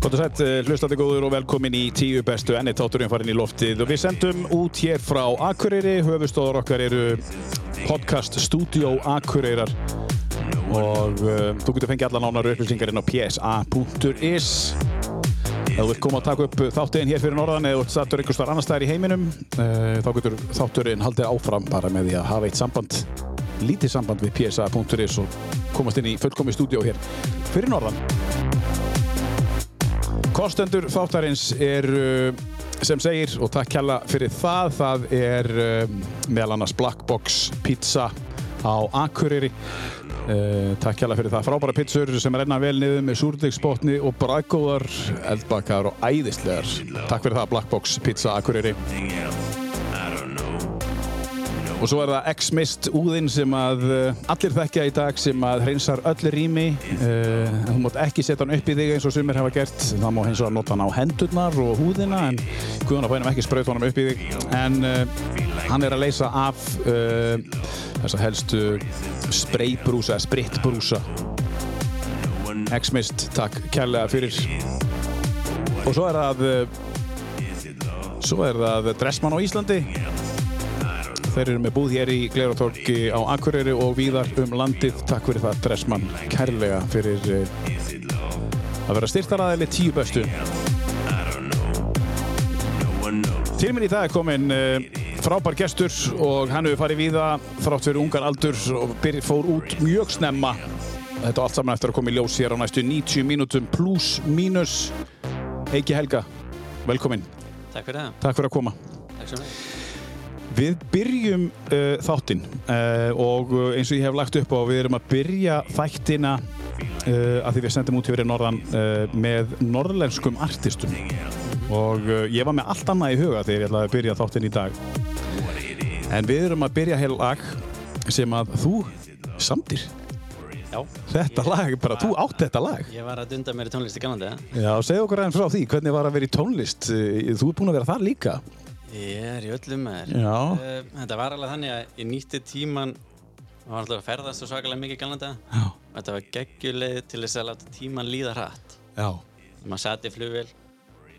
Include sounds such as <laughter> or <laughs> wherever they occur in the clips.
Hvort og sætt, eh, hlustandi góður og velkomin í tíu bestu enni táturinn farin í loftið og við sendum út hér frá Akureyri, höfustóðar okkar eru podcast Studio Akureyrar og uh, þú getur fengið alla nánar upplýsingar inn á psa.is Ef þú vilt koma að taka upp þátturinn hér fyrir norðan eða þú ert stattur einhvers staðar annars staðar í heiminum uh, þá getur þátturinn haldið áfram bara með því að hafa eitt samband lítið samband við psa.is og komast inn í fullkomi stúdíó hér fyrir norðan Kostendur þáttarins er uh, sem segir og takk kjalla fyrir það það er um, meðal annars Black Box pizza á Akureyri uh, takk kjalla fyrir það frábæra pizzur sem renna vel niður með súrdegsbotni og brækóðar eldbakar og æðislegar takk fyrir það Black Box pizza Akureyri Og svo er það X-Mist úðinn sem að uh, allir þekkja í dag sem að hreinsar öll rými. Uh, þú mátt ekki setja hann upp í þig eins og sumir hafa gert. Það má hins vegar nota hann á hendurnar og húðina en guðan að bænum ekki sprauta honum upp í þig. En uh, hann er að leysa af uh, þessa helstu spraybrúsa, spritbrúsa. X-Mist, takk kærlega fyrir. Og svo er það, uh, svo er það Dressmann á Íslandi. Þeir eru með búð hér í Glerotorki á Akureyri og víðar um landið. Takk fyrir það, Dressmann, kærlega fyrir eh, að vera styrtaraðili tíu bestu. Til minn í dag er kominn eh, frábær gestur og hann hefur farið víða þrátt fyrir ungar aldur og byr- fór út mjög snemma. Þetta á allt saman eftir að koma í ljós hér á næstu 90 mínútum pluss mínus. Eiki Helga, velkomin. Takk fyrir það, Takk fyrir að koma. takk sem við. Við byrjum uh, þáttinn uh, og uh, eins og ég hef lagt upp á við erum að byrja þættina uh, að því við sendum út yfir í norðan uh, með norðlenskum artistum og uh, ég var með allt annað í huga þegar ég ætlaði að byrja þáttinn í dag en við erum að byrja heil lag sem að þú samtir Já, þetta lag, bara þú átt þetta lag ég var að dunda mér í tónlist í gamla daga. Já, segðu okkur aðeins frá því, hvernig var að vera í tónlist Eh, þú er búin að vera þar líka Ég er í öllum með þér. Já, Eh, Þetta var alveg þannig að ég nýtti tíman og var alltaf að ferðast svo svakalega mikið í gamla daga. já, Þetta var geggjuleið til þess að láta tíman líða hratt. já, Maður sat í flugvél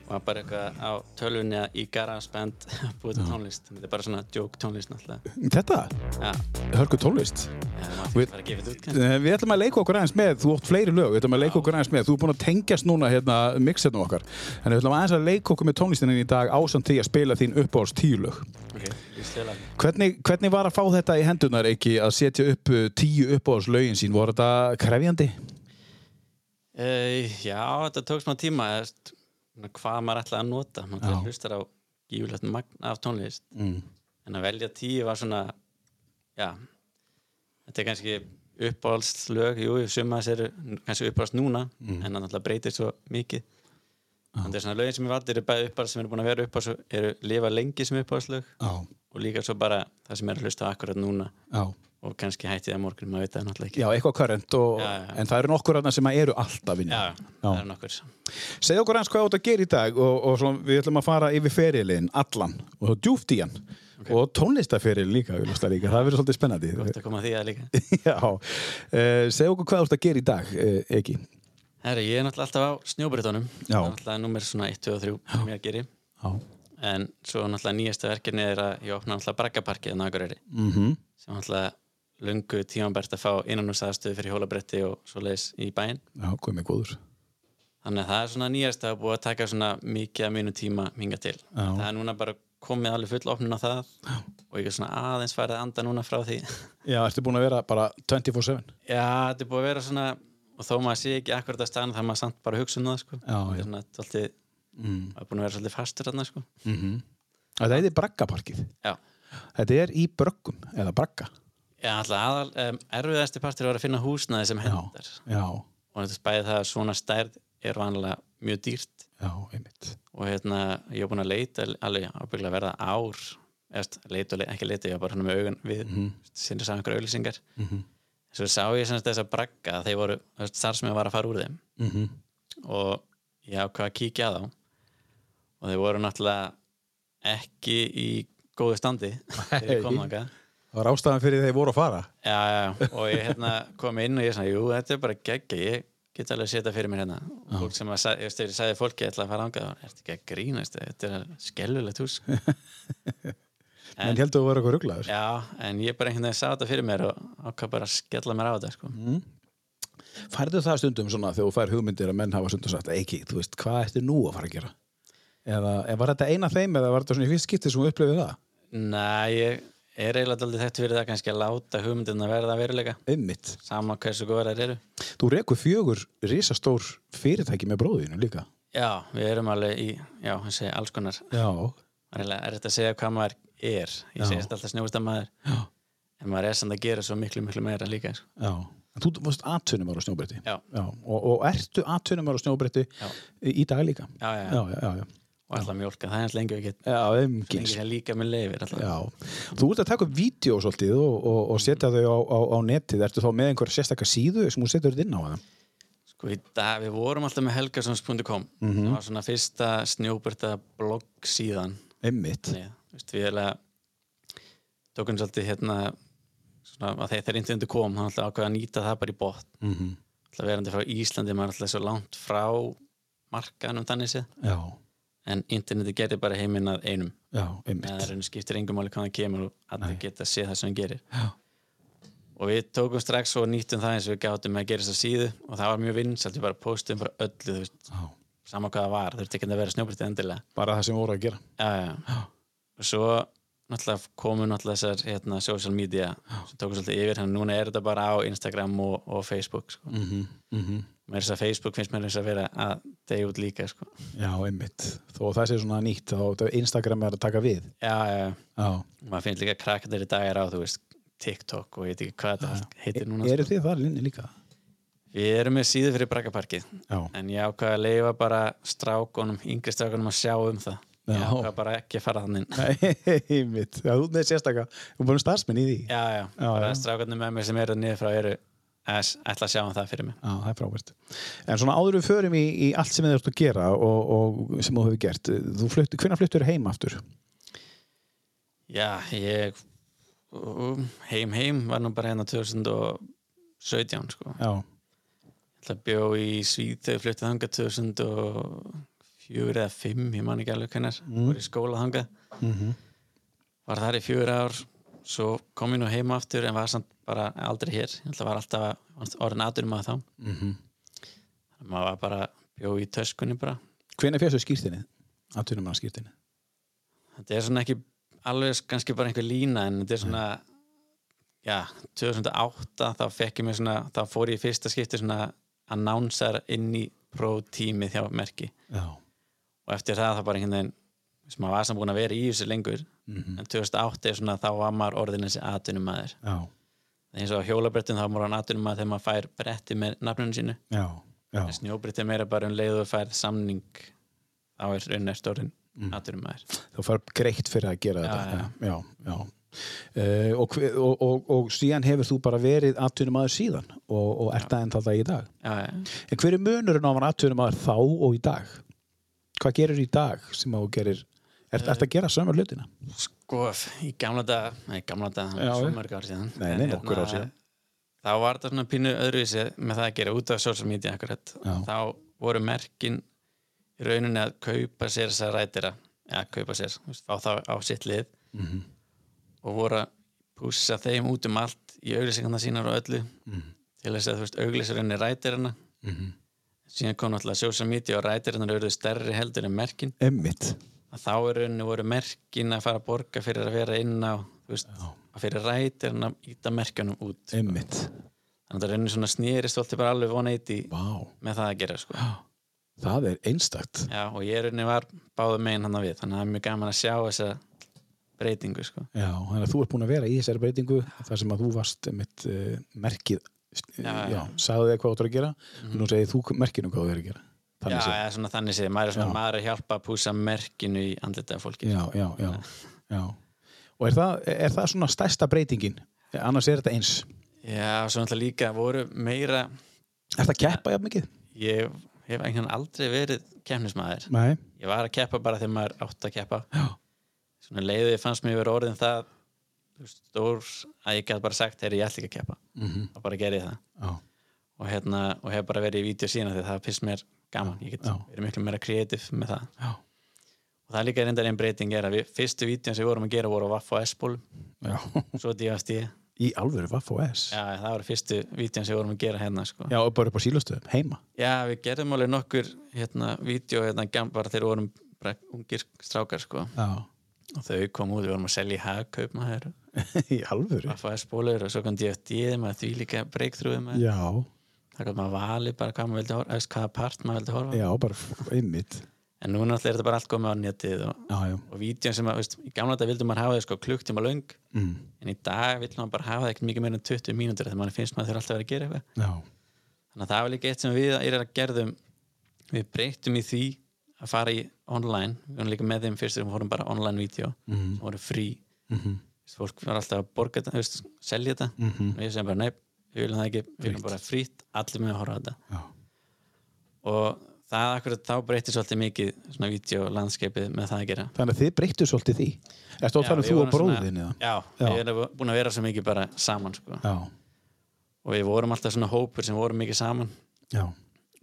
og var bara eitthvað á tölvunni að í garaspend að <laughs> búið til tónlist. Þetta er bara svona djók tónlist náttúrulega. þetta, Já, hörku tónlist já maður Við- fyrir bara að gefa þetta út kannski. Eh, Við ætlum að leika okkur aðeins með, þú átt fleiri lög, við ætlum að leika okkur aðeins með, þú er búinn að tengjast núna hérna mixetnum okkar, en við ætlum aðeins að leika okkur með tónlistinni í dag ásamt því að spila þín uppáhalds tíu lög. Ok, ég stila. Hvernig, hvernig var að fá þetta í hendunar ekki að setja upp uh, tíu uppáhalds lögin sín, voru þetta krefjandi? Uh, já, þetta tók smá tíma eða, st- svona hvað maður ætlaði að nota maður Já. hlustar á gífulegt magna af tónlist mm. en að velja tíu var svona já, þetta er kannski uppáhaldslög, jú, suma þess eru kannski uppáhaldst núna, en Mm. það náttúrulega breytir svo mikið þannig að svona lögin sem ég valdi eru bæði uppáhald sem eru búin að vera uppáhald eru lifa lengi sem uppáhaldslög Já, og líka svo bara það sem er að hlusta á akkurat núna já. og kannski hætti það á morgun, maður veit það náttúrulega ekki Já, eitthvað current, og, Já, já, já. en það eru nokkur aðna sem að eru alltaf vinni. já, það er nokkur Segð okkur aðeins hvað þú átt að gera í dag og, og svona, við ætlum að fara yfir ferilinn, allan, og þú djúft í hann. Og tónlistaferil líka, við lústa líka, það verður svolítið spennandi. gott að koma að því að líka <laughs> Já, uh, segja okkur hvað þú ert að gera í dag, uh, Egi. Herri, ég er náttúrulega alltaf á snjóbrytunum. Já. Það er náttúrulega nummer svona 1, 2 og 3 sem ég að geri. Já. En svo náttúrulega nýjasta verkefni er að ég opna náttúrulega braggaparkið en aðgurri. Mm -hmm. Sem náttúrulega lungu tímanbært að fá innanúsaðstöðu fyrir hjólabretti og svo leiðis í bæinn. Já, hvað með góður. Þannig að það er svona nýjasta að búið að taka svona mikið af mínu tíma minga til. Já. Það er núna bara komið alveg full opnun á það Já. og ég er svona aðeins farið að anda núna frá því. <laughs> Já, ertu búin að vera bara 24-7? Já, þetta er búið að vera svona og þó maður sé ekki akkurat að staðan þá er maður samt bara að hugsa um það sko. Já, Þetta já. er svona, tólti, Mm. mhm. maður er búin að vera svolítið fastur þarna sko. Þetta heitir Braggaparkið. Já, Þetta er í Bröggum, eða Bragga. Já, alltaf aðal, um, erfiðasti partur var að finna húsnaði sem hendar Já, og þetta spæði það að svona stærð er vanlega mjög dýrt já, einmitt. og hérna, ég er búin að leita alveg ábygglega verða ár eftir, leit og leit, ekki leita, ég var bara hann með augun við mm Mhm. -hmm. sinni saman ykkur auðlýsingar mm -hmm. svo sá ég semst þess að bragga að þeir voru, þú veist, starfsmenn var að fara úr þeim mm -hmm. og ég ákvað að kíkja á þá og þeir voru náttúrulega ekki í góðu standi þegar Nei. ég kom þangað Það var ástæðan fyrir þeir voru að fara. já, já, já. og ég hérna, kom inn og ég svona, jú, þetta er bara geggja ég get alveg að setja fyrir mér hérna og fólk sem að, sa- ég veist, þegar ég sagði fólki ég ætla að fara ángað er þetta ekki að grínast, þetta er skellulegt hús sko. En, en heldur þú að vera eitthvað rugglaður? já, en ég bara einhvern veginn sá þetta fyrir mér og ákvað bara að skella mér á þetta sko. Mm. Færðu það stundum svona þegar þú fær hugmyndir að menn hafa stundum sagt ekki, þú veist, hvað ertu nú að fara að gera? Eða en var þetta eina þeim eða var þetta svona í fyrst skipti sem þú upplifið það? næ, ég er eiginlega aldrei þekkt fyrir það kannski að láta hugmyndin að verða að veruleika Einmitt. sama hversu góðar þær eru Þú rekur fjögur risastór fyrirtæki með bróðinu líka. já, við erum alveg í, já, hann segi alls konar Já. Það er eiginlega erfitt að segja hvað maður er Já. ég segist alltaf snjóðust maður Já. en maður er samt að gera svo miklu miklu meira líka sko. Já. En Þú varst atvinnum ára á snjóbreytti. já, Já. Og, og ertu atvinnum ára á snjóbreytti Já. í í dag líka. já, já, Já, já, já. Já, og alltaf mjólka það er alltaf lengi við getum já lengi umgins. sem líka með leifir alltaf Já, þú ert að taka upp vídeo svolítið og, og, og setja þau á, á, á netið ertu þá með einhverja sérstakka síðu sem þú setur þetta inn á það sko í dag, við vorum alltaf með helgarsons.com Mhm. það var svona fyrsta snjóberta blogg síðan einmitt, Þannig, að, þú veist, við eiginlega tókum svolítið hérna svona að þegar þeir internetu kom hann alltaf ákveða að nýta það bara í bótt mm -hmm. alltaf verandi frá Íslandi, maður er alltaf svo langt frá markanum þannig séð já, en interneti gerði bara heiminn að einum já, eða einmitt það raun skiptir engum máli hvað það kemur og allir Nei. geta að sé það sem hann gerir Já. og við tókum strax og nýttum það eins og við gátum að gera þess að síðu og það var mjög vinsalt, við bara postum bara öllu þú veist, já. sama hvað það var, þurfti ekki að vera snjóbreytið endilega bara það sem voru að gera já, já. Já. og svo náttúrulega komu náttúrulega þessar hérna, social media sem tókum svolítið yfir, þannig að núna er þetta bara á Instagram og, og Facebook sko. mm -hmm. mér þess að Facebook finnst mér þess að vera að degja út líka sko. já, einmitt þó það sé svona nýtt þá Instagram er að taka við já, já, já. já. maður finnst líka krakkandir í dag er á, þú veist, TikTok og ég veit ekki hvað þetta allt heitir núna sko. eru þið þar linni líka? Við erum með síðu fyrir Braggaparkið já, en ég ákvaði að leifa bara strákunum, yngri strákunum að sjá um það Já. Ég ákvaði bara ekki að fara þannig Já, Nei, <laughs> einmitt já, þú með sérstakka, þú erum búin starfsmenn í því já, já, bara já. strákunum með mér sem eru niður frá eru að ætla að sjá um það fyrir mig það er frábært en svona áður við förum í, í allt sem þið ert að gera og, og sem þú hefur gert þú flutt, hvenær fluttur heim aftur? Já, ég um, heim heim var nú bara hérna 2017 sko já, Það bjó í Svíþau, fluttið þangað 2004 eða 5, ég man ekki alveg hvernig mm. var í skóla þangað Mhm. var þar í fjögur ár svo kom ég nú heima aftur en var samt bara aldrei hér ég ætla var alltaf orðin aður maður þá mm Mhm. -hmm. maður var bara bjó í töskunni bara hvenær fyrstu skýrtinni? atvinnum að skýrtinni þetta er svona ekki alveg kannski bara einhver lína en þetta er svona já, 2008 þá fekk ég mér svona þá fór ég í fyrsta skipti svona annánsar inn í prótímið hjá merki já, og eftir það þá bara einhvern veginn sem maður var samt búin að vera í þessu lengur Mhm. en 2008 er svona þá var maður orðin þessi atvinnum maður já, eins og á hjólabrettum þá er maður á atvinnum maður þegar maður fær bretti með nafnunum sínu já, já. en snjóbretti er meira bara um leið og þú færð samning þá er unnert orðin mm. atvinnum maður þú fær greitt fyrir að gera Já, þetta já, já, já. Uh, og, hve- og, og, og síðan hefur þú bara verið atvinnum aður síðan og, og ert það ennþá það í dag já, já. en hver er munurinn á að vera atvinnum aður þá og í dag? hvað gerir í dag sem að þú gerir Er, ert að gera sömur hlutina? sko, í gamla dag nei, gamla dag, það Já, er svo já. mörg ár síðan Nei, En nei, hérna, nokkur ár síðan. þá var þetta svona pínu öðruvísi með það að gera út af social media akkurat Já. þá voru merkin í rauninni að kaupa sér þess að rætira eða kaupa sér, þú veist, fá þá á sitt lið og voru að pússa þeim út um allt í auglýsingarna sínar og öllu til þess að þú veist, auglýsarinn er rætirina síðan kom náttúrulega social media og rætirinnar eru stærri heldur en merkin Emmitt að þá er rauninni voru merkin að fara að borga fyrir að vera inn á þú veist, að fyrir rætir en að íta merkjunum út þannig Emmitt að það er rauninni svona snýrist alltaf bara alveg von eitt í Vá, með það að gera sko. það er einstakt Já, og ég rauninni var báðu megin hann að við þannig að það er mjög gaman að sjá þessa breytingu sko. Já, þannig að þú ert búin að vera í þessari breytingu þar sem að þú varst mitt uh, merkið já, Já, Mhm. já, sagði þig hvað þú ert að gera nú segir þú merkinu hvað þú ert að gera Já, séð. eða svona þannig sé, maður er svona Já. maður er að hjálpa að púsa merkinu í andlitaða fólki já, já, já, já. Og er það, er það svona stærsta breytingin? Annars er þetta eins. Já, svo náttúrulega líka voru meira Er það keppa jafn mikið? ég hef einhvern veginn aldrei verið keppnismæður Nei. ég var að keppa bara þegar maður átt að keppa Já. svona leiðið ég fannst mér vera orðin það þú veist, stór að ég gæti bara sagt þegar ég ætla ekki að keppa Mhm. og bara gerði ég það Já. og, hérna, og hef bara verið í vídeo sína því það finnst mér gaman ég get Já. verið miklu meira kreatív með það Já. og það er líka reyndar einn breyting er að við, fyrstu vídeon sem við vorum að gera voru á Vaff og S-ból Já. svo dífast ég Í alvöru Vaff og S. já, það voru fyrstu vídeon sem við vorum að gera hérna sko. Já, og bara upp á sílastöðum, heima. Já, við gerðum alveg nokkur hérna, vídeo hérna, gam- bara þegar við vorum bara ungir strákar sko Já. og þau kom út, við vorum að selja í hagkaup maður, <laughs> Í alvöru? að fá spólur og svo kom DFD maður því líka breakthrough maður, Já. það kom maður valið bara hvað maður vildi horfa, eða hvaða part maður vildi horfa Já, bara f- einmitt. en núna alltaf er þetta bara allt komið á netið og, Já, já. og vídeon sem að, veist, í gamla þetta vildi maður hafa þau sko klukktíma löng Mm. en í dag vil maður bara hafa það ekkert mikið meira en 20 mínútur þegar maður finnst maður þurfa alltaf að vera að gera eitthvað Já. þannig að það var líka eitt sem við er að gerðum við breytum í því að fara í online, við vorum líka með þeim fyrst þegar við fórum bara online vídeo Mm. sem voru frí, Mm. Þú veist, fólk var alltaf að borga þetta, þú veist, selja þetta Mm. og ég sem bara, nei, við viljum það ekki við viljum Frítt. bara frítt, allir með að horfa á þetta Já. og það akkurat þá breytir svolítið mikið svona vídeo landskeipið með það að gera Þannig að þið breyttu svolítið því. Erstu Já, að tala um við þú og vorum svona- bróðin eða? Já, Já. við erum búin að vera svo mikið bara saman sko. Já. og við vorum alltaf svona hópur sem vorum mikið saman Já.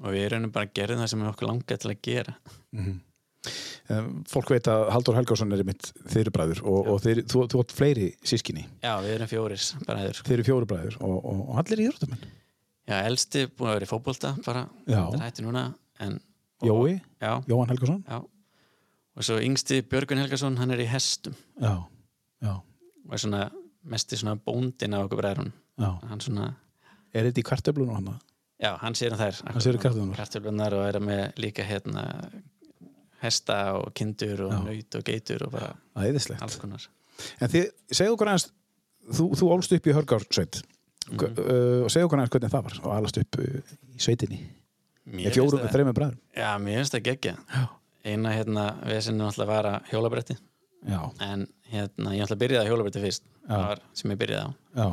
og við erum bara að gera það sem við okkur langaði til að gera Um, Fólk veit að Haldur Helgason er mitt þeirri bræður og, og þeir, þú, þú átt fleiri sískinni. Já, við erum fjóris bræður sko. Þeir eru fjóri bræður og, og, og allir í Jórnumenn. Já, elsti búin að vera í fótbolta bara, Já. þetta er hætti núna en, og, Jói, Já, Jóhann Helgason. já og svo yngsti Björgun Helgason, hann er í hestum Já. Já. og er svona mesti svona bóndin á okkur bræðrun Já. hann svona, Er þetta í kartöflunum hann? já, hann sér um þær Hann sér í kartöflunum. kartöflunar og er með líka hérna hesta og kindur og Já. naut og geitur og bara alls Æðislegt. konar En þið, segðu okkur aðeins, þú, þú ólst upp í Hörgársveit mm Mhm. uh, og segðu okkur aðeins hvernig það var og alast upp uh, í sveitinni. Mér Ég finnst fjórum það- með þreymur bræður. Já, mér finnst það geggja Já. eina hérna vesinu alltaf var að hjólabretti Já, en hérna, ég alltaf byrjaði að hjólabretti fyrst það var sem ég byrjaði á já,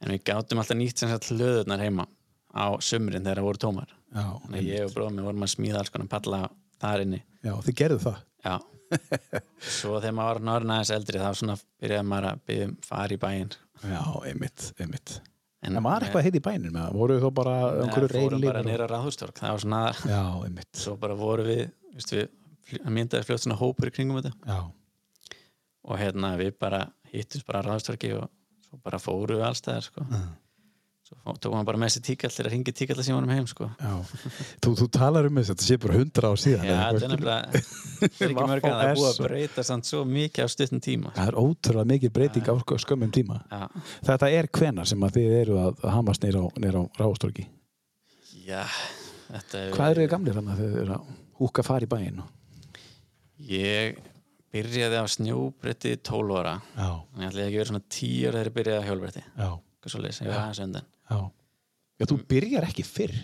en við gátum alltaf nýtt sem sagt hlöðunar heima á sömurinn þegar það voru tómar já. þannig að ég og bróðum við vorum að smíða alls konar palla þar inni Já, þið gerðu það. <laughs> já svo þegar maður var norðin aðeins eldri þá svona byrjaði maður að byggja um far í bæinn Já, einmitt, einmitt. en En var eitthvað heiti í bænum eða voru þó bara einhverju Nei, fórum bara reyli? nýra ráðhústork það var svona Já, einmitt. svo bara voru við, veist við fl- það myndaði fljótt svona hópur í kringum þetta Já, og hérna við bara hittum bara ráðhústorki og svo bara fóru við allstæðar sko svo fó- tókum við bara með þessi tíkall þegar hringi tíkall sem varum heim sko já. þú, þú talar um þess að þetta sé bara hundra ár síðan. Já, eða þetta eitthvað, er skilur. <laughs> nefnilega það er ekki mörg að það er búið að breyta samt svo mikið á stuttum tíma Það er ótrúlega mikil breyting á sko- skömmum tíma. Já, Þetta er hvenar sem að þið eru að hamast nýra á, niður á ráðstorki? já þetta er Hvað eru þið gamlir hann að þið eru að húka fari í bæinn? og- Ég byrjaði á snjóbretti 12 ára Já, Þannig ætlaði ekki verið svona 10 ára þegar ég byrjaði á hjólbretti já, Hvað svo leys, ég var aðeins undan já. Já, þú byrjar ekki fyrr.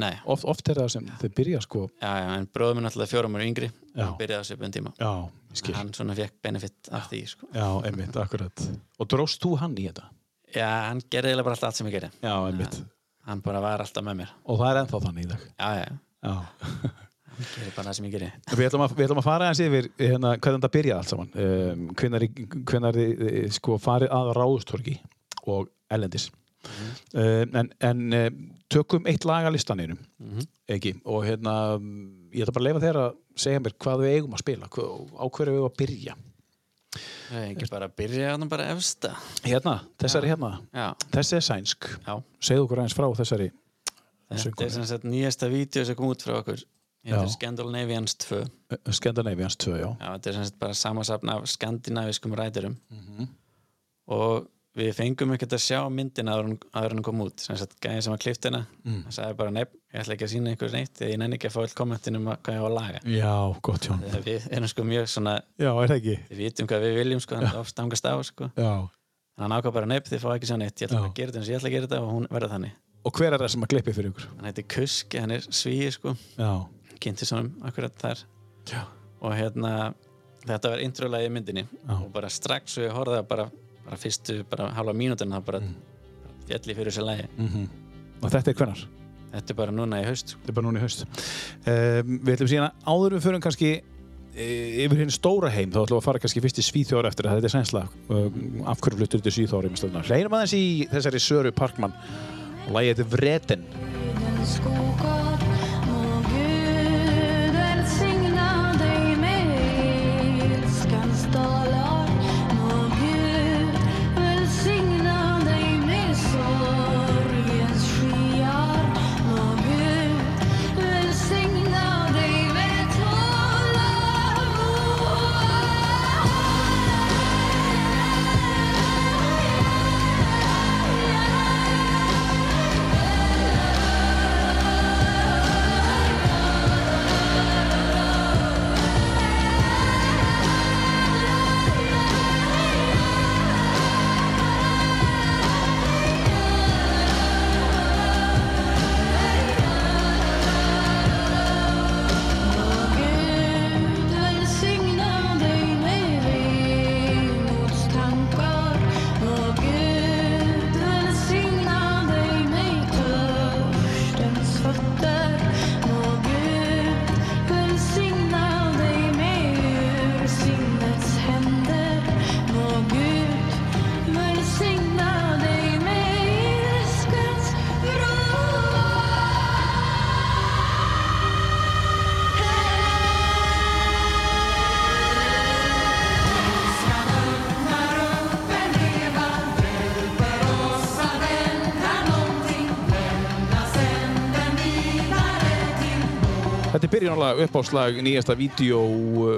Nei, Oft, oft er það sem þið byrja sko. já, já, en bróðum minn alltaf fjórum ára yngri Já. Hann byrjaði á svipun tíma Já, ég skil. Hann svona fekk benefit af því sko. Já, einmitt, akkurat. Og dróst þú hann í þetta? Já, hann gerði eiginlega bara alltaf allt sem ég gerði Já, einmitt. Hann bara var alltaf með mér Og það er ennþá þannig í dag. Já, já, Já. hann gerði bara það sem ég gerði Við ætlum að, við ætlum að fara eins yfir hérna, hvernig þetta byrjaði allt saman. Um, hvenar, hvenar þið eh, sko farið að ráðustorki og ellendis. Um, en en um, tökum eitt lag að listaninum, Mhm. ekki? Og hérna, um, ég ætla bara að leifa þér að segja mér hvað við eigum að spila, hva, á hverju við eigum að byrja. Það er ekki bara að byrja hann bara efsta Hérna, þessari hérna, Já, þessi er sænsk. já Segðu okkur aðeins frá þessari. Þetta Söngkona. er sem sagt nýjasta vídeo sem kom út frá okkur Þetta Já. er Scandalnavians 2 Uh, Scandinavians 2, já. Já, þetta er sem sagt bara samansapn af skandinaviskum ræturum og við fengum ekkert að sjá myndina áður en- áður en hún kom út sem sagt gæðin sem hérna. að klifta hana Mm. hann sagði bara nefn, ég ætla ekki að sína einhver neitt þegar ég nenni ekki að fá all kommentin um að- hvað ég á að laga Já, gott Jón. þegar við erum sko mjög svona Já, er það ekki? við vitum hvað við viljum sko, þannig að það stangast á sko. Já. En hann ákvað bara nefn, þið fá ekki að sjá neitt ég ætla Já. bara að gera þetta eins og ég ætla að gera þetta og hún verða þannig Og hver er það sem að klippi fyrir ykkur? hann heitir Kuski, hann er svíi sko Já. kynnti svona akkurat þar Já. og hérna þetta var introlagið í myndinni og bara strax og ég horfði að bara, bara fyrstu bara halva mínútin það bara mm. fjalli fyrir þessu lagi Og þetta er hvenar? þetta er bara núna í haust sko. Þetta er bara núna í haust. Um, við ætlum síðan að áður en við förum kannski eh, yfir hinn stóra heim, þá ætlum við að fara kannski fyrst í Svíþjóra eftir að þetta er sænsla. Um, af hverju fluttur þetta Svíþjóra í mistöðuna? Hleirum aðeins í þessari Söru Parkmann og lagið þetta Vreten. Skogar, må Gud välsigna dig med ilskans dalar. Må Gud välsigna dig med sorgens skyar. Må Gud välsigna dig med tålamod. Gud välsigna dig med vemodstankar Må Gud välsigna dig med törstens fötter Må Gud välsigna dig med ursinnets händer Må Gud välsigna dig med ilskans vrår Þetta er byrjunalega uppáslag nýjasta vídeo uh,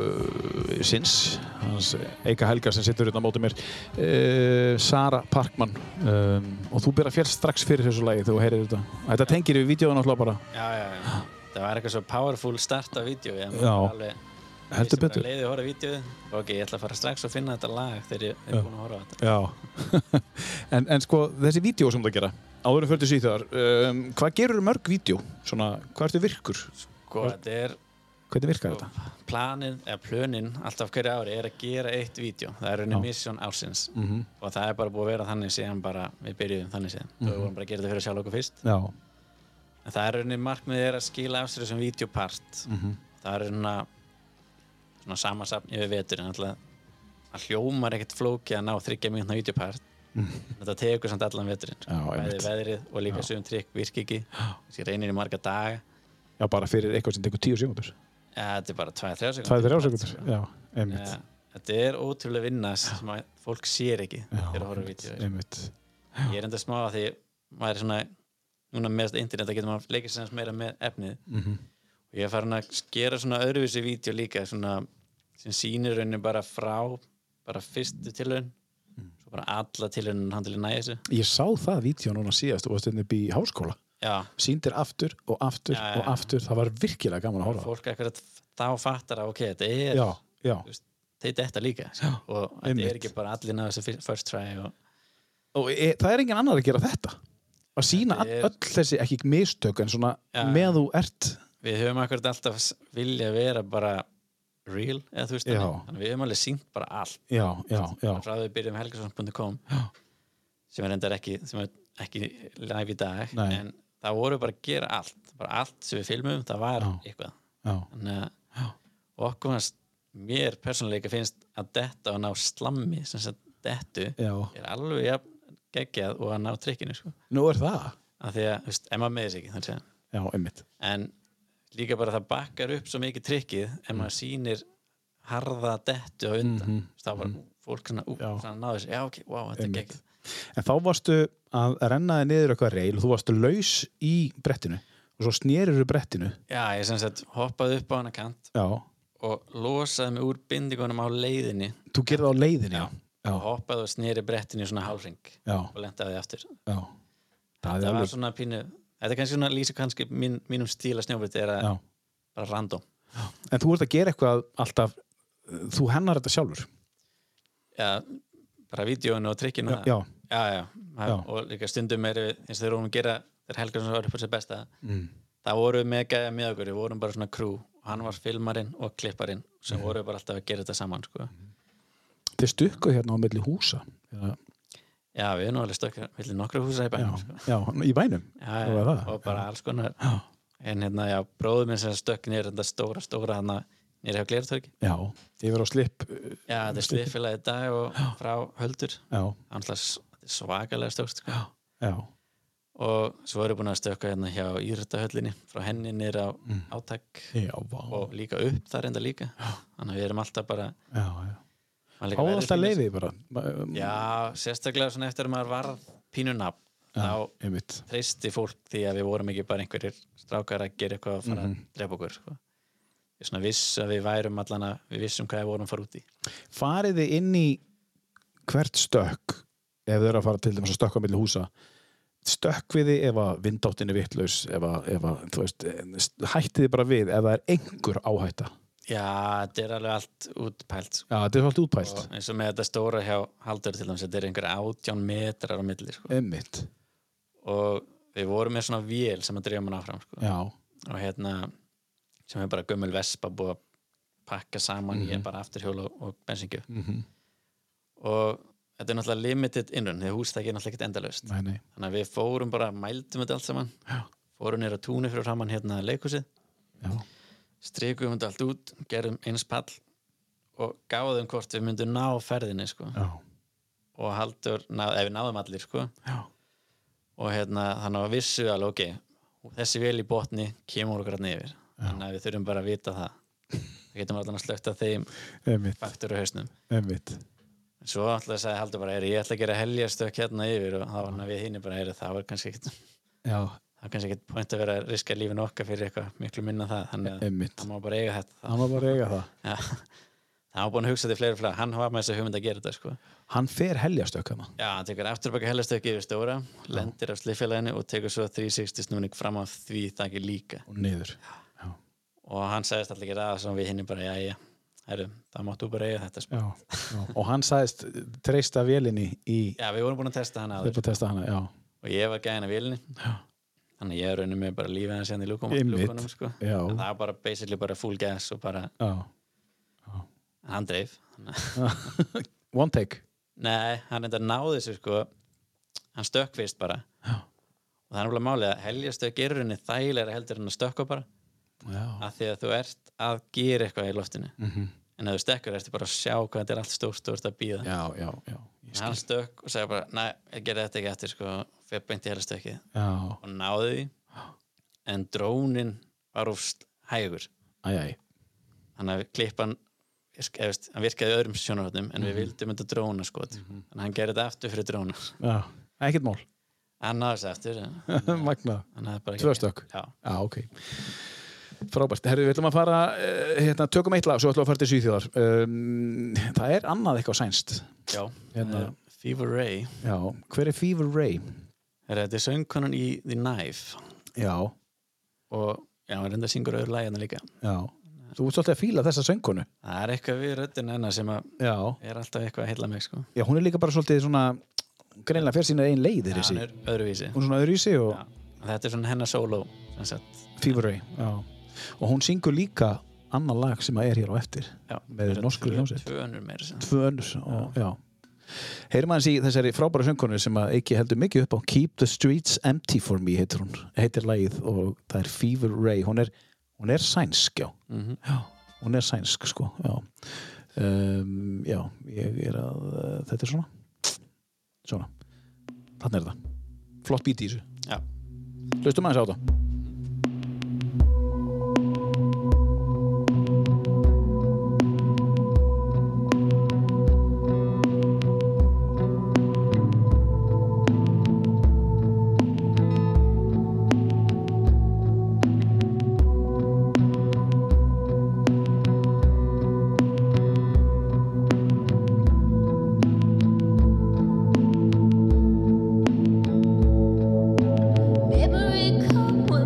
sinns hans Eika Helga sem sittur hérna á móti mér uh, Sara Parkmann um, og þú byrja fjall strax fyrir þessu lagi þegar þú heyrir þetta Þetta tengir við vídeoðan alltaf bara já, já, já. það var eitthvað svo powerful start af vídeo ég Já. var alveg heldur bara betur leiði að horfa vídeo ok, ég ætla að fara strax og finna þetta lag þegar ég er búin að horfa á þetta Já <laughs> en, en sko þessi vídeo sem þú ert að gera áður en fyrir þessu í þar um, hvað gerur mörg vídeo? Svona, hvað ertu virkur? sko, þetta er Hvernig virkar þetta? planið, eða plönin alltaf hverju ári er að gera eitt vídeo það er raunin misjón ásins -hmm. Mhm. og það er bara búið að vera þannig síðan bara við byrjuðum þannig síðan, Mhm. mm við vorum bara að gera þetta fyrir sjálf okkur fyrst Já, en það er raunin markmiðið er að skila af sér þessum vídeopart mm Mhm. -hmm. það er raunin svona samasapn yfir vetur en alltaf að hljómar ekkert flóki að ná þryggja mínutna vídeopart þetta tekur samt allan veturinn sko. Já, bæði Mhm. einmitt. veðrið og líka sögum trikk virki ekki, þessi reynir í marga daga Já bara fyrir eitthvað sem tekur tíu sekundur ja, þetta er bara 2-3 sekund Tvæði þrjá sekundur Já, einmitt Já, þetta er ótrúlega vinna sem að fólk sér ekki þegar að horfa á vídeo sko. Einmitt ég er enda smá að því maður er svona núna með internet að getur maður leikið sem meira með efnið og ég er farin að gera svona öðruvísi vídeo líka svona sem sýnir raunin bara frá bara fyrstu tilhörn Mm. svo bara alla tilhörnin hann til að næja þessu Ég sá það vídeo núna síðast og varst hérna upp í háskóla já, sýndir aftur og aftur Já, já, já. og aftur það var virkilega gaman að horfa á það. fólk ekkert þá fattar að ok, þetta er Já, já þú veist, þetta er þetta líka já, og þetta einmitt. er ekki bara allir náðu þessu fyrst- first try og og e, það er engin annar að gera þetta að sína Þetta er- öll þessi, ekki mistök en svona Já, með þú ert við höfum akkurat alltaf s- vilja vera bara real eða þú veist Já. þannig Þannig við höfum alveg sínt bara allt já, já, já, frá því við byrjum helgarsson.com sem er endar ekki, sem er ekki live í dag Nei. en það voru bara að gera allt bara allt sem við filmum, það var Já. eitthvað já. þannig að og okkur fannst, mér persónuleika finnst að detta og ná slammi sem sagt dettu já. er alveg jafn geggjað og að ná trikkinu sko. nú er það af því að, þú veist, emma með þess ekki þannig að já, einmitt en líka bara það bakkar upp svo mikið trikkið en Mm. maður sýnir harða dettu á undan Mhm. mm -hmm. þá var fólk svona, ú, Já. svona náður sér, já ok, wow, þetta er Einmitt. geggjum en þá varstu að rennaði niður eitthvað reil og þú varstu laus í brettinu og svo snerirðu brettinu já, ég sem sagt hoppaði upp á hana kant já, og losaði mig úr bindingunum á leiðinni þú gerði það á leiðinu já, og já, hoppaði og sneri brettinu í svona hálfring já, og lentaði aftur já. það það er var alveg svona pínu, þetta er kannski svona lýsa kannski mín, mínum stíla snjóbriti er að já. bara random en þú ert að gera eitthvað alltaf þú hennar þetta sjálfur já, bara vídjóinu og trikkinu og það. já, já, já, já. Já. og líka stundum er eins og þeir vorum að gera þeir helgar sem var upp á sér besta Mm. það voru við með gæja með okkur, við vorum bara svona krú og og hann var filmarinn og klipparinn sem voru bara alltaf að gera þetta saman sko. Þið stukkuð hérna á milli húsa. Já, já, við erum nú alveg stökkja vilja nokkra húsa í já, bænum sko. já í bænum. já, Það já, var það. og bara alls konar Já, en hérna, já, bróður minn sem stökk nýr þetta stóra, stóra hann nýr hjá Glertorki já, yfir á uh, slip. já, þetta er sliðfélagið í dag og frá höldur Já, hann slá svakalega stórt sko. já, og svo erum við búin að stökka hérna hjá Írtahöllinni frá henni nýr á Mm. átak já, vá. og líka upp þar enda líka þannig að við erum alltaf bara Já, já. maður Á líka verður alltaf pínu- leiði bara. um, Já, sérstaklega svona eftir að maður varð pínu nafn þá Einmitt. treysti fólk því að við vorum ekki bara einhverjir strákar að gera eitthvað að fara Mhm. að drepa okkur sko. ég svona viss að við værum allan að við vissum hvað við vorum að fara út í farið þið inn í hvert stökk ef þið eru að fara til dæmis að stökka á milli húsa stökk við þið ef að vindáttin er vittlaus ef að, ef að þú veist hættið þið bara við ef það er einhver áhætta já, Já, þetta er alveg allt útpælt sko. þetta er svolítið útpælt Og eins og með þetta stóra hjá Haldur til dæmis þetta er einhverja átján metrar á milli sko. emmitt, og við vorum með svona vél sem að drefa mann áfram sko. já, og hérna sem er bara gömul vespa búið að pakka saman í bara afturhjól og, og bensingju Mhm. og þetta er náttúrulega limited innrun því hústæki er náttúrulega ekkert endalaust nei, nei þannig að við fórum bara, mældum þetta allt saman Já. fórum nýra túnu fyrir framann hérna leikhúsið, já, strikum þetta allt út gerum eins pall og gáðum hvort við myndum ná ferðinni sko. já, og haldur, náð, ef við náðum allir sko. já, og hérna, þannig að vissu við alveg ok, þessi vel í botni kemur okkur hann yfir þannig að við þurfum bara að vita það við getum alltaf að slökta þeim emmitt, faktur á hausnum emmitt En svo alltaf að segja haldur bara, er, ég ætla að gera heljastökk hérna yfir og þá var hann að við hinni bara, er, það var kannski ekkit það já, var kannski ekkit point að vera að riska lífin okkar fyrir eitthvað miklu minna en það, þannig að emmitt hann má bara eiga þetta hann var bara að eiga það Já. hann var búin að hugsa þetta í fleiri flag hann var með þessi hugmynd að gera þetta sko. hann fer hérna heljastökk hana Já, hann tekur afturbaka heljastökk yfir stóra lendir af slifélaginu og tekur svo 360 snúning fram á því þakki líka og niður já, og hann sagðist allir ekki það sem við hinni bara, já, já, herru, það máttu bara eiga þetta sko. já, já. og hann sagðist treysta vélinni í Já, við vorum búin að testa hann aður þeir bara testa hana, já, og ég var gæðin af vélinni þannig að ég raunum mig bara lífið hans hérna í lúkum, Einmitt. lúkunum sko. Já. En það var bara basically bara full gas og bara já hann dreif Þannig að- one take nei, hann enda náði þessu sko hann stökk fyrst bara Já. og það er alveg málið að heljastökk er í rauninni þægilega heldur en að stökka bara já, af því að þú ert að gera eitthvað í loftinu Mhm. en ef þú stekkur ertu bara að sjá hvað þetta er allt stórt stórt að býða já, já, já. Ég hann stökk og sagði bara, næ, ég gerði þetta ekki eftir sko, fyrir beint í heljastökkið Já, og náði því en drónin var úrst hægur æj, æj, þannig að klippan ég veist, hann virkaði í öðrum sjónarhóttum en Mhm. við vildum þetta dróna skot þannig að hann gerði þetta aftur fyrir dróna já, ekkert mál hann náði þessi aftur en <laughs> Magna, hann hafði bara ekki- tvö stök já, Já, ok Frábært, herru, við ætlum að fara eh, hérna, tökum eitt lag, svo ætlum við að fara til Svíþjóðar um, Það er annað eitthvað sænst já. Hérna. Eh, Fever Ray Já, hver er Fever Ray? er þetta er söngkonan í The Knife Já, og já, hann reynda syngur öðru lægina líka já Þú ert svolítið að fíla þessa söngkonu það er eitthvað við röddinn hennar sem að Já, er alltaf eitthvað að heilla mig sko. já hún er líka bara svolítið svona greinlega fyrir sína einn leiðir hann þessi er öðruvísi Hún er svona öðru í sig og já. þetta er svona hennar solo sem sagt. Fever Ray Já, og hún syngur líka annað lag sem að er hér á eftir Já, Með það eru norskri tvö- hljómsveit. tvö önnur meira sem. tvö önnur og, já. heyrum aðeins í þessari frábæra söngkonu sem að ekki heldur mikið upp á Keep the Streets Empty for Me heitir hún heitir lagið og það er Fever Ray hún er, hún er sænsk já. Mhm. já hún er sænsk sko já, um, já ég er að uh, þetta er svona svona þannig er það flott bíti í þessu já hlustum aðeins á það Never recover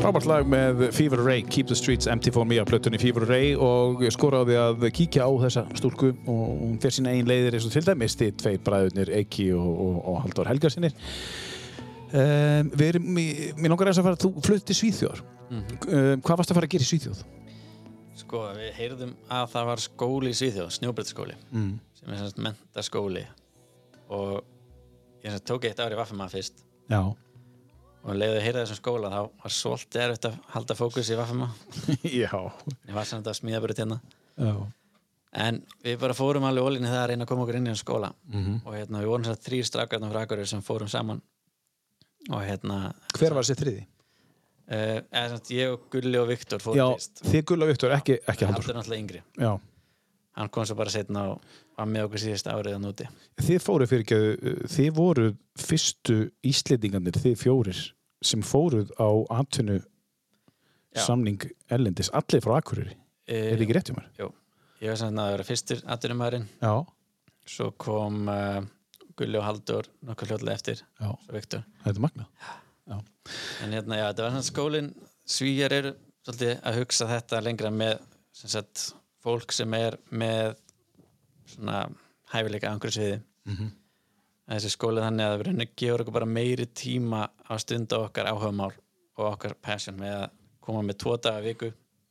frábært lag með Fever Ray, Keep the Streets Empty for Me af plötunni Fever Ray og ég skora á því að kíkja á þessa stúlku og hún fer sína einn leiðir eins og til dæmis þið tveir bræðurnir Eiki og, og, og Halldór Helgarsinir um, Við erum, í- mér langar eins að fara, þú flutti Svíþjóðar um, Hvað varst að fara að gera í Svíþjóð? Sko, við heyrðum að það var skóli í Svíþjóð, snjóbreytskóli mm. sem er semst mentaskóli og ég semst tók eitt ár í Vaffema fyrst Já og leiði að heyra þessum skóla þá var svolítið erfitt að halda fókus í Vaffema <laughs> Já ég var samt að smíða bara hérna Já en við bara fórum alveg ólinni það að reyna að koma okkur inn í hans skóla Mm. og hérna við vorum þess að þrýr strákarnar frá Akureyri sem fórum saman og hérna Hver var þessi þriði? uh, eða samt ég og Gulli og Viktor fórum Já, fyrst þið Gulla Viktor, ekki, ekki Haldur Halldór er náttúrulega yngri Já hann kom svo bara setna og var með okkur síðast árið að núti Þið fóru fyrir ekki, þið voru fyrstu Íslendingarnir, þið fjórir sem fóruð á atvinnu Já. samning erlendis, allir frá Akureyri, er uh, það ekki rétt hjá mér? Jú, Eh, ég var samt að vera fyrstur atvinnumæðurinn, Já, svo kom uh, Gulli og Haldur nokkuð hljóðlega eftir, já, svo Viktor þetta er magnað. en hérna, já, þetta var svona skólin svíjar eru svolítið að hugsa þetta lengra með sem sagt, fólk sem er með svona hæfileika angur sviði mm Mhm. þessi skóli þannig að við rauninni gefur okkur bara meiri tíma á stund á okkar áhugamál og okkar passion með að koma með tvo daga í viku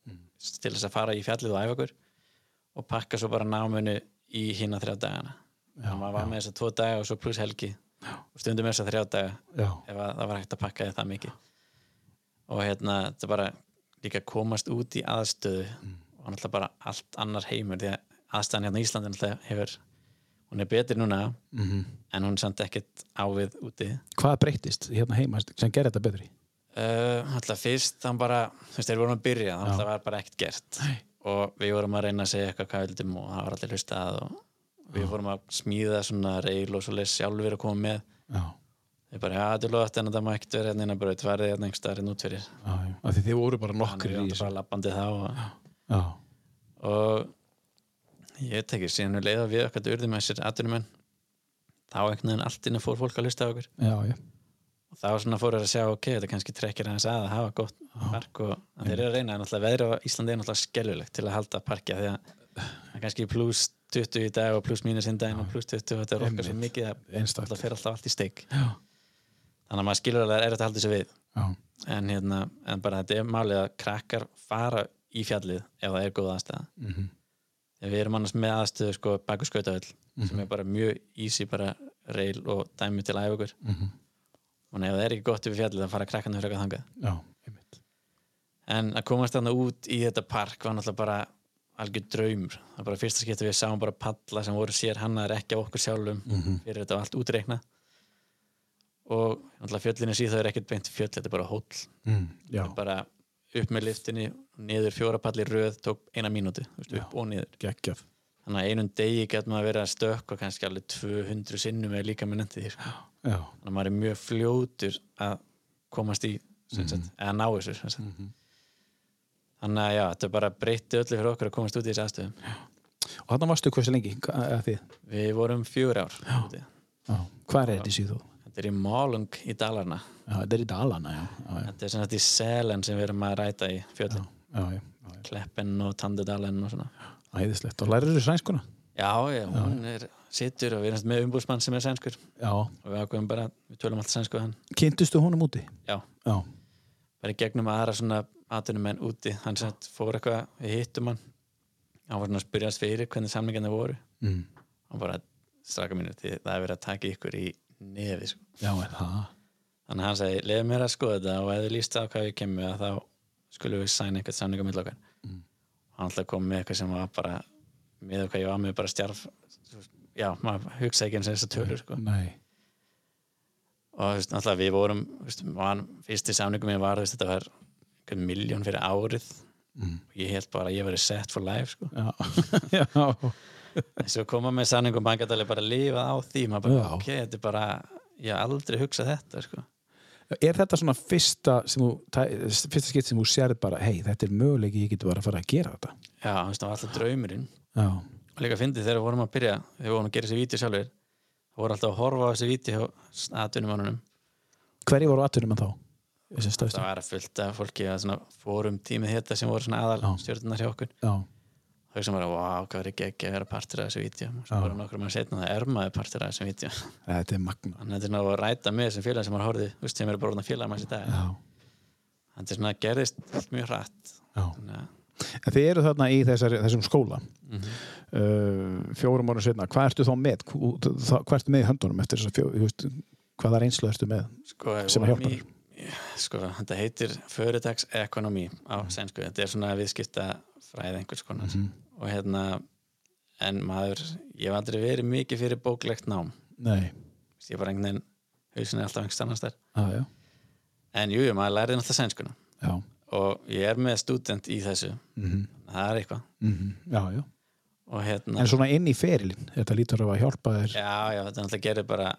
Mhm. til þess að fara í fjallið og æfa okkur og pakka svo bara náminu í hina þrjá dagana já, maður var með þess að tvo daga og svo pluss helgi já. og stundum með þess að þrjá daga Já, ef að, það var hægt að pakka þið það mikið og hérna þetta er bara líka komast út í aðstöðu og náttúrulega bara allt annar heimur því að aðstæðan hérna í Íslandi náttúrulega hefur hún er betri núna Mhm. en hún er samt ekkert ávið úti hvað breyttist hérna heima sem gerir þetta betri? Uh, alltaf fyrst, hann bara þú veist, þeir vorum að byrja, það alltaf var bara ekkert gert Nei. og við vorum að reyna að segja eitthvað hvað við vildum og það var allir hlustað og við vorum að smíða svona reil og svo leys sjálfur að koma með Já, Ég bara, já, þetta er loðast en það má ekkert vera hérna innan braut, verðið hérna einhver staðarinn út fyrir. já, já, af því þið voru bara Þannig nokkrir við í áttum þessu. bara lappandi þá og, Já, og ég veit ekki, síðan við leiða við okkar urðum með þessir atvinnumenn, þá einhvern veginn allt inni fór fólk að lusta á okkur. já, já, Og þá svona fóru þeir að sjá, ok, þetta kannski trekkir hans að að hafa gott park og en þeir eru að reyna, en alltaf veðrið á Íslandi er náttúrulega skelvilegt til að halda parkja því að það er kannski pluss 20 í dag og pluss mínus í daginn og pluss 20 og þetta er okkar svo Einmitt. mikið að einstakt. það fer alltaf allt í steik. Já, Þannig að maður skilur alveg að það er þetta að halda þessu við. já, en, hérna, en bara þetta er málið að krakkar fara í fjallið ef það er góð aðstæða mm -hmm. en við erum annars með aðstöðu sko baku skautahöll sem er bara mjög easy bara reil og dæmi til að æfa okkur Mhm. og ef það er ekki gott yfir fjallið þá fara krakkarnir fyrir þangað já, einmitt. en að komast þarna út í þetta park var náttúrulega bara algjör draumur það var bara fyrsta skipti við sáum bara palla sem voru sér hannaðar ekki af okkur sjálfum fyrir þetta var allt útreikna og náttúrulega fjöllinu síð það er ekkert beint fjöll, þetta er bara hóll Mm, já, bara upp með liftinni niður fjóra palli í röð tók eina mínútu þú veist, upp og niður geggjaf. þannig að einum degi gæt maður að vera að stökka kannski alveg 200 sinnum eða líka með nefndi því sko. Já, þannig að maður er mjög fljótur að komast í sem sagt, Mhm. eða ná þessu sem sagt. þannig að já, þetta er bara breytti öllu fyrir okkur að komast út í þessi aðstöðum og þarna varstu hversu lengi, hvað er þið? við vorum fjögur ár úti. Já, hvað er þetta í síðu? þetta er í Málung í Dalarna Já, þetta er í Dalana, já, já, já. þetta er sem sagt í Selen sem við erum að ræta í fjöllum já, já, já, já. Kleppen og Tandudalen og svona æðislegt og lærir þú sænskuna? Já, já, hún er sittur og við erum með umbúsmann sem er sænskur Já. og við ákveðum bara, við tölum alltaf sænsku við hann Kynntustu honum úti? Já, Já, bara í gegnum aðra svona atvinnumenn úti, hann sem sagt fór eitthvað við hittum hann, hann var svona að spyrjast fyrir hvernig samlingarnir voru mm. hann bara, straka mínu, þið- það er verið að taka ykkur í nefi, sko. já, er það? þannig að hann segi, leið mér að skoða þetta og ef þið líst á hvað ég kemur að þá skulum við sæna eitthvað samlingar mill okkar hann alltaf kom með eitthvað sem var bara með okkar, ég var með bara stjarf já, maður hugsa ekki eins og þessar tölur sko. Nei. og þú veist, náttúrulega við vorum þú veist, man, fyrsti samlingum minn var þú veist, þetta var einhvern miljón fyrir árið Mm. og ég held bara að ég verið set for life sko. Já, já, <laughs> en svo koma með samlingum maður gæti alveg bara að lifa á því maður bara, Já. ok, þetta er bara ég hef aldrei hugsað þetta sko. Er þetta svona fyrsta, sem þú, tæ- fyrsta skipt sem þú sérð bara, hei, þetta er möguleiki, ég getur bara að fara að gera þetta? já, þú veist, það var alltaf draumurinn Já, og líka fyndið þegar við vorum að byrja þegar við vorum að gera þessi víti sjálfur það voru alltaf að horfa á þessi víti hjá atvinnumannunum hverju voru atvinnum en þá? þessi stæðstu það var að fullt af fólki að svona fórum tímið þetta sem voru svona aðal Já. stjórnarnar hjá okkur já, þau sem bara, wow, hvað verið geggja að vera partur af þessu vítjum og svo Já. vorum nokkur maður setna það er maður partur af þessu vítjum þetta er magna <laughs> þannig að þetta er náttúrulega að ræta með þessum félag sem maður horfði þú veist, sem eru bara orðna félag maður í dag já, þannig að svona gerðist allt mjög hratt já. þannig að En þið eru þarna í þessar, þessum skóla Mhm. uh, fjórum árum setna hvað ertu þá með, Hú- það- hvað ertu með í höndunum eftir þessar fjó, þú veist, hvaða reynslu ertu með sko, við Sem að vorum í- sko, þetta heitir Företags Economy á sænsku, þetta er svona viðskipta fræð einhvers konar Mhm. og hérna, en maður ég hef aldrei verið mikið fyrir bóklegt nám nei, Þú veist, ég bara einhvern veginn hausin er alltaf einhvers annars þar ah, já, en jújú, jú, maður lærið náttúrulega sænskuna já og ég er með student í þessu mm -hmm. það er eitthvað Mhm. já, já og hérna, En svona inn í ferilinn, þetta lítur að hjálpa þér já, já, þetta náttúrulega gerir bara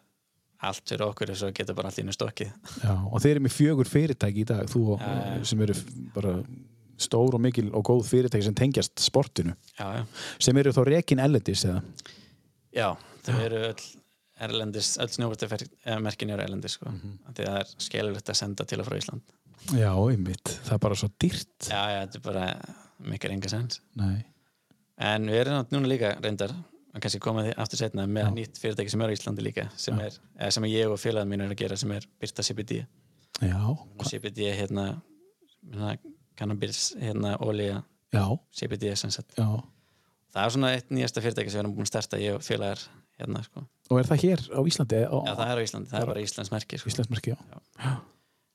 allt fyrir okkur þess að geta bara allt í einu stokkið Já, og þeir eru með fjögur fyrirtæki í dag þú og, Já, já. sem eru f- bara stór og mikil og góð fyrirtæki sem tengjast sportinu, já, já, sem eru þá rekin ellendis eða, já, þau eru öll erlendis, öll snjóvartamerkin eru erlendis sko, mm því það er skelulegt að senda til og frá Ísland já, einmitt það er bara svo dýrt já, já, þetta er bara mikil enga sens Nei, en við erum nátt- núna líka reyndar að kannski koma því aftur setna með nýtt fyrirtæki sem er á Íslandi líka sem, er, eða sem ég og félagin mín er að gera sem er Byrta CBD já, og CBD er hérna, hérna cannabis, hérna olía já, CBD sem sagt já það er svona eitt nýjasta fyrirtæki sem við erum búin að starta ég og félagar hérna sko og er það hér á Íslandi á, já það er á Íslandi, það er Mm. bara Íslands merki sko. Íslandsmarki, já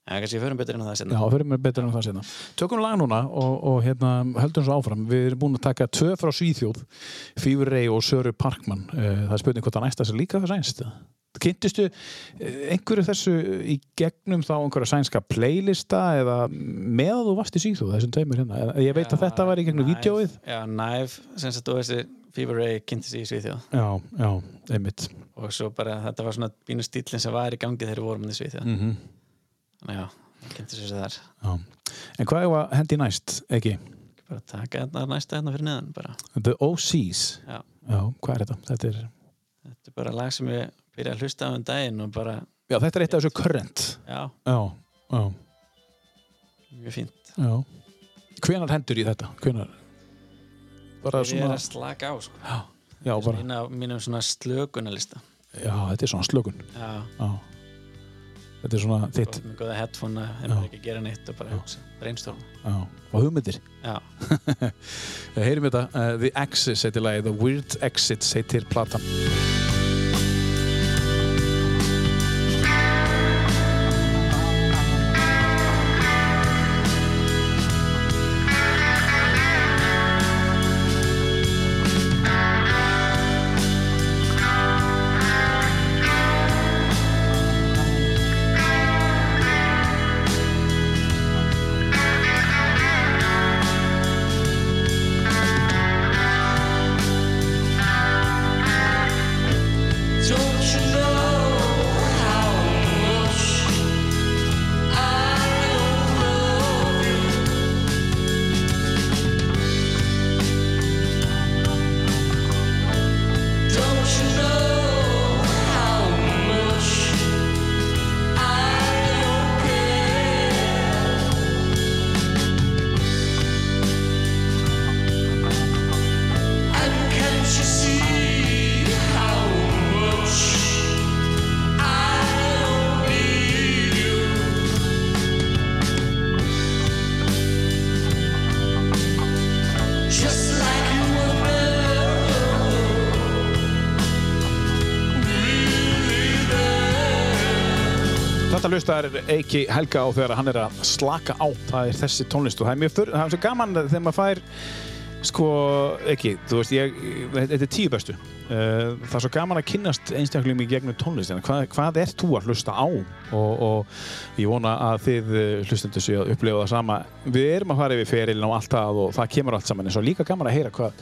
en kannski förum betur inn á það Já, senna það fyrir mér betur en það sérna. Tökum lag núna og, og hérna, höldum svo áfram. Við erum búin að taka tvö frá Svíþjóð, Fífur Rey og Söru Parkmann. Eh, Það er spurning hvort það næsta sér líka það sænst. Kynntistu eh, einhverju þessu í gegnum þá einhverja sænska playlista eða með að þú varst í Svíþjóð þessum tveimur hérna? Eða Ég veit að þetta var í gegnum Knife- vídjóið. já, Knife, sem sagt og þessi Fever Ray kynnti sig í Svíþjóð Já, já, einmitt. og svo bara þetta var svona bínu stílinn sem var í gangi þegar við vorum hérna í Svíþjóð Mm -hmm. þannig já, kynnti sig þar Já. En hvað er að hendi næst, ekki? Ekki bara taka þetta næsta hérna fyrir neðan bara The OCs. já, Já, hvað er þetta? Þetta er, þetta er bara lag sem ég byrja að hlusta á um daginn og bara, já, þetta er eitt af þessu current. já, Já, já. mjög fínt Já. Hvenar hendur í þetta? Hvenar? Bara ég er svona, að slaka á sko já, bara, inn á mínum svona slökunarlista já, þetta er svona slökun. já Já. Þetta er svona þitt. og með góða headphone en Já. bara ekki að gera neitt og bara Já. hugsa, reynstofn Já. Og hugmyndir. já, Við heyrim þetta. Uh, The Axis heitir lagið, The Weird Exits heitir platan. Don't you know how much I don't love you? Don't you know how much I don't care? And can't you see how much I don't need you? Just like you were never really there. Þetta lustar Eiki Helga á þegar hann er að slaka á. Það er þessi tónlist og það er mjög fyrir, það er svo gaman þegar maður fær sko, ekki, þú veist, ég, þetta er tíu bestu. Uh, það er svo gaman að kynnast einstaklingum í gegnum tónlistina. Hvað, hvað ert þú að hlusta á? Og, og ég vona að þið eh, hlustendur séu að upplifa það sama. Við erum að fara yfir ferilin og allt það og það kemur allt saman. En svo er líka gaman að heyra hvað,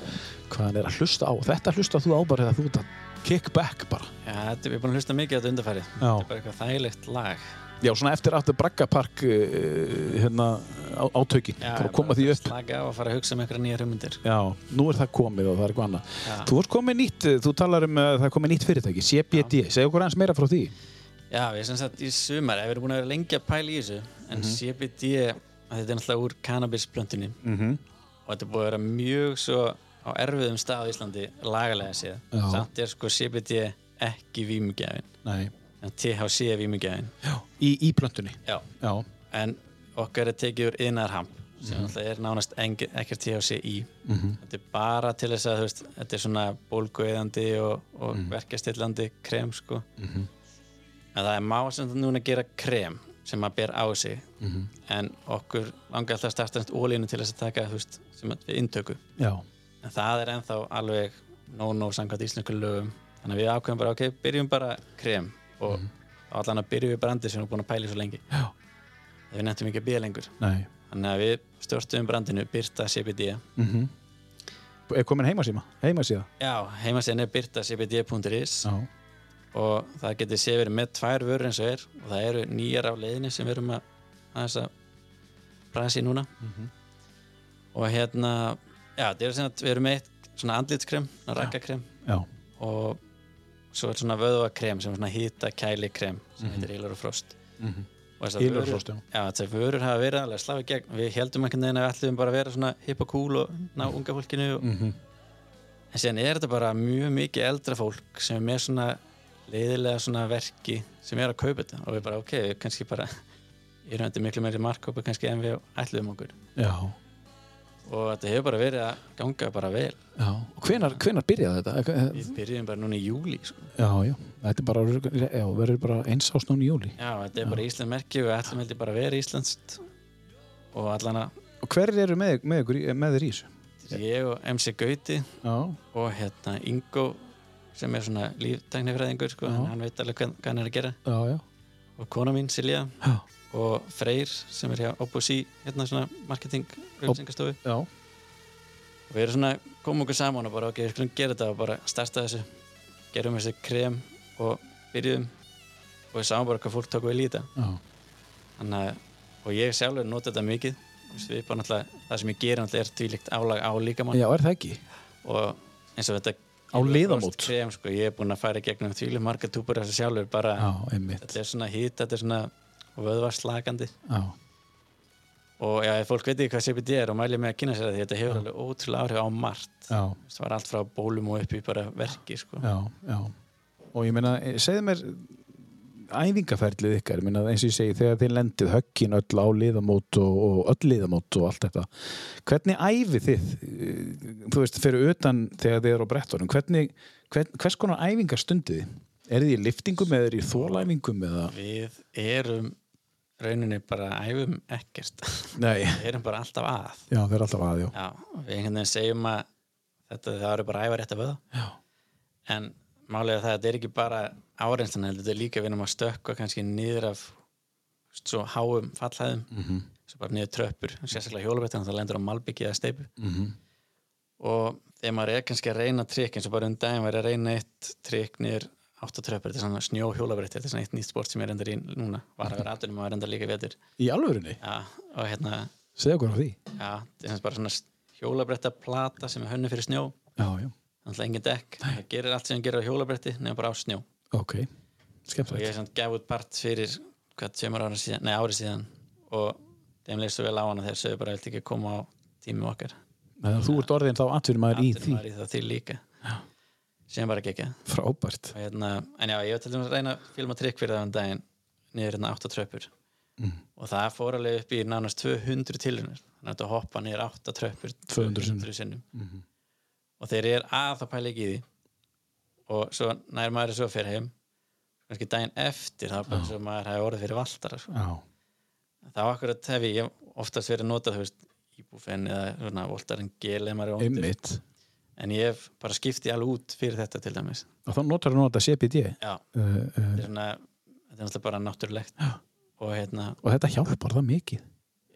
hvað hann er að hlusta á. Þetta hlusta þú á bara þegar þú ert að kick back bara. já þetta, við erum búin að hlusta mikið á þetta undarfæri Já. þetta er bara eitthvað þægilegt lag Já, svona eftir aftur braggapark uh, hérna á, átökin já, bara koma því upp slaka á og fara að hugsa um eitthvað nýja hugmyndir Já, nú er það komið og það er eitthvað annað Já. Þú varst komið nýtt, eh, þú talar um að það er komið nýtt fyrirtæki, CBD, segja okkur aðeins meira frá því já, við sem sagt í sumar ef við erum búin að vera lengi að pæla í þessu en en Mhm. CBD, að þetta er náttúrulega úr cannabisblöndinni Mhm. og þetta er búið að vera mjög svo á erfiðum stað á Íslandi lagalega séð Já. samt er sko CBD ekki vímugjafin Nei. en THC er vímugjafin Já, í, í plöntunni. Já. Já. en okkar er tekið úr innarhamp sem náttúrulega er nánast engi, ekkert THC í þetta er bara til þess að þú veist, þetta er svona bólgueðandi og, og verkjastillandi krem sko en það er má sem þetta núna gera krem sem maður ber á sig en okkur langar alltaf að starta næst ólínu til þess að taka þú veist, sem að við inntöku Já. en það er ennþá alveg no-no samkvæmt íslensku lögum þannig að við ákveðum bara, ok, byrjum bara krem og allan að byrjum við brandi sem við erum búin að pæla í svo lengi Já. Það við nefntum ekki að bíða lengur Nei. þannig að við stjórnstöðum brandinu Byrta CBD mhm. Er komin heimasíma? Heimasíða? já, heimasíðan er byrtacbd.is Já. og það getur sé verið með tvær vörur eins og er og það eru nýjar á leiðinni sem við erum að aðeins að brasi núna og hérna já, það eru sem að við erum með eitt svona andlitskrem, svona rakkakrem Já. og svo er svona vöðvakrem sem er svona hýta kæli krem sem heitir Ílar og Frost og þessar Ylur Mhm. og vörur- Frost, já. já, þessar vörur hafa verið alveg að slá í gegn við heldum einhvern veginn að við ætlum bara að vera svona hipp og cool og ná Mhm. unga fólkinu og... en síðan er þetta bara mjög mikið eldra fólk sem er með svona leiðilega svona verki sem er að kaupa þetta og við bara ok, við kannski bara <laughs> erum þetta miklu meiri markkópa kannski en við ætlum okkur Já. og þetta hefur bara verið að ganga bara vel Já. Hvenar, hvenar byrjaði þetta? Eh, við byrjum bara núna í júli sko. Já, já. Þetta er bara, já, verður bara eins ást núna í júli. Já, þetta er bara Ísland merki og við ætlum heldur bara að vera Íslandst og allan að Og hverjir eru með, með, ykkur, í- með þér í þessu? ég og MC Gauti Já. og hérna Ingo sem er svona líftæknifræðingur sko, en hann veit alveg hvað, hvað hann er að gera Já, já. og kona mín Silja Já. og Freyr sem er hjá Opusí hérna svona marketing auðvisingastofu Já. og við erum svona komum okkur saman og bara ok, við skulum gera þetta og bara starta þessu gerum þessu krem og byrjuðum og við sáum bara hvað fólk tók vel í þetta Já. Þannig að, og ég sjálfur nota þetta mikið Þú veist, við bara náttúrulega, það sem ég gerir náttúrulega er tvílíkt álag á líkamann Já, er það ekki? og eins og þetta Á liðamót. krem, sko, ég er búinn að fara í gegnum tvílíkt marga túpur þessu sjálfur bara, Já, einmitt. þetta er svona hýtt, þetta er svona vöðvarslagandi Já. og já, ef fólk veit ekki hvað CBD er og mælið mig að kynna sér það því þetta hefur alveg ótrúlega áhrif á margt Já. það var allt frá bólum og upp í bara verki sko. Já, já. Og ég meina, eh, segðu mér æfingaferlið ykkar, ég meina, eins og ég segi, þegar þið lendið höggin öll á liðamót og, og öll liðamót og allt þetta, hvernig æfið þið, eh, þú veist, fyrir utan þegar þið eru á brettunum, hvernig, hvern, hvers konar æfingar stundið þið? Er þið í liftingum eða er þið í þólæfingum eða? við erum rauninni bara æfum ekkert Nei, við erum bara alltaf að já, þeir eru alltaf aðjó. Já, við einhvern veginn segjum að þetta það eru bara æfa rétt að vöða Já. en málið er það að þetta er ekki bara áreynslan heldur, þetta er líka við erum að stökkva kannski niður af þú veist, svo háum fallhæðum -hmm. svo bara niður tröppur, sérstaklega hjólabettan það lendur á malbyggi eða steipu -hmm. Mhm. og þegar maður er kannski að reyna trikk eins og bara um daginn væri að reyna eitt trikk niður átta tröppur, þetta er svona snjó hjólabretti þetta er svona eitt nýtt sport sem ég er endar í núna var að vera aðdunum og er endar líka vetur Í alvörunni? Já, og hérna Segðu okkur á því. Já, þetta er sem sagt bara svona hjólabrætta plata sem er hönnu fyrir snjó Já, já, Þannig engin dekk, það gerir allt sem hann gerir á hjólabrætti nefnum bara á snjó og ok. Skemmtilegt. ég er svona gaf út part fyrir hvað tveimur ára síðan, nei ári síðan og þeim leist svo vel á hana þegar sögðu bara vilt ekki koma á tímum okkar Þannig að þú ert orðin þá atvinnum maður í Allir því. maður í það til líka Já. sem bara gekk og Frábært. hérna, en já, ég var til dæmis að reyna að filma trikk fyrir það um daginn niður hérna átta tröppur Mm. og það fór alveg upp í nánast 200 tilrunir þannig að þetta hoppa niður átta tröppur 200 sinnum. Mhm. sinnum og þegar ég er að þá pæla ég ekki í því og svo nær maður er svo fyrir heim kannski daginn eftir það er bara svo maður hafi orðið fyrir valdara sko. Já, þá akkurat hef ég oftast verið notað þú veist, íbúfen eða svona, voltarinn gel ef maður er óndur einmitt. en ég hef bara skipti alveg út fyrir þetta til dæmis Og þá notar þú nota CBD. já, Uh, uh, þetta er svona þetta er náttúrulega bara náttúrulegt og hérna, og þetta hjálpar það mikið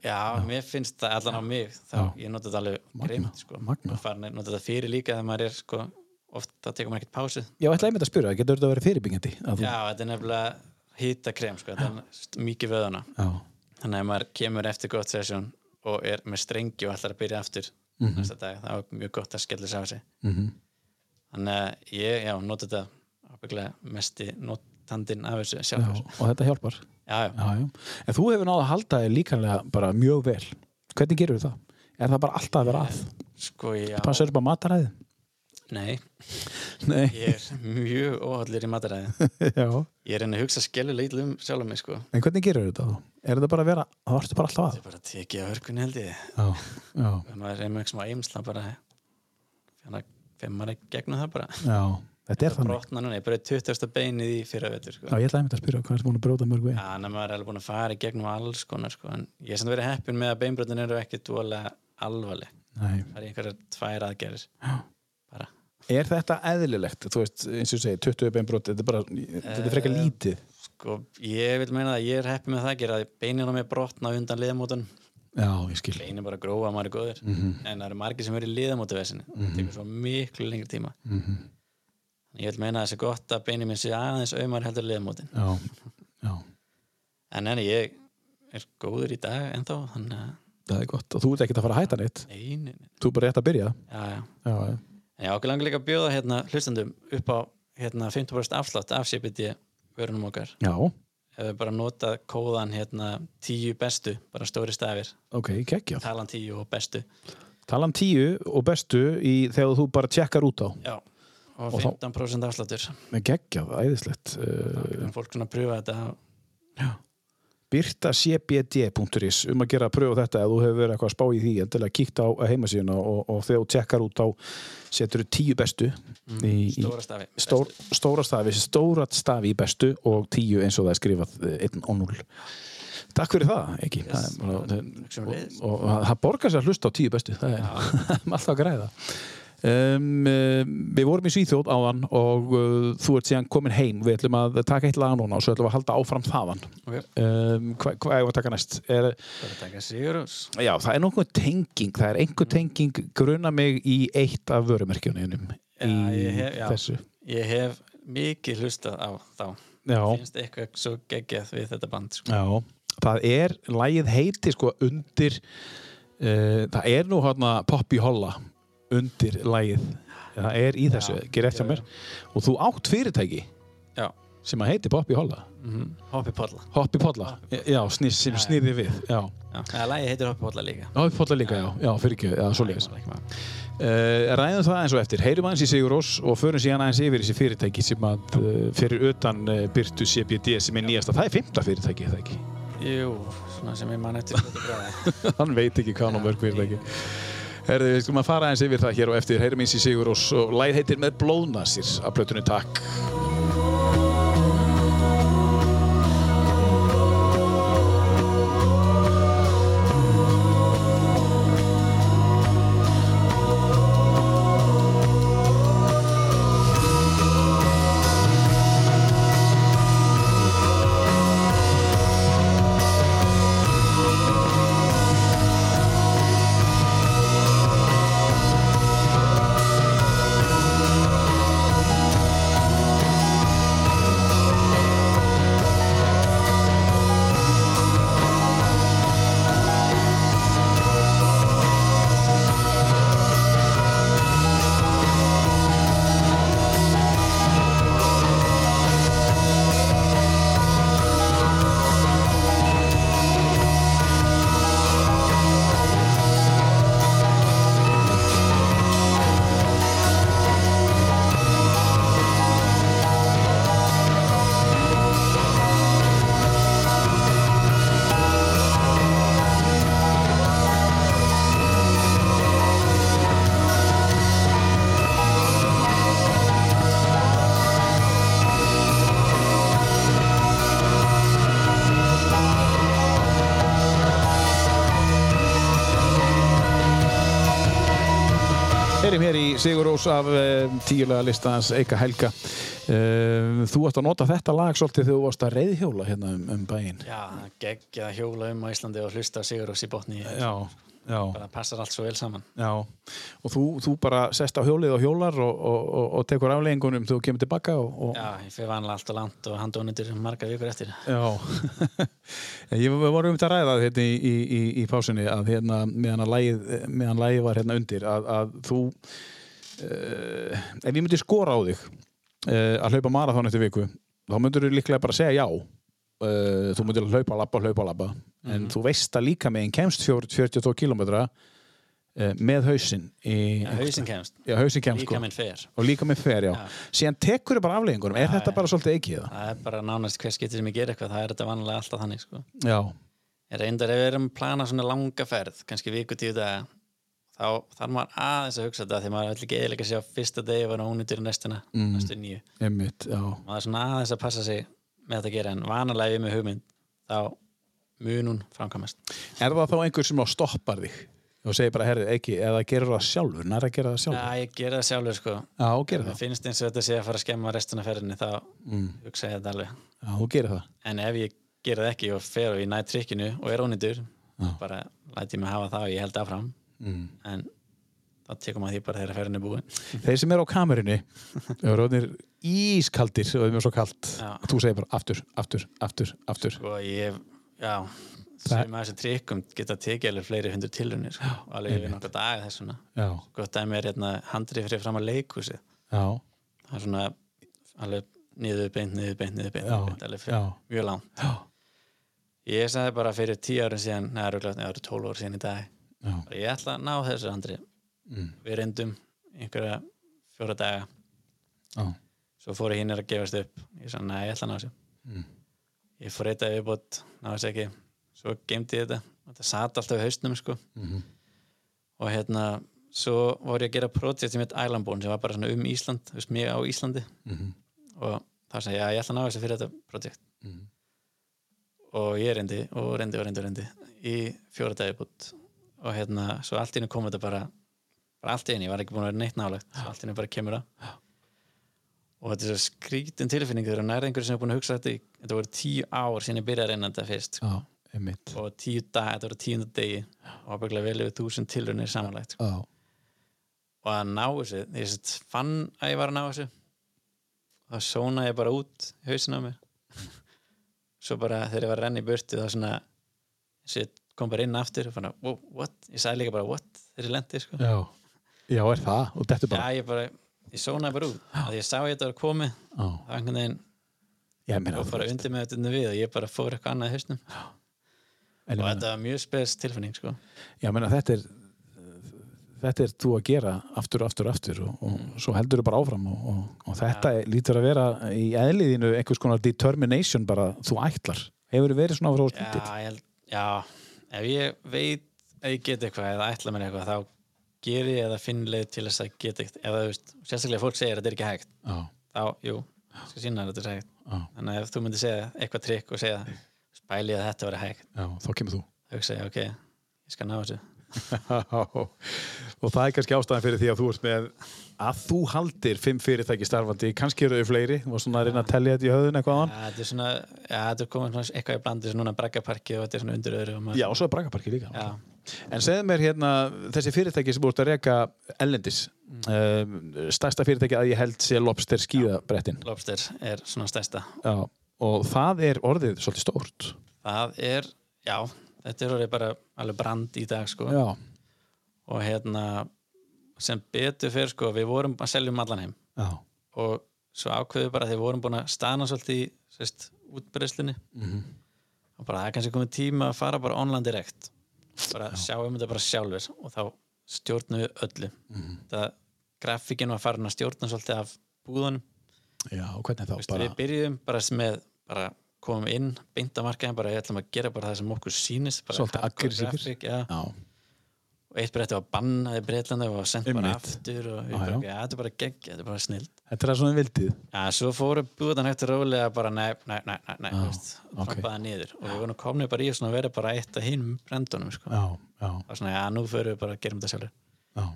já, mér finnst það allan á mig, þá ég nota þetta alveg greimt, sko, magnað. Og farin að nota þetta fyrir líka þegar maður er, sko, oft þá tekur maður ekkert pásu, Já, ætlaði einmitt að spyrja, það getur þetta að vera fyrirbyggjandi að þú... já, þetta er nefnilega hýta krem, sko, þetta er st- mikið vöðuna Já, þannig að maður kemur eftir gott sesjón og er með strengi og ætlar að byrja aftur næsta dag, það er mjög gott að skella sig á sig Mhm. þannig að ég, já, nota þetta ábygglega mesti notandinn af þessu já, sjálfur og þetta hjálpar já, já. Já, já. En þú hefur náða að halda þig líkanlega bara mjög vel. Hvernig gerur það? Er það bara alltaf að vera að? Sko, já, Passar upp á mataræði? nei, <laughs> Nei. ég er mjög óhaldlir í mataræði. <laughs> Já. Ég er henni að hugsa skellulega ítlu um sjálfum mig, sko. En hvernig gerur þetta þá? Er það bara að vera, það varstu bara alltaf Það er bara að tekið af hörkunni held ég. að? Já, já, Ef maður er með svona eimsla bara, þannig að fyrir maður ekki gegnum það bara. já. Þetta er Það þannig. brotna núna, ég bara 20. beinið í fyrra vetur, sko. Já, ég ætlaði einmitt að spyrja hvað ertu búin að bróta mörg við. Já, þannig að maður er alveg búin að fara í gegnum alls konar sko, en ég er samt verið heppin með að beinbrotin eru ekki dúalega alvarleg Nei. það er einhverjar tvær aðgerðir bara, Er þetta eðlilegt? Þú veist, eins og ég segi, 20 beinbrot, þetta er bara, þetta er frekar Eh, lítið. sko, ég vil meina að ég er heppin með það að gera að beinin á mig brotna undan liðamótun Já, ég skil. beinin bara grófa, maður er góður Mhm. en það eru margir sem eru í liðamótuvesinni það tekur svo miklu lengri tíma Mm ég vil meina að það sé gott að beinin minn sé aðeins auðmar heldur en liðamótin Já, já, en en ég er góður í dag ennþá þannig að það er gott. Og þú ert ekki að fara að hætta neitt. einu, Þú er bara rétt að byrja. já, já Já, já. En ég ákveð langar líka að bjóða hérna hlustendum upp á hérna 50% afslátt af CBD vörunum okkar Já, ef við bara nota kóðan hérna 10 bestu, bara stóri stafir ok, geggjað. talan 10 og bestu Talan tíu og bestu í þegar þú bara tjekkar út á. Já. og Og þá- 15% afsláttur Með geggjað, æðislegt. Uh, en fólk svona pröfa þetta Byrtacbd.is um að gera að pröfa þetta ef þú hefur verið eitthvað að spá í því endilega kíkt á heimasíðuna og, og þegar þú tjekkar út á setur þú tíu bestu í, í stóra stafi stór, bestu. stóra stafi, stóra stafi í bestu og tíu eins og það er skrifað eh, 1 og 0. Takk fyrir það, ekki? Yes. Það er bara- Takk sömuleiðis. og, og það borgar sér að hlusta á tíu bestu <laughs> það er alltaf að græða um, um, við vorum í Svíþjóð áðan og uh, þú ert síðan komin heim við ætlum að taka eitt lag núna og svo ætlum við að halda áfram þaðan Ok, um, hvað hva eigum við að taka næst? Er, bara taka Sigurús já, það er nokkuð tenging það er einhver tenging gruna mig í eitt af vörumerkjunum í Já, ég hef- já. þessu Ég hef mikið hlustað á þá já, finnst eitthvað svo geggjað við þetta band sko. já, það er lagið heiti sko undir uh, það er nú hérna Poppy Holla undir lagið það er í þessu, Já, ger eftir já, mér og þú átt fyrirtæki Já, sem að heiti Poppy Holla mm Hoppi Polla Hoppi Polla, já, snýr, sem Já, já. snýrði við já, Já, eða lagi heitir Hoppi Polla líka Hoppi Polla líka, já, já, fyrir ekki, já, svo leiðis Ekki mál. Uh, ræðum það eins og eftir, heyrum aðeins í Sigur Rós og förum síðan aðeins yfir þessi fyrirtæki sem að uh, fyrir utan uh, Byrtu CBD sem er nýjasta, það er fymta fyrirtæki er það ekki, Jú, svona sem ég man eftir fljótu bragði. hann veit ekki hvað hann á mörg fyrirtæki Herðu, við skulum að fara aðeins yfir það hér og eftir, heyrum eins í Sigur Rós og læð heitir með blóðnasir af plötunni takk Heyrim hér í Sigur Rós af uh, tíulega listans Eika Helga uh, Þú varst að nota þetta lag svolítið þegar þú varst að reyðhjóla hérna um, um bæinn Já, geggjað að hjóla um á Íslandi og hlusta á Sigurós í botni Já, já bara passar allt svo vel saman Já, og þú, þú bara sest á hjólið og hjólar og, og, og, og tekur afleggingunum þegar þú kemur tilbaka og, og, Já, ég fyrir vanlega allt og langt og handónundir marga vikur eftir Já, <laughs> ég við vorum um þetta að ræða það hérna í, í, í, í pásunni að hérna meðan að lagið, meðan lagið var hérna undir að, að þú uh, ef eh, ég myndi skora á þig uh, að hlaupa marathon eftir viku þá myndur þú líklega bara segja já uh, þú myndir hlaupa, labba, hlaupa, labba en þú veist að líka meginn kemst 40 42 km uh, með hausinn í, Já, hausinn kemst, já, hausinn kemst líka sko. minn fer og líka með fer, já, Já. síðan tekur þau bara afleggingunum, er þetta bara svolítið ekki það? það er bara nánast hver skiptir sem ég ger eitthvað það er þetta vanlega alltaf þannig sko. Já, ég reyndar ef við erum að plana svona langa ferð kannski viku tíu daga þá þarf maður aðeins að hugsa þetta því maður er allir geðilega að sjá fyrsta degi var ónýttur í næstina, Mm. næstu nýju einmitt, já maður er svona aðeins að passa sig með þetta að gera en vanalega ef ég er með hugmynd þá mun hún framkvæmast Er það þá einhver sem á stoppar þig og segir bara, herrið, ekki, eða gerur það sjálfur nær að gera það sjálfur? Já, ég gera það sjálfur sko Já, Mm. þú gerir það það, finnst eins og þetta sé að fara að skemma restina af ferðinni þá hugsa ég þetta alveg já, þú gerir það en ef ég gera það ekki og fer og ég næ trikkinu og er ónýttur Já. bara læti ég mig hafa það og ég held áfram mm. en þá tekum maður því bara þegar ferðin er búin Þeir sem eru á kamerunni eru orðnir ískaldir og þeim er svo kalt Já. og þú segir bara aftur, aftur, aftur, aftur og Sko, ég, já Það- sem að þessu trikkum geta tekið alveg fleiri hundur tilunir sko, alveg yfir nokkra daga þessuna Já, gott dæmi er hérna handrið fyrir fram að leikhúsið já, það er svona alveg niður beint, niður beint, niður beint, Já, niður beint alveg fyrir, já. mjög langt já, ég sagði bara fyrir tíu árum síðan neða, rúglega, neða, það eru tólf árum síðan í dag já bara, ég ætla að ná þessu handrið Mm. við reyndum einhverja fjóra daga Já. svo fóru hinnir að gefast upp ég sagði, nei, ég ætla að ná þessu Mm. ég fór eitt að viðbót, ná þessu ekki svo geymdi ég þetta, þetta sat alltaf í haustnum sko. Mhm. og hérna svo var ég að gera projekti mitt Islandbone sem var bara svona um Ísland, þú veist, mig á Íslandi Mhm. og þá sagði ég, já, ég ætla að ná þessu fyrir þetta projekt Mhm. og ég reyndi og reyndi og reyndi og reyndi í fjóra dagi bútt og hérna, svo allt í henni kom þetta bara bara allt í henni, ég var ekki búin að vera neitt nálegt svo allt í henni bara kemur það og þetta er svo skrítin tilfinning þegar nærið einhverju sem er búin að hugsa þetta í, þetta voru tíu ár síðan ég byrjaði að reyna þetta fyrst Já, einmitt og tíu dag, þetta voru tíundu degi og ábygglega vel yfir þúsund tilraunir samanlegt sko. Já, og að ná þessu, ég sett fann að ég var að ná þessu þá sónaði ég bara út í hausinn á mér <laughs> svo bara þegar ég var að renna í burtu þá svona eins og ég kom bara inn aftur og fann að, wow, what, ég sagði líka bara what þegar ég lendi, sko já, já, er það og þetta já, bara ég bara, ég sónaði bara út að því ég sá ég þetta var komið, Já, þá einhvern veginn ég meina og bara undir með þetta við og ég bara fór eitthvað annað í hausnum en ég og meina- þetta var mjög spes tilfinning, sko Já, menna, þetta er þetta er þú að gera aftur, aftur, aftur og, og svo heldur þau bara áfram og, og, og þetta lítur að vera í eðliðinu einhvers konar determination bara þú ætlar, hefur verið svona frá stundið já, ég held, já, ef ég veit að ég get eitthvað eða ætla mér eitthvað þá ger ég eða finn leið til þess að get eitthvað eða þú veist, sérstaklega fólk segir að þetta er ekki hægt Já, þá, jú, ég skal sína að þetta er hægt já, þannig að ef þú myndir segja eitthvað trikk og segja spæli ég að þetta var hægt já, þá kemur þú þá hugsa ég, ok, ég skal ná þessu <laughs> og það er kannski ástæðan fyrir því að þú ert með að þú haldir fimm fyrirtæki starfandi, kannski eru þau fleiri og svona að reyna að tellja þetta í höfðun eitthvað já, áðan. þetta er svona, já, þetta er komið svona eitthvað í blandi svona braggaparki og þetta er svona undir öðru og maður, Já, og svo er bragaparki líka já, En segðu mér hérna, þessi fyrirtæki sem búist að reka ellendis mm. stærsta fyrirtæki að ég held sé lobster skíðabrettin lobster er svona stærsta Já. og það er orðið svolítið stórt það er, já, þetta er orðið bara alveg brand í dag, sko Já, og hérna sem betur fyrir sko, við vorum að seljum allan heim já, og svo ákveðu bara þegar við vorum búin að stana svolítið í sérst, útbreyslinni Mhm. og bara það er kannski komið tíma að fara bara online direkt bara sjáum þetta bara sjálfur og þá stjórnum við öllu Mhm. það grafíkin var farin að stjórna svolítið af búðunum já og hvernig þá Veistu, við byrjum bara með bara komum inn, beinta markaðin bara við ætlum að gera bara það sem okkur sýnist bara Svolítið hardcore aggressífir. grafík, já Já, og eitt bretti var bannað í Breitlandi og var sendt bara Einmitt. aftur og Já, ég bara, já. "Ok, þetta er bara gegg, þetta er bara snill þetta er svona vildið Já, svo fóru búðan hægt rólega bara nei, nei, nei, nei, nei, Já, þú veist, ok. trampaða niður og við vorum komnið bara í svona að vera bara eitt að hinum brendunum, sko. Já, já, Það var svona, já, nú förum við bara að gerum þetta sjálfur. já,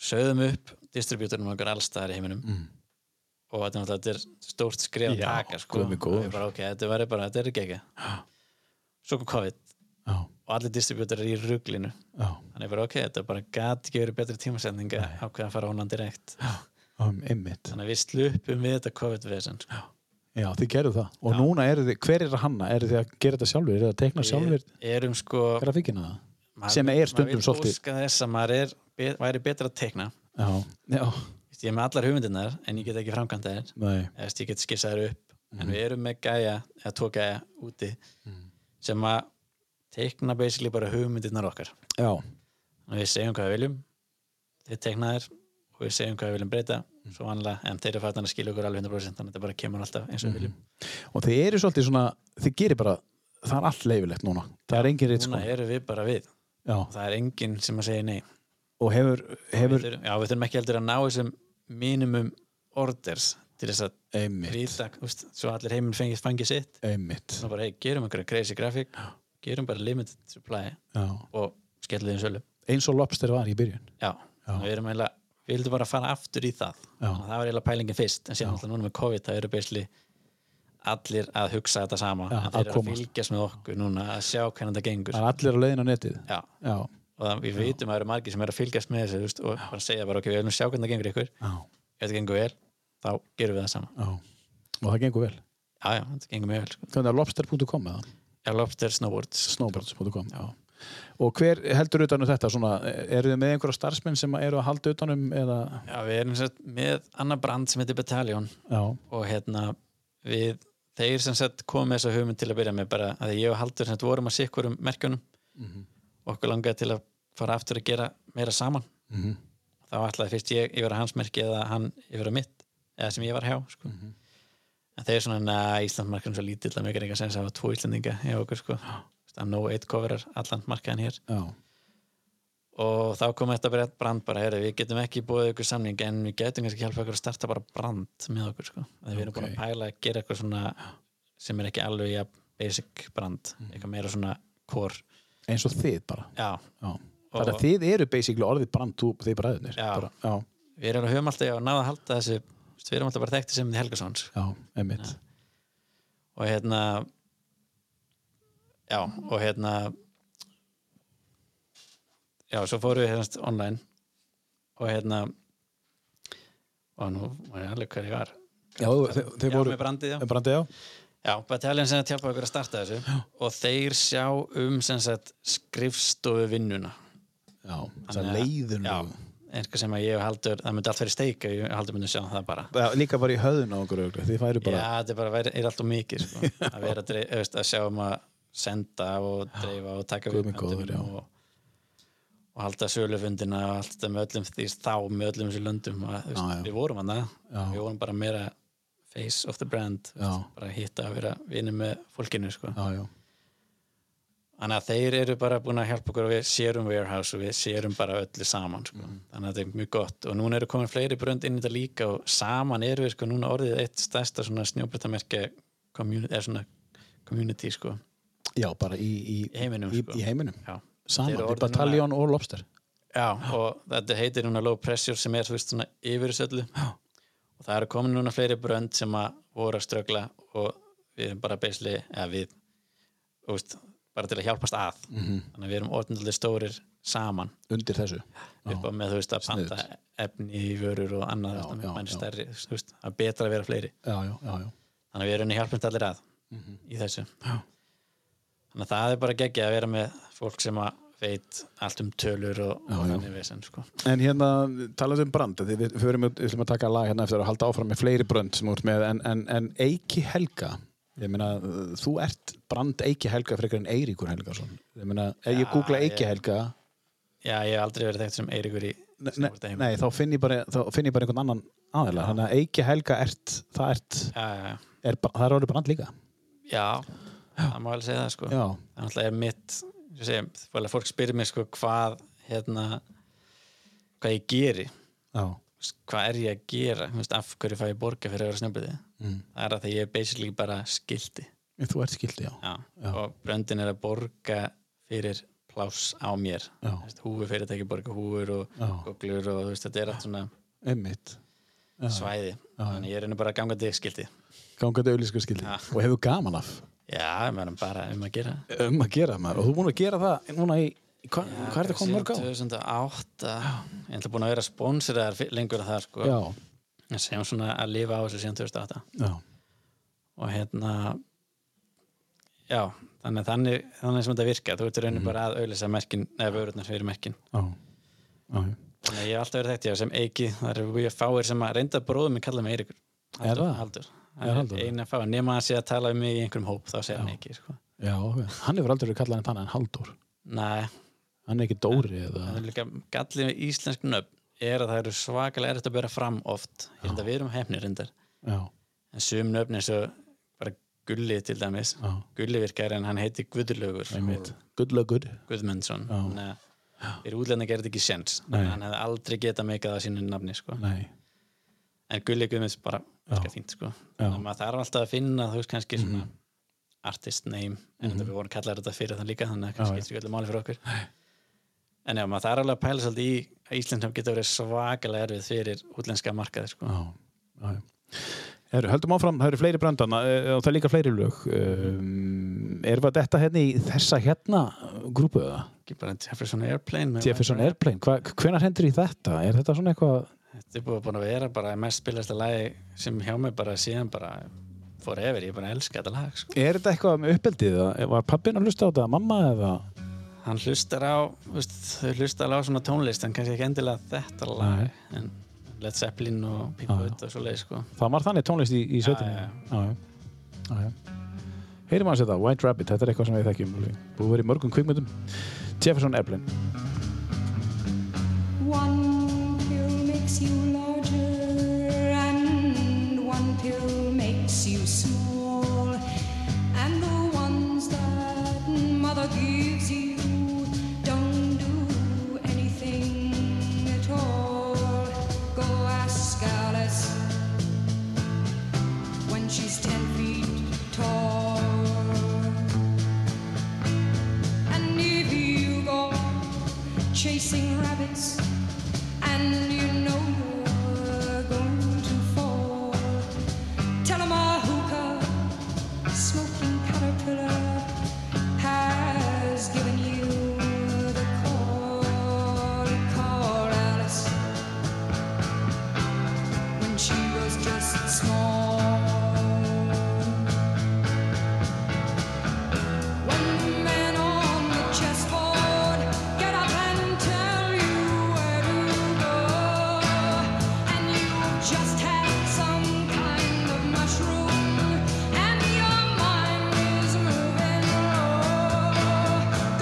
Sögðum upp distribútornum okkar allstaðar í heiminum mm. og þetta er náttúrulega þetta er stórt skrif að Já, taka, sko. guð minn góður. Og við bara, ok, þetta verður bara, þetta er ekki ekki. Svo kom COVID já, og allir distribútorar í ruglinu. já Þannig bara, ok, þetta bara gat ekki verið betri tímasendinga ákveða að fara online direkt. um, einmitt, Þannig að við slupum við þetta COVID-vesen, sko. já þið gerðu það og núna eru þið, hver er að hanna, eru þið að gera þetta sjálfur, eru þið að tekna sjálfur Við erum sko... grafíkina það? maður- Sem er stundum maður svolítið- vil óska þess að maður er, be, væri betra að teikna Já, já, Vist, ég er með allar hugmyndirnar en ég get ekki framkvæmt þær nei, Eðast, ég get skissað þær upp Mhm. en við erum með gæja, eða tvo gæja úti sem að teikna basically bara hugmyndirnar okkar já, og við segjum hvað við viljum þeir teikna þér og við segjum hvað við viljum breyta Mhm. svo vanlega, en þeir eru fattan að skilja okkur alveg 100% þannig að þetta bara kemur alltaf Mhm. eins og við viljum og þið eru svolítið svona þið gerir bara, það er allt leifilegt núna það er engin sko. Núna reitskóla erum við bara við og það er enginn sem að segja nei og hefur, við hefur þurfum, Já, við þurfum ekki heldur að ná þessum minimum orders til þess að einmitt, rýta, úst, svo allir heiminn fengið fangið sitt einmitt og bara, hey, gerum einhverja crazy grafík gerum bara limited supply já. og skellum þeim sölu eins og lobster var í byrjun Já, og við erum eiginlega við vildum bara fara aftur í það Já. og það var eiginlega pælingin fyrst, en síðan alltaf núna með COVID það eru beisli allir að hugsa þetta sama, Já, en að þeir eru að komast. fylgjast með okkur núna að sjá hvernig þetta gengur það er allir á leiðin á netið Já, já, og það, við vitum að það eru margir sem eru að fylgjast með þessu þú veist, og bara segja bara, ok, við viljum sjá hvernig það gengur ykkur já, ef þetta gengur vel, þá gerum við það sama já og það gengur vel já, já, þetta gengur mjög vel sko. þannig að lobster.com eða Já, Lobster Snowboards snowboards.com já. og hver heldur utanum þetta svona, eru þið með einhverja starfsmenn sem eru að halda utanum eða, Já, við erum sett, með annar brand sem heitir Battalion já, og hérna við, þeir sem sett komið þessa hugmynd til að byrja með bara að ég og Haldur sem sagt vorum að sikkurum merkjunum Mhm. og okkur langaði til að fara aftur að gera meira saman Mhm. þá ætlaði fyrst ég yfir að hans merki eða hann yfir að mitt eða sem ég var hjá sko. en þeir svona, na, Íslandsmarkaðin er svo lítill að mjög er eitthvað sem það var tvo Íslandinga hjá okkur sko. að no eight coverar allan markaðin hér já, og þá kom þetta brett brand bara heru, við getum ekki búið ykkur samning en við getum kannski hjálpa ykkur að starta bara brand með okkur sko, að við erum búin Ok. að pæla að gera eitthvað svona sem er ekki alveg ja, basic brand, eitthvað meira svona core, eins og þið bara já, já. þannig að þið eru basically orðið brand þú- þið bræðunir Já. bara, já, við erum höfum alltaf að náða að halda þessu, þú veist, við erum alltaf bara þekkti sem þið Helgasons já, einmitt og hérna já, og hérna já, svo fórum við hérna online og hérna og nú var ég alveg hver ég var já, þið, þið já, voru með brandið, já. brandið, já, Já, Battalion sem að tjálpa okkur að starta þessu og þeir sjá um sem sagt skrifstofu vinnuna já, þess að leiðun Já, einhver sem að ég og haldur það myndi allt verið steik að ég og haldur myndi sjá það bara Já, líka bara í höðun á okkur örugglega. þið færu bara, Já, þetta er bara verið, er alltaf mikið <laughs> sko. að vera að, dreif, veist, að sjá um að senda og dreifa og taka guð við minn góður, höndunum já. og, og halda sölufundina og allt þetta með öllum því þá með öllum þessu löndum að, þú veist, Já, já. við vorum hann Já. við vorum bara meira face of the brand þú Já. veist, bara hitta að vera vinni með fólkinu sko. já, já, Þannig að þeir eru bara búin að hjálpa okkur og við sérum warehouse og við sérum bara öllu saman sko. þannig að þetta er mjög gott og núna eru komin fleiri brönd inn í þetta líka og saman eru við sko núna orðið eitt stærsta svona snjóbritamerkja community, eða svona community sko já, bara í, í, í heiminum í, sko. í heiminum. Já. Þeir saman, eru í orðin bataljón og lobster Já, og þetta heitir núna low pressure sem er þú veist svona yfir þessu öllu Já. og það eru komin núna fleiri brönd sem að voru að ströggla og við erum bara beisli, eða við þú veist, bara til að hjálpast að -hmm. þannig að við erum orðinlega stórir saman undir þessu upp á með þú veist að Sniðugt. panta efni í vörur og annað Já, já, já, já, já. Stærri, þú veist, að betra að vera fleiri já, já, já, já, þannig að við erum hjálpum allir að Mhm. í þessu já. þannig að það er bara geggja að vera með fólk sem að veit allt um tölur og, og já. þannig vesen sko. En hérna, talaðu um brand að því Við förum við ætlum að taka lag hérna eftir að halda áfram með fleiri brönd sem úr með en, en, en Eiki Helga Ég meina, uh, þú ert brand Eiki Helga frekar en Eiríkur Helga Ég meina, ef ég Já, googla ég- Eiki Helga já, ég hef aldrei verið þekkt sem Eiríkur í ne, ne, snjóbrettaheimi. Nei, þá finn ég bara, þá finn ég bara einhvern annan aðeila Þannig að Eiki Helga ert, það ert já, já, já. er, ba- Það er orðið brand líka já, það má vel segja það sko. Já, það náttúrulega er mitt ég segi, fólk- fólk spyrir mér sko, hvað hérna, hvað ég geri já, þú veist, hvað er ég að gera Þú veist, af hverju fæ ég borga fyrir að vera snjóbretti Mm. það er að því ég er basically bara skildi En þú ert skildi, já já. og bröndin er að borga fyrir pláss á mér Já. Þú veist, húfu fyrirtæki borga húfur og Já. goglur og þú veist, þetta er allt svona Einmitt, svæði þannig ég er henni bara að ganga til skildi gangandi auðlýsku skildi Og hefur gaman af já, ég meðan bara um að gera um að gera maður og þú búin að gera það núna í, í hva, hvað er þetta komið mörg á? 2008 ég er búin að vera sponsorar lengur að það sko. Já, sem svona að lifa á þessu síðan 2008 já, og hérna já, þannig, þannig, þannig sem þetta virkar þú ert í Mhm. rauninni bara að auðlýsa merkin eða vörurnar fyrir merkin já, já. já. þannig að ég hef alltaf verið þekkt ég sem Eiki, það eru mjög fáir sem að reynda bróðum minn kalla mig Eirikur Er það? Haldur, Já, hann Halldór. er eina að fá nema að sé að tala um mig í einhverjum hóp þá segja hann ekki sko. Já, ok. hann hefur aldrei verið kallað en þannig en Haldur. Nei, Hann er ekki Dóri eða... það er líka gallið með íslensk nöfn er að það eru svakalega erfitt að bera fram oft ég held að við erum hefnir reyndar Já, en sum nöfn eins og bara Gulli til dæmis já, Gulli virkar en hann heiti Guðlaugur einmitt. Good luck, good. Guðmundsson þannig að fyrir útlendingar er þetta ekki séns Nei. hann hefði aldrei getað meikað að sínu nafni sko. Nei, en Gulli Guðmunds bara Já. Mhm. virkar fínt sko. þannig að maður þarf alltaf að finna þú veist kannski svona artist name en þetta við vorum kallar þetta fyrir það líka þannig að Já, kannski skiptir ekki öllu máli fyrir okkur en já, maður þarf alveg að pæla svolítið í að Íslandum geta verið svakalega erfið fyrir útlenska markaði sko. já, já. já. Heru, höldum áfram, það eru fleiri brandana eh, og það er líka fleiri lög. Um, er það þetta hérna í þessa hérna grúpu eða? ekki bara Jefferson Airplane með- Jefferson Airplane, hva, hvenar hendur í þetta? Er þetta svona eitthvað... þetta er búið búin að vera bara mest spilasta lagi sem hjá mig bara síðan bara fór yfir, ég er bara að elska þetta lag sko. Er þetta eitthvað með uppeldið? eða Var pappin að hlusta á þetta? Mamma eða? hann hlustar á þú veist, þau hlustar alveg á svona tónlist en kannski ekki endilega þetta lag Nei. en Led Zeppelin og Pink Floyd og svo leið sko. Það var þannig tónlist í, í sveitinu. já, Já, já. Já, já. Heyrim aðeins þetta, White Rabbit, þetta er eitthvað sem við þekkjum. alveg. Búið verið í mörgum kvikmyndum. Jefferson Airplane. One pill makes you larger, and one pill makes you small. And the ones that mother gives you don't do anything at all. Go ask Alice when she's ten feet tall. And if you go chasing rabbits, and you know you're going to fall. Tell 'em a hookah, smoking caterpillar, has given you the call. Call Alice when she was just small. One man on the chessboard, get up and tell you where to go, and you just had some kind of mushroom, and your mind is moving low.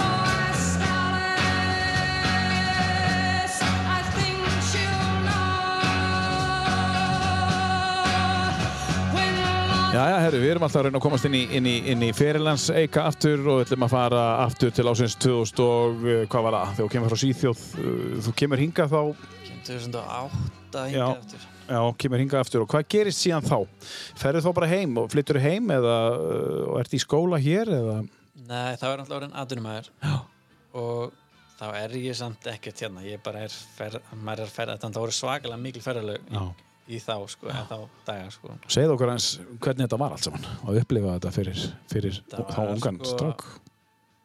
Go ask Alice, I think she'll know when Já, já, herru, við erum alltaf að reyna að komast inn í, inn í, inn í fyrirlandseika aftur og ætlum að fara aftur til ásins 2000 og eh, hvað var það? Þegar þú kemur frá Svíþjóð, eh, þú kemur hinga þá 2008 Já. hingað eftir Já, kemur hinga aftur og hvað gerist síðan þá? Ferðu þá bara heim og flyttur heim eða eh, og ert í skóla hér eða? Nei, þá er alltaf orðin aðdunumæður Já. og þá er ég samt ekkert hérna ég bara er ferð, maður er ferð þannig að það voru svakalega mikil ferðalög í, Já. í þá sko, eða þá daga sko Segð okkur eins hvernig þetta var allt saman og upplifa þetta fyrir, fyrir Þetta þá var ungan sko- strák.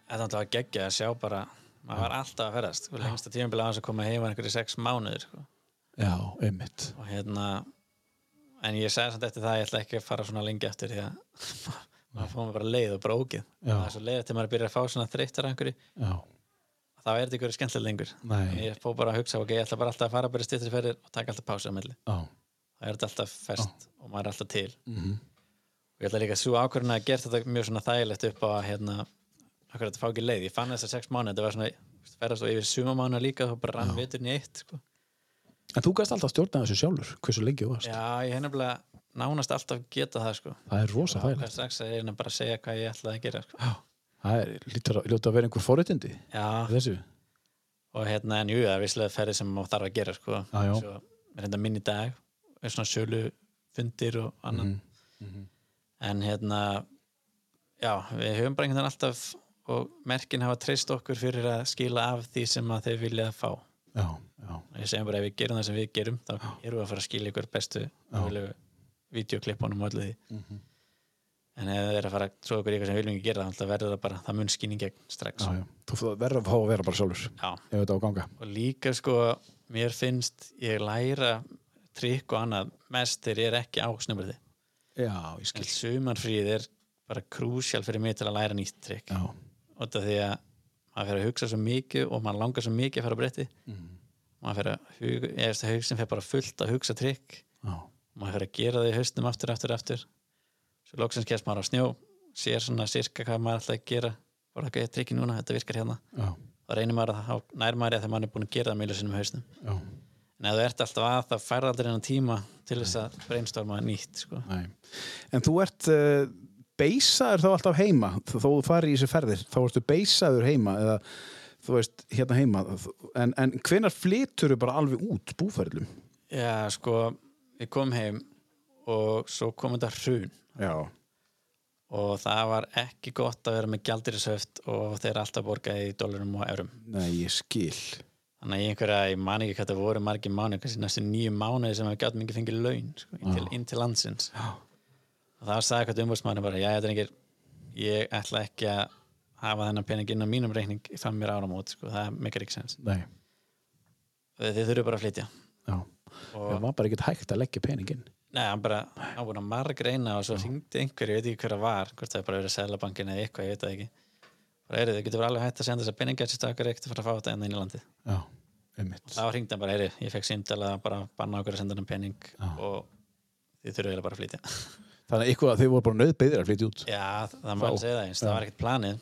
eða þannig að geggja að sjá bara maður var alltaf að ferðast, sko, lengsta tímabili aðeins að koma heim var einhverju sex mánuðir sko. Já, einmitt. og hérna en ég sagði samt eftir það að ég ætla ekki að fara svona lengi eftir því að <laughs> maður fór mig bara leið og brókið Já. það er svo leið til maður byrjar að fá svona þreyttar af einhverju Já, þá er þetta ykkur skemmtileg lengur Nei. En ég fór bara að hugsa, ok, ég ætla bara alltaf að fara bara stýttir ferðir og taka alltaf pása á milli já, það er þetta alltaf fest og maður er alltaf til -hmm. Mhm. og ég ætla líka að svo ákvörðin að gera þetta mjög svona þægilegt upp á að hérna, okkur þetta fá ekki leið ég fann þessar sex mánuð, þetta var svona ferðast og yfir suma mánuð líka, þá bara rann viturinn í eitt sko. En þú gæst alltaf stjórnað þessu sjálfur, hversu lengi þú varst. já, ég hef nefnilega nánast alltaf geta það sko. Það er rosa það er þægilegt. strax að ég er bara að segja hvað ég ætlaði að gera sko. Það er lítur að, lítur að vera einhver forutindi já, þessu. og hérna, en jú, það er visslega ferði sem maður þarf að gera sko. Já, já. svo er þetta minni dag er svona sölu fundir og annan Mhm, en hérna já, við höfum bara einhvern veginn alltaf og merkin hafa treyst okkur fyrir að skila af því sem að þeir vilja að fá og Já, já, ég segjum bara ef við gerum það sem við gerum þá erum við að fara að skila ykkur bestu mögulegu videoklipunum og öllu því Mhm. en ef það er að fara að tróða ykkur í eitthvað sem við viljum ekki gera þá verður það bara, það mun skýning gegn strax já, já. Þú verður að fá að vera bara sjálfur já, ef þetta á að ganga. og líka sko mér finnst ég læra trikk og annað mest þegar ég er ekki á snumriði Já, ég en sumarfríð er bara krúsjál fyrir mig til að læra nýtt trikk Já, og það því að maður fyrir að hugsa svo mikið og maður langar svo mikið að fara að bretti Mhm. maður fyrir að huga, ég veist að hugsin fyrir bara fullt að hugsa trikk já, maður fyrir að gera það í haustum aftur, aftur, aftur svo loksins kemst maður á snjó sér svona sirka hvað maður ætlaði að gera bara eitthvað ég trikki núna, þetta virkar hérna já, þá reynir maður að þá nær maður að þegar maður er búin að gera það mjög sinum haustum já, en ef þú ert alltaf að það færði aldrei hennan tíma til þess að brainstorma nýtt sko. næ. En þú ert uh, beisaður þá alltaf heima, þó þú farir í þessi ferðir, þá ertu beisaður heima eða þú veist, hérna heima. En, en hvenar flytur bara alveg út búferðlum? já sko, ég kom heim og svo kom þetta hrun Já, og það var ekki gott að vera með gjaldirisöft og þeir alltaf borgaði í dólarum og eurum nei, ég skil. þannig að ég einhverja, ég man ekki hvað það voru margir mánu, kannski næstu nýju mánuði sem við gætum ekki fengið laun sko, inn, til, inn til landsins Já. og það sagði eitthvað umbúrsmanni bara, já, þetta er einhver ég ætla ekki að hafa þennan pening inn á mínum reikning fram mér áramót, sko, það er mikil ekki sens Nei, þið, þið þurfum bara að flytja já. og Það var bara ekkert hægt að leggja peningin. Nei, hann bara, hann búin að margreina og svo hringdi einhver, ég veit ekki hver það var hvort það er bara verið að selja bankin eða eitthvað, ég veit það ekki bara, heyrðu, þið getur bara alveg hægt að senda þess að peninga þessi stakar ekkert að fara að fá þetta enn inn í landið Já, einmitt. þá hringdi hann bara, heyrðu, ég fekk síndala bara að banna okkur að senda hann pening og þið þurfum eiginlega bara að flytja Þannig að ykkur að þið voru bara nöðbeðir að flytja út. Já, það- það má Þá. alveg segja það eins, það var ekkert planið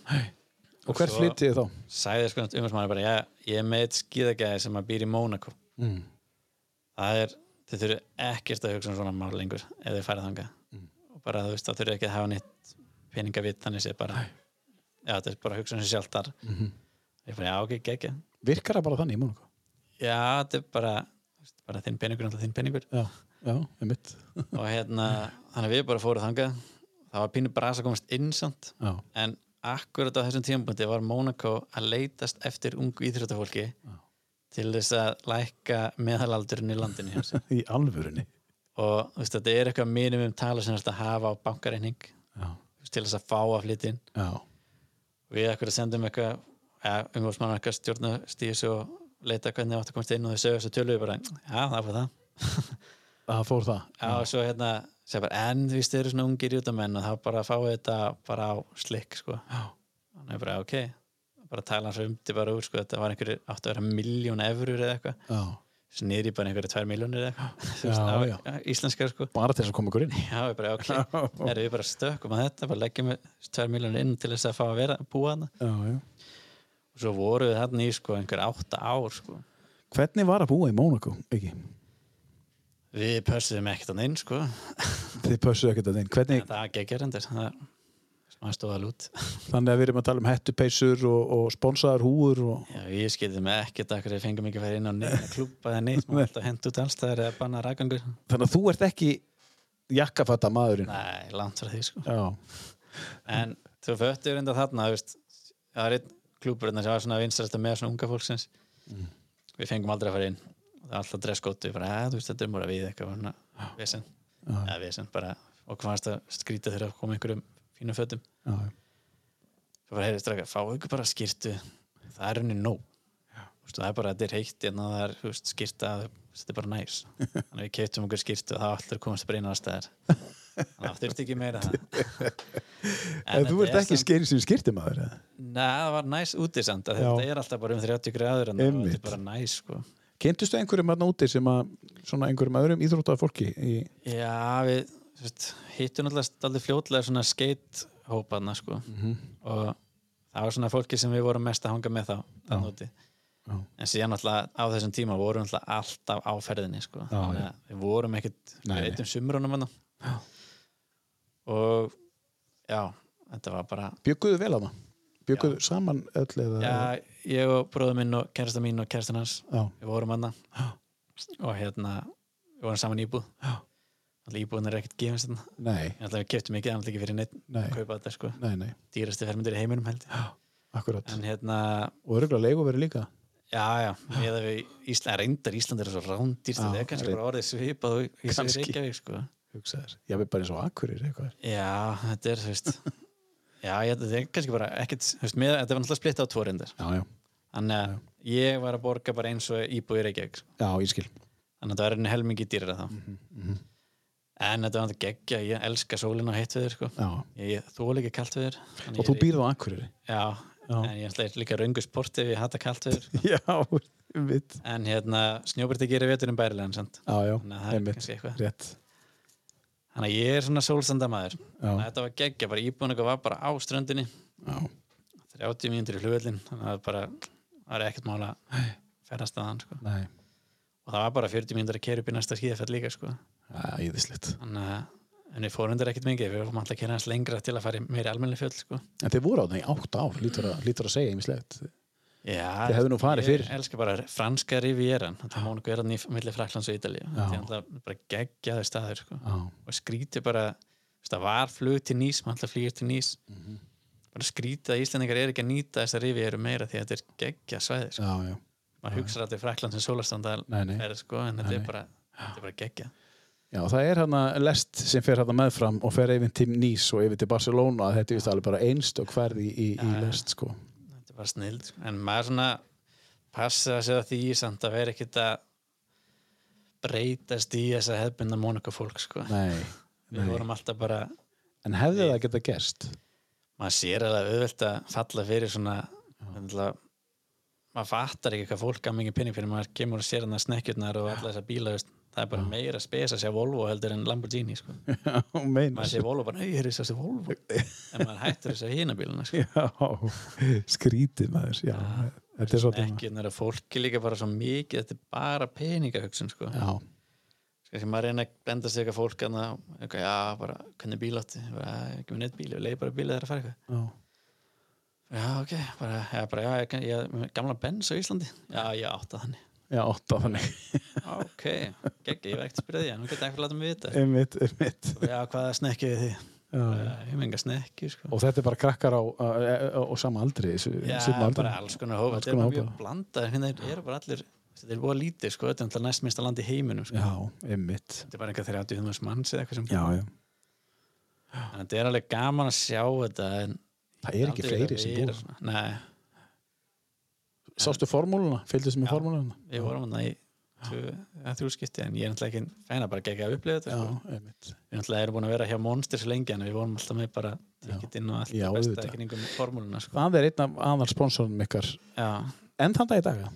Og hvert svo- flytið þið þá? sagði sko umhersmaður bara, já, ég er með eitt skíðagæði sem að býr í Mónaco mm. það er, þið þurfi ekkert að hugsa um svona mál lengur ef þið farið þangað og bara þú veist, það þurfi ekki að hafa nýtt peningavitt, þannig sé bara já, þetta er bara að hugsa um sér sjálf þar ég bara, já, ok, geggja Virkar það bara þannig í Mónaco? já, þetta er bara, þú veist, bara þinn peningur, náttúrulega þinn peningur Já, já, einmitt. og hérna, þannig að við bara fóruð þangað það var pínu brasa að komast inn samt Já, en akkurat á þessum tímapunkti var Monaco að leitast eftir ungu íþróttafólki til þess að lækka meðalaldurinn í landinu hjá sér. <laughs> í alvörunni. og þú veist, þetta er eitthvað minimum tala sem þetta hafa á bankareining Já, til þess að fá að flytin já, við akkurat sendum eitthvað ja, umhúsmann eitthvað stjórnastíðis og leita hvernig átt að komast inn og þau sögur þess að töluðu bara, já það var það það fór það. já, og svo hérna, segja bara en við styrir svona ungir jútamenn og þá bara fáið þetta bara á slik sko. þannig er bara ok bara tala hans umti bara úr sko, þetta var einhverju, áttu að vera miljón evrur eða eitthvað Já, snýri bara einhverju tvær miljónir eða eitthvað <laughs> Þú veist, Já, það var- já. íslenskar sko bara til þess að koma ykkur inn. já, við bara ok, <laughs> erum við bara stökkum að þetta bara leggjum við tvær miljónir inn til þess að fá að vera búa hana Já, já. og svo voru við þarna í sko einhver átta ár sko Hvernig var að búa í Mónaco, ekki? við pössuðum ekkert hann inn sko Þið pössuðu ekkert að þinn. Hvernig, það gekkja reyndir, það er smá stóða lút þannig að við erum að tala um hettupeysur og, og sponsaðar húur og... Já, ég skildi mig ekkert akkur við fengum ekki að fara inn á <laughs> neina klúpa eða neitt, maður er alltaf hent út alls staðar eða banna rækangur. Þannig að þú ert ekki jakkafatta maðurinn. Nei, langt frá því sko. Já, En þú föttu reynda þarna, þú veist, það er einn klúpur þarna sem var svona vinstræsta með svona unga fólksins. Við fengum aldrei að fara inn. Og það var alltaf dresskóttu, bara, að þú veist, þetta er bara við eitthvað, svona, vesen. Eða vesen, bara, og hvað varst að skrýta þegar að koma einhverjum fínum fötum. já, Svo bara, heyrðu, straka, fá ykkur bara skýrtu. Það er henni nóg. Þú veist, það er bara, þetta er heitt, en það er, þú veist, skýrta, þetta er bara næs. <laughs> Þannig að við keftum okkur skýrtu og það allir komast bara inn á staðar. Þannig að það þurfti ekki <laughs> meira það. En þú þetta ert er ekki samt- skein sem skýrti maður, eða? Nei, það var næs úti samt af því Já. að þetta er alltaf bara um 30 gráður en það Einmitt. er bara næs sko. Kynntustu einhverjum að úti sem að, svona einhverjum öðrum íþróttaða fólki í... Já, við þú veist, hittum alltaf allir fljótlega svona skeithópana sko. Mhm. og það var svona fólki sem við vorum mest að hanga með þá þann úti en síðan alltaf á þessum tíma vorum alltaf alltaf á ferðinni sko. Já, Þannig að við vorum ekkit Nei, við nei. eittum sumrunum hann og já, þetta var bara Bjögguðu vel að það? Bjögguðu saman öll eða... Já, ég og bróður minn og kærasta mín og kærastan hans Já. við vorum hann og hérna, við vorum saman í íbúð alltaf íbúðin er ekkert gefins þarna. Nei, en alltaf við keftum ekki, alltaf ekki fyrir neitt Nei. að kaupa þetta sko, nei, nei, dýrasti fermundir í heiminum held ég. akkurat. en hérna, Og örgulega leigu verið líka. já já ég að við Ísland, reyndar Ísland er svo rándýrst Já, þetta er kannski reynd- bara orðið svipað og í þessu Kannski. Reykjavík sko Hugsaður. Já, við bara eins og akkurir eitthvað. já, þetta er þú veist já, ég, þetta er kannski bara ekkert þú veist, með, þetta var náttúrulega splitt á tvo reyndar Já, já. þannig að ég var að borga bara eins og íbúð í Reykjavík sko. Já, ég skil. þannig að það er henni helmingi dýrara þá Mhm, en þetta var náttúrulega geggja ég elska sólina og heitt við þér sko. Já. ég þóla ekki kalt við þér Og þú býrð á akkurir. já, Já. en ég ætla líka röngu sporti ef ég hata kalt við þér <laughs> Já, einmitt. en hérna, snjóbyrti gerir veturinn bærilegan sant? Já, já, Þannig að það er einmitt. kannski eitthvað. Rétt. Þannig að ég er svona sólstandamaður. Já. Þetta var geggja, bara íbúin okkar var bara á ströndinni, Já. 30 mínútur í flugvöllin, þannig að það var bara, það var ekkert mála að ferðast að hann, sko. Nei. Og það var bara 40 mínútur að kera upp í næsta skíðafell líka, sko. Það er íðislegt. Þannig að en við fórum undir ekkert mikið, við fórum alltaf að kera hans lengra til að fara í meiri almenni fjöll, sko. En þið voru á það í átt ár, lítur að, lítur að segja ýmislegt. Já, Þið hefðu nú farið ég fyrr. elska bara franska rivieran, þetta mónugu er hann í milli Fraklands og Ítalíu, þetta er alltaf bara geggjaður staður sko. Já. og skrítið bara þú veist, það var flug til nýs, maður alltaf flýgur til nýs Mhm. bara skrítið að Íslendingar er ekki að nýta þessar rivieru meira því að þetta er geggja svæði sko. Já, já. maður hugsar alltaf Fraklands sem sólastandal Nei, nei. er, sko, en þetta Nei, er nei. bara, þetta er bara geggja Já, það er hann lest sem fer hann meðfram og fer yfir til Nýs og yfir til Barcelona þetta er víst alveg bara einst og hverði í, í, í Já, já. lest sko. þetta er bara snild sko. en maður svona passa að segja því samt að vera ekkit að breytast í þessa hefðbundna mónugu fólk sko. Nei, við vorum alltaf bara en hefði það geta gerst <laughs> maður sér að það er auðvelt að falla fyrir svona ætla, maður fattar ekki hvað fólk gaf mikið pinning fyrir maður kemur og sér hann að snekkjurnar og alla þessa bíla veist, það er bara meira spes að sjá Volvo heldur en Lamborghini sko. Já, maður meinas sé Volvo bara, ég er þess að sé <laughs> Volvo en maður hættur þess að hina bíluna sko. Já, skrítið maður Já, þetta er svo tíma snekkjurnar og fólki líka bara svo mikið þetta er bara peningahugsun sko. Já, kannski maður reyna að blenda sig eitthvað fólk annað, eitthvað, já, bara, hvernig bíl átti Ég bara, "Æ, ekki með neitt bíl, ég leiði bara bíl þegar að fara eitthvað já, Já, ok, bara, já, bara, já, ég, ég, ég gamla Benz á Íslandi Já, ég átta þannig já átta þannig <laughs> Já, ok, geggi, ég var ekkert að spyrja því en hún geti ekkert að láta mig vita einmitt, einmitt Já, hvaða snekkið þið? Já. Já, Ég með enga snekki, sko Og þetta er bara krakkar á, á, á, á sama aldri Já, bara alls konar hópa, Alls þetta er konar bara mjög hópa. blandað en hérna, þeir eru bara allir, þetta er búið lítið, sko þetta er alltaf næst minnsta land í heiminum, sko Já, einmitt Þetta er bara einhver 30.000 manns eða eitthvað sem Já, já Þannig að þetta er alveg gaman að sjá þetta en Það er ekki aldrei fleiri verið sem að búið vera svona. Nei, Sástu formúluna, fylgdist með Já. formúluna við vorum hann í tvö- eða þrjú skipti en ég er náttúrulega ekki fæna bara gegg að upplega þetta, Já, sko einmitt Við náttúrulega erum búin að vera hjá Monster svo lengi en við vorum alltaf með bara tikkitinn og allt Já, það besta auðvitað. í kringum formúluna, sko Það er einn af aðal sponsorunum ykkar Já, En þann dag í dag, já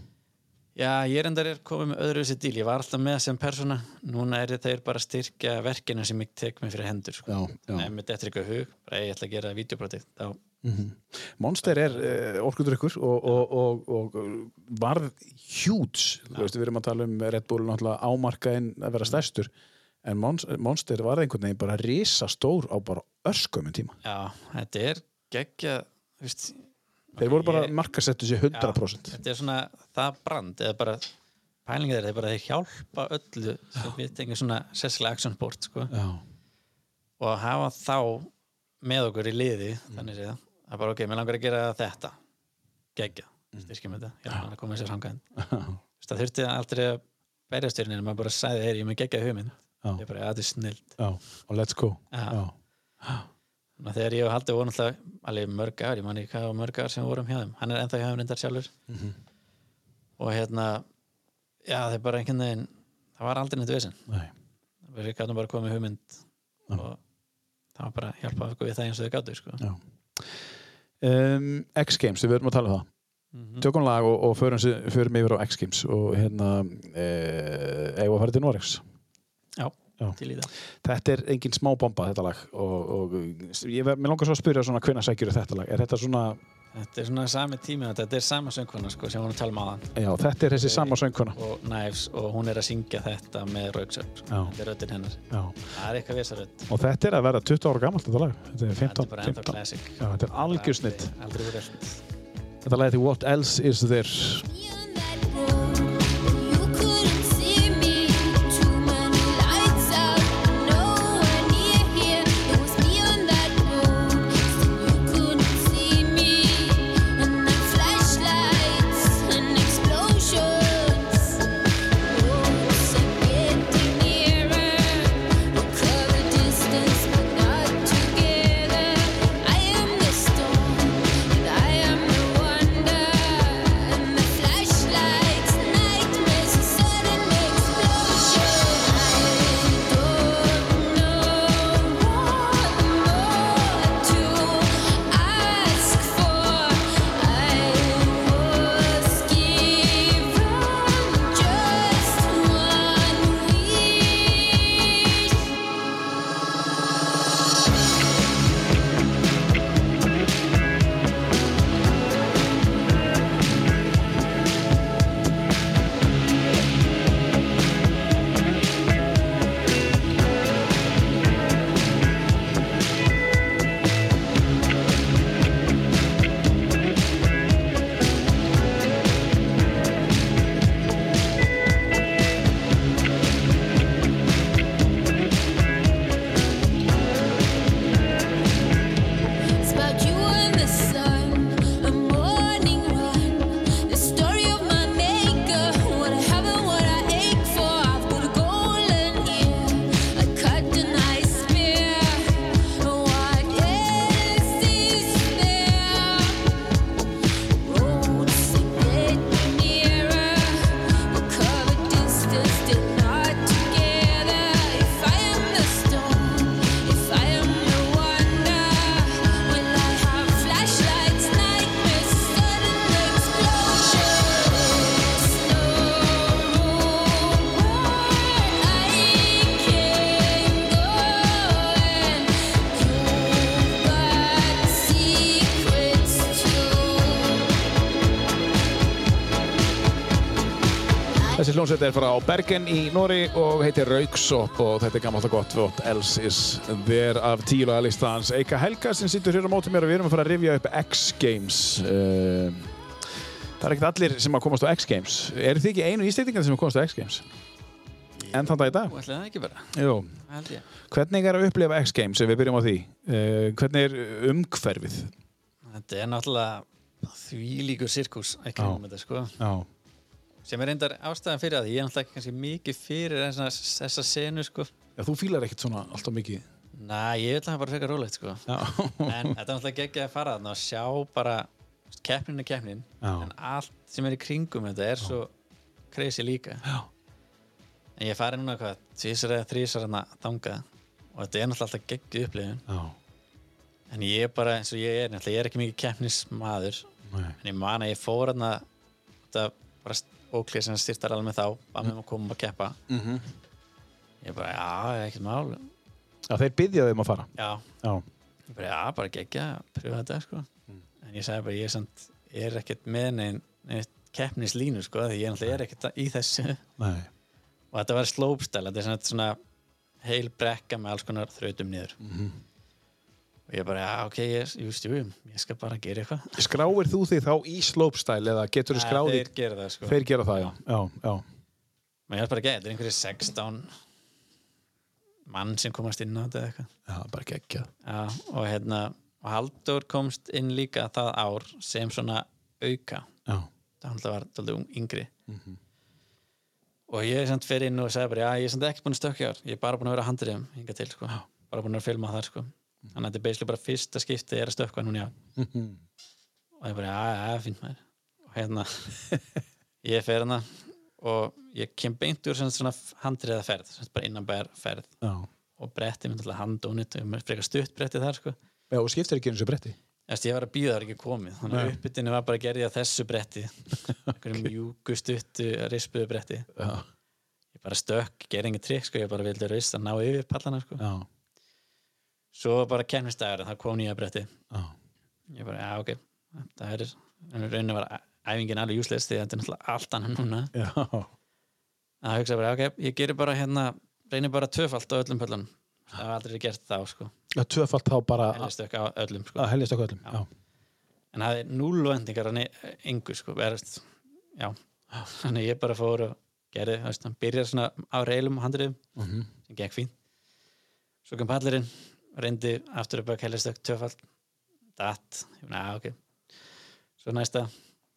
Já, ég reyndar er komið með öðru þessi díl. Ég var alltaf með sem persóna. Núna er þeir bara að styrkja verkinu sem ég tek mig fyrir hendur. Sko. Já, já Nei, mér dettur eitthvað í hug. Bara, "Ey, ég ætla að gera videoprotið. Þá, Monster er uh, orkudrykkur og, og, og, og varð hjúts veist, við erum að tala um Red Bull náttúrulega ámarkaðin að vera stærstur en Mons- Monster varð einhvern veginn bara risastór á bara örskömmin tíma já, þetta er geggja, þú veist, þeir voru bara ég- markasettu sér 100% þetta er svona það brand eða bara pælinga þeir, þeir bara þeir hjálpa öllu sem við tengum svona sessilega action sport, sko. já, og að hafa þá með okkur í liði þannig séð að bara ok, mér langar að gera þetta geggja, Mm. styrkjum þetta ég langar að koma þessar hangað það þurfti aldrei að berja styrninu maður bara sagði þeir, ég er með geggja hugminn Já. ég bara, "Ja, þetta er snilt <laughs> já, og let's go Já. já, og þegar ég og Haldi voru alltaf alveg mörg ár, ég man ekki hvað var mörg ár sem við vorum hjá þeim hann er ennþá hjá þeim reyndar sjálfur Mhm. og hérna já, þeir bara einhvern veginn það var aldrei neitt vesinn nei, við gætum bara komið hugmynd og það var bara að hjálpa okkur við það eins og þau gætu sko. já um, X Games, við verðum að tala um það tökum lag og, og förum, sig- förum yfir á X Games og hérna eh, eigum við að fara til Noregs Já, Já. til í það. Þetta er engin smá bomba þetta lag og, og ég, ver- mér langar svo að spyrja svona hvenær sækjur þetta lag, er þetta svona Þetta er svona sami tími og þetta er sama söngkona sko, sem hún er að tala um aðan já, þetta er þessi sama söngkona og Knives og hún er að syngja þetta með Rauksöp sko. Já. þetta er röddinn hennar já. það er eitthvað vesarödd og þetta er að vera 20 ára gamalt þetta lag, þetta er þetta 15, er bara ennþá 15. classic Já, þetta er algjörsnitt Aldrei- aldrei verið eld þetta lag til What Else Is There Distance, but not together. I am the storm. I am the wonder and the flash. Þessi hljómsveit er frá Bergen í Nóri og heitir Rauksopp og þetta er gammalt og gott vott Else is there af tíla listans Eika Helga sem sittur hér á móti mér og við erum að fara að rifja upp X Games uh, Það er ekkert allir sem að komast á X Games Eru þið ekki einu ístætingar sem að komast á X Games? Enn þann dag í dag? Þú ætlaði það ekki bara, Jú það held ég. Hvernig er að upplifa X Games ef við byrjum á því? Uh, hvernig er umhverfið? Þetta er náttúrulega þvílíkur sirkus, ekki Já. um þetta sko. Já, Sem er reyndar ástæðan fyrir að ég er náttúrulega ekki kannski mikið fyrir þessa, þessa senu sko. Já þú fílar ekkert svona alltaf mikið Næ, ég vil það bara frekar rólegt sko. <laughs> Já, En þetta er náttúrulega geggja að fara þarna og sjá bara þú veist, keppnin er keppnin. Já. En allt sem er í kringum þetta er svo crazy líka. Já. En ég fari núna hvað, tvísar eða þrísar hana þangað. Og þetta er náttúrulega alltaf geggju upplifun. Já. En ég er bara eins og ég er, náttúrulega, ég er ekki mikið keppnismadur. Nei. En ég man að ég fór hann að þetta bara óklið sem styrtar alveg þá að með maður komum að keppa Mhm. ég bara, já, ekkert mál Já, þeir byggja þeim að fara já, Já, ég bara, já, bara geggja pröfa þetta, sko Mm. en ég sagði bara, ég er, samt, ég er ekkert með neinn neinn keppnislínu, sko, því ég náttúrulega er ekkert í þessu nei og þetta var slópstæl, þetta er svona, svona heil brekka með alls konar þrautum niður Mhm. og ég bara, já, ok, ég, just, jú, ég skal bara gera eitthvað Skráir þú þig þá í slopestyle eða getur þú skráð þig? þeir gera það, sko Þeir gera það, já. já, já. maður hjálpar ekki, þetta er einhverjir 16 mann sem komast inn á þetta eða eitthvað Já, bara geggjað. já, og hérna, og Halldór komst inn líka það ár sem svona auka, <laughs> Já, það hann alltaf var dálítið ung- yngri og ég samt fyrir inn og sagði bara, já, ég er samt ekki búin að stökkja ár ég er bara búin að vera handrið um hinga til, sko bara búin að filma það, sko þannig að þetta er basically bara fyrsta skipti ég er að stökkva núna, já og ég bara, já, já, já, fínt maður og hérna, <laughs> ég fer hana og ég kem beint úr sem sagt svona handriða ferð, sem sagt bara innanbæjar ferð já. og bretti minn alltaf handónit og mér frekar stutt bretti þar sko Já, og skiptir ekki eins og bretti. Eftir, ég var að býða þar ekki komið þannig að Nei. uppbytinu var bara að gerði að þessu bretti einhverjum mjúku stuttu rispuðu bretti Já, ég bara stökk, gerði engin trikk sko ég bara vildi rist að ná yfir pallana sko já, svo bara kemnistagur, það kom nýja bretti já. ég bara, já ok, það er en raunin var æfingin alveg júsleis því að þetta er náttúrulega allt annað núna Já, að það hugsa bara, ok, ég gerir bara hérna reynir bara tvöfalt á öllum pöllunum það var aldrei gert þá sko, já tvöfalt þá bara en ég stökk á öllum sko. að heljast okkur öllum. Já. Já, en það er núlvendingar hann engu sko, verðast já, þannig að ég bara fór og gerði, þú veist, hann byrjar svona á reilum og handriðum, Mhm. sem gekk fín svo kom pallurinn reyndi aftur upp að kellistökk tvöfald datt, ég na, ok svo næsta,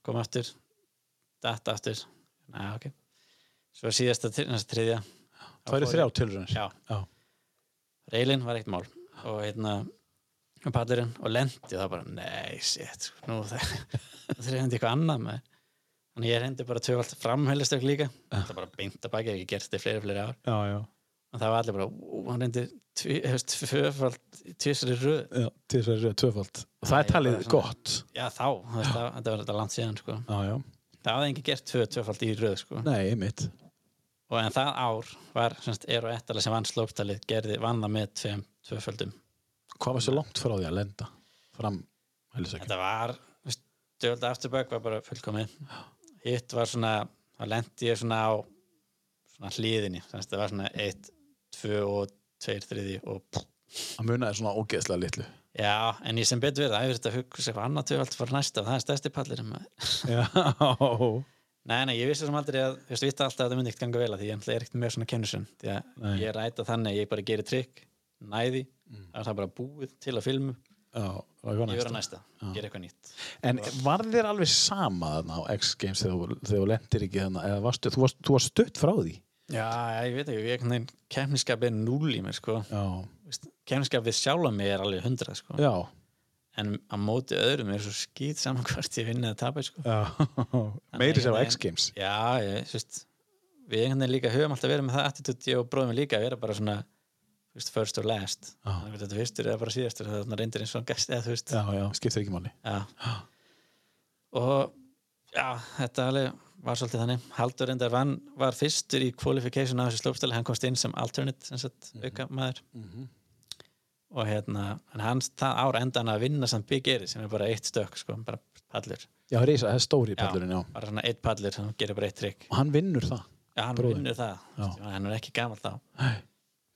kom aftur datt aftur, na, ok svo síðasta, til- næsta þriðja þá það eru fór ég- þrjá tilröðins. já, Já. reilin var eitt mál og hérna og pallurinn og lendi og það bara nei, shit, sko, nú það <laughs> það er hendi eitthvað annað með þannig ég hendi bara tvöfalt framhælistök líka það bara beint að baki, ég hef gert þetta í fleiri fleiri ár Já, já, og það var allir bara, ú, hann reyndi tvi- þú veist, tvöfalt, tvisari röð já, til þess að það eru tvöfalt. Og það Já, er ég talið bara svona- gott. já þá, þú veist, það, þetta var þetta langt síðan sko. Já, já. það hafði engi gert tvö, tvöfalt í röð sko. Nei, einmitt. og en það ár var, semst, er og ettala sem vann slóptalið, gerði vanna með tveim, tvöföldum Hvað var svo langt frá því að lenda fram heljast okkur? þetta var stöld afturbögg var bara fullkomið hitt var svona, þá lendi ég svona á svona hliðinni þannig að það var svona 1, 2 og 2, 3 og pff. Að muna er svona ógeðslega litlu. já, en ég sem betur verið, það hefur þetta hugsa eitthvað annað tvöfald fyrir næsta og það er stærsti pallir nei, Já, nei, ég vissi sem aldrei að, ég vita alltaf að það myndi ekkert ganga vel að því ég náttúrulega er ekkert með svona kennusun því að Nei. ég ræta þannig, að ég bara geri trikk næði, mm. það er það bara búið til að filmu, já, það var ég vera næst. næsta, gera eitthvað nýtt En var þér alveg sama þarna á X Games þegar þú- þegar þú lendir ekki þarna eða varstu, þú varst, þú varst stutt frá því? já, já, ég veit ekki, ég, kemniskap er núl í mér sko. Já. kemniskap við sjálfa mig er alveg hundra sko. Já. en að móti öðrum er svo skýt saman <laughs> hvort ég vinna að tapa sko. Já. <laughs> Meiri sér á X Games. já, ég, þú veist við einhvern veginn líka höfum alltaf verið með það attitút ég og bróðum líka að vera bara svona þú veist, first or last Já. þannig að þetta fyrstur eða bara síðastur þannig að það reyndir eins og hann gæst eða þú veist Já, já, skiptir ekki máli. já. <gasps> og já, þetta alveg var svolítið þannig Haldur reyndar vann var fyrstur í qualification á þessu slópstæli, hann komst inn sem alternate sem sagt, Mhm. auka maður og hérna, en hans það ára enda hann að vinna samt byggeri sem er bara eitt stök, sko, bara pallur Já, Reisa, það er stóri pallurinn, já. bara svona eitt pallur, hann gerir bara eitt trygg Og hann vinnur það. já, hann Bróðir. vinnur það, Já. hann er ekki gamall þá Nei.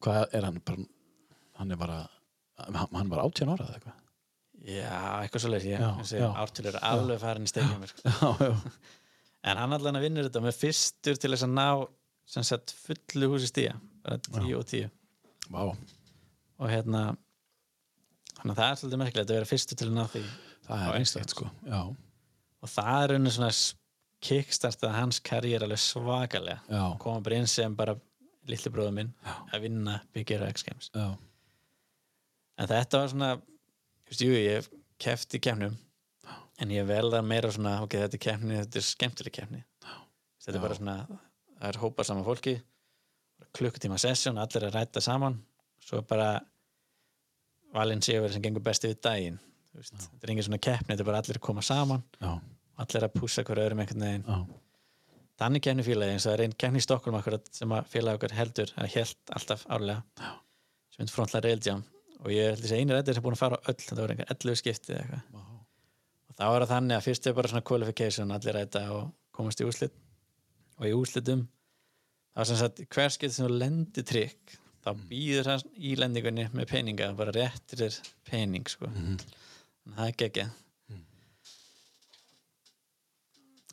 Hvað er hann? Bara, hann er bara, hann hann var 18 ára eða eitthvað. já, eitthvað svo leir ég, Já, þessi já. ártölu er alveg farin í stegjum sko. Já, já. en hann allan að vinnur þetta með fyrstur til þess að ná sem sagt fullu húsi stíja bara 10 og 10 Vá. og hérna þannig að það er svolítið merkilegt að vera fyrstur til að ná því Það Já, er einstakt. einstætt, sko. Já, og það er unni svona kickstartað hans karriér alveg svakalega já, koma bara inn sem bara litli bróður minn Já. að vinna byggjara X Games já. en þetta var svona þú veist, jú, ég hef keft í kemnum en ég vel það meira svona ok, þetta er kemni, þetta er skemmtileg kemni þetta er Já. bara svona það er hópað saman fólki klukkutíma sesjón, allir að ræta saman svo er bara valinn séu verið sem gengur besti við daginn þú veist, þetta er engin svona keppni, þetta er bara allir að koma saman Já, allir að pússa hver öðrum einhvern veginn já, þannig kennifélagi eins og það er einn kenni í Stokkólum akkurat sem að félagi okkar heldur að held alltaf árlega Já. sem heitir Frontline Rail Jam og ég held þessi eini rættir sem búin að fara á öll það voru einhver 11 skipti eða eitthvað Vá. og þá er það þannig að fyrst er bara svona qualification allir ræta og komast í úslit og í úslitum þá er sem sagt hver skipt sem þú lendir trygg þá Mm. býður hann í lendingunni með peninga bara réttir þér pening sko. Mhm. en það er geggja Mm.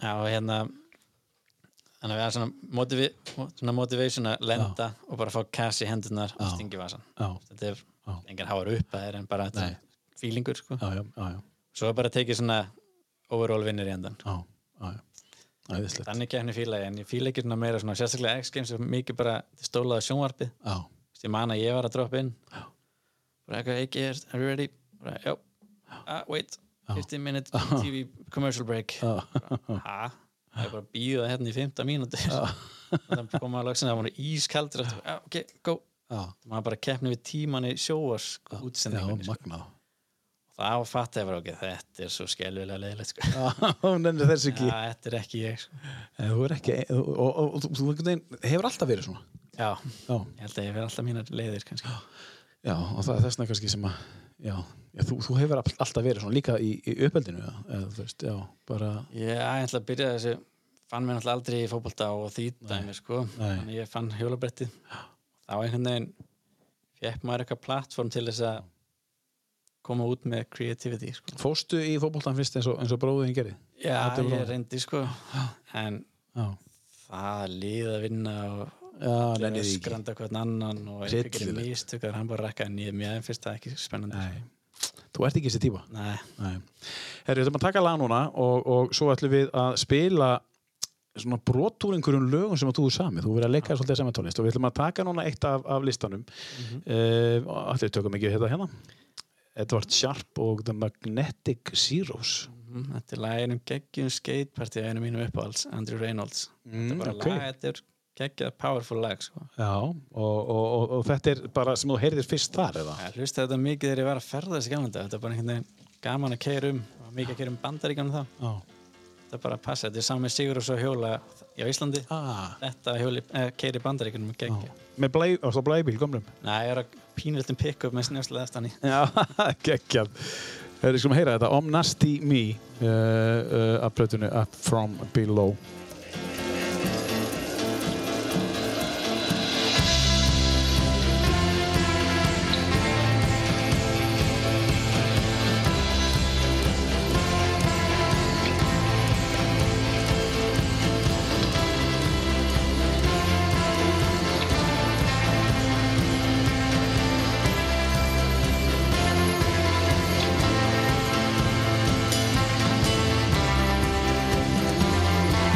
já og hérna þannig að við erum svona, motivi, svona motivation að lenda og bara fá cash í hendunar og Já. stingi vasan já, þetta er Já. engar háar upp að er en bara þetta Nei. er feelingur sko. já, já, já, já, svo er bara að tekið svona overall vinnir í endan já, já, já. Æðislegt. þannig kefni fílaði en ég fíla ekki svona meira svona, sérstaklega X-Games er mikið bara stólaða sjónvarpið Já, Þú veist, ég man að ég var að droppa inn bara eitthvað ekki er, are you ready? bara, já, ah, wait 15 <laughs> minute TV commercial break já, ha, það er bara að býða hérna í 15 mínútur <laughs> þannig að koma að lagsin það voru ískaldur eftir, "Ah, ok, go já, maður bara keppni við tímanni sjóars já, útsendingunni sko. magnað. þá fatt ég bara ok, þetta er svo skelvilega leiðilegt sko. Já, <laughs> hún nefnir þess ja, ekki. þetta er ekki ég sko. En Þú er ekki, og, og, og, og þú- þú einhvern veginn hefur alltaf verið svona. já, Já, ég held að ég verð alltaf mínar leiðir kannski já, og það er þessna kannski sem að, já, já þú, þú hefur all- alltaf verið svona líka í, í uppeldinu, eða, eða, þú veist, já, bara, ég ætla að byrja þessu fann mér náttúrulega aldrei í fótbolta og því dæmi sko, Nei. þannig ég fann hjólabretti þá einhvern veginn fekk maður eitthvað plattform til þess að koma út með creativity sko. fóstu í fótboltan fyrst eins og, eins og bróðin gerði? já, Þetta er ég bara- reyndi sko en Já, það líð að vinna og já, allir nefnir því ekki. öskranda hvern annan og einhver gerir Hryllilegt. mistök það er hann bara að rakka en ég mér finnst það ekki spennandi Nei, þú ert ekki þessi típa. Nei. Nei. Herri, við ætlum að taka lag núna og, og svo ætlum við að spila svona brotúr einhverjum lögum sem að þú er sami þú verður að leika þér svolítið sem að tónlist og við ætlum að taka núna eitt af, af listanum mm -hmm. uh, allir tökum ekki þetta hérna Edward Sharp og The Magnetic Zeros Mhm, þetta er lagin um geggjum skateparti einu mínum uppáhalds, Andrew Reynolds þetta er bara Mm, ok. lag, þetta er geggjað powerful lag sko. Já, og, og, og, og þetta er bara sem þú heyrðir fyrst þar eða? ég hlusti þetta mikið þegar ég var að ferða þessi gamla dag þetta er bara einhvern veginn gaman að keira um og mikið að keira um bandaríkjanum þá Já þetta er bara að passa, þetta er sami sigur og svo hjóla í Íslandi, ah. þetta að hjóli eh, keira í bandaríkjanum er geggjað Með blæ, á, svo blæbíl, gömlum Nei, ég er að pínviltum pick-up með snjóslega aftan í Já, <laughs> geggjað. Þeir eru sko að heyra þetta, Om Nasty Me uh, uh, af plötunni Up From Below.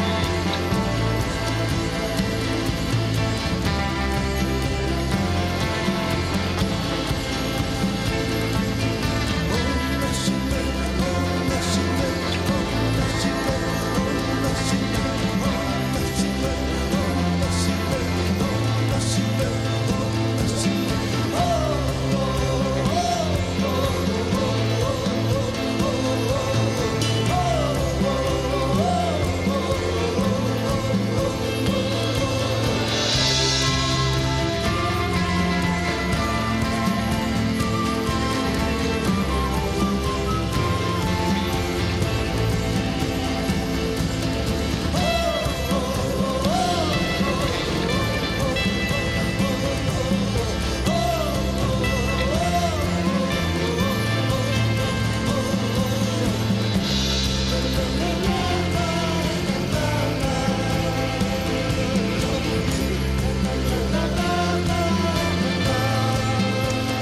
Thank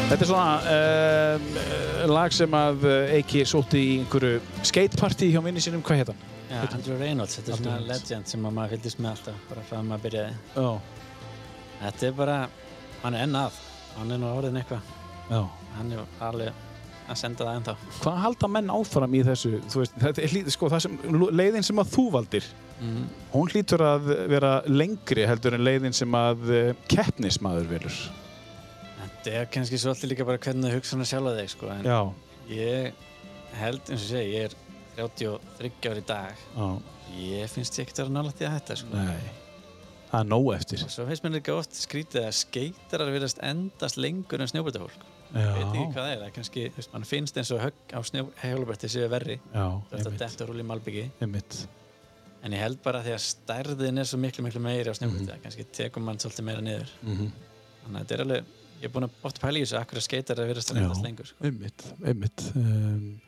Þetta er svona uh, lag sem að eh, Eiki sótti í einhverju skateparti hjá minni sínum, hvað hétt hann? Já, Andrew Reynolds, þetta er Andrew svona Reynolds. legend sem að maður fylgist með alltaf bara frá að maður byrjaði Já, Þetta er bara, hann er enn að hann er nú orðin eitthvað já. hann er alveg að senda það ennþá Hvað halda menn áfram í þessu? Þú veist, þetta er lítið, sko, það sem, leiðin sem að þú valdir, Mhm. hún hlýtur að vera lengri heldur en leiðin sem að eh, keppnismadur velur. Þetta er kannski svolítið líka bara hvernig þú hugsa hann sjálf að þig sko. en Já, ég held eins og segi, ég er 33 ári í dag já, ég finnst ég ekkert að vera nálægt í að hætta sko. nei. Það er nóg eftir. og svo finnst mér líka oft skrítið að skeitarar virðast endast lengur en sko. snjóbætafólk Já, veit ekki hvað það er, það er kannski, þú veist, mann finnst eins og högg á snjóhjólubrætti séu verri já, þetta einmitt, dætt að rúli í malbyggi einmitt. en ég held bara því að stærðin er svo miklu miklu meiri á snjóhjólubrætti, mm kannski tekur mann svolítið meira niður Mhm. þannig að þetta er alveg, ég er búin að oft pæla í þessu akkur að skeitar að vera Já. stærðast lengur sko. Einmitt, einmitt. Um,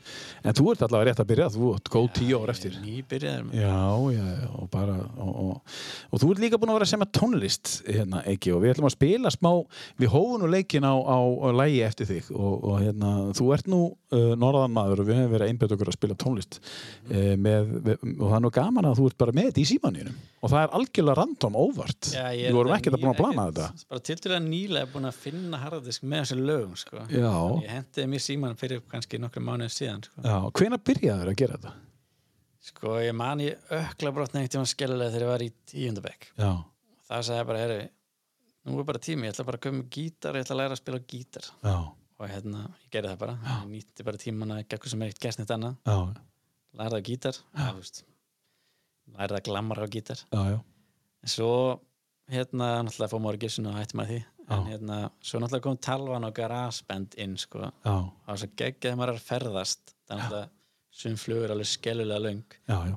en þú ert allavega rétt að byrja, þú ert góð tíu ár eftir. nýbyrjaður maður. Já, já, já, og bara og, og, og þú ert líka búin að vera að semja tónlist hérna, ekki, og við ætlum að spila smá við hófum nú leikin á, á, á lægi eftir þig og, og hérna, þú ert nú uh, norðan maður og við hefum verið að einbjöta okkur að spila tónlist Mhm. mm með, við, og það er nú gaman að þú ert bara með þetta í símaninum og það er algjörlega random óvart Já, ég er við vorum þetta ekkert að búin að ný- plana ekkert- þetta bara tildulega nýlega búin að finna harðadisk með þessu lögum sko. Já. Þannig ég hendiði mér síman fyrir kannski nokkru mánuðin síðan sko. Já, hvenær byrjaði þér að gera þetta? sko, ég man ég ökla brotna eitt tíma skellilega þegar ég var í tíundabæk Já, það sagði ég bara, herri nú er bara tími, ég ætla bara að köpa með gítar ég ætla að læra að spila á gítar já, og hérna, ég gerði það bara, ég nýtti bara tíman að gekk sem er eitt gert neitt annað, já, læraði á gítar ja, þú veist, læraði að glamra á gítar já, já. en svo, hérna, náttúrulega fór maður gissun og hætti maður því en hérna, svo náttúrulega kom talvan og garasband inn, sko, og Já, það var svo geggjaði maður er að ferðast, þannig að sum flugur alveg skellulega löng já, já,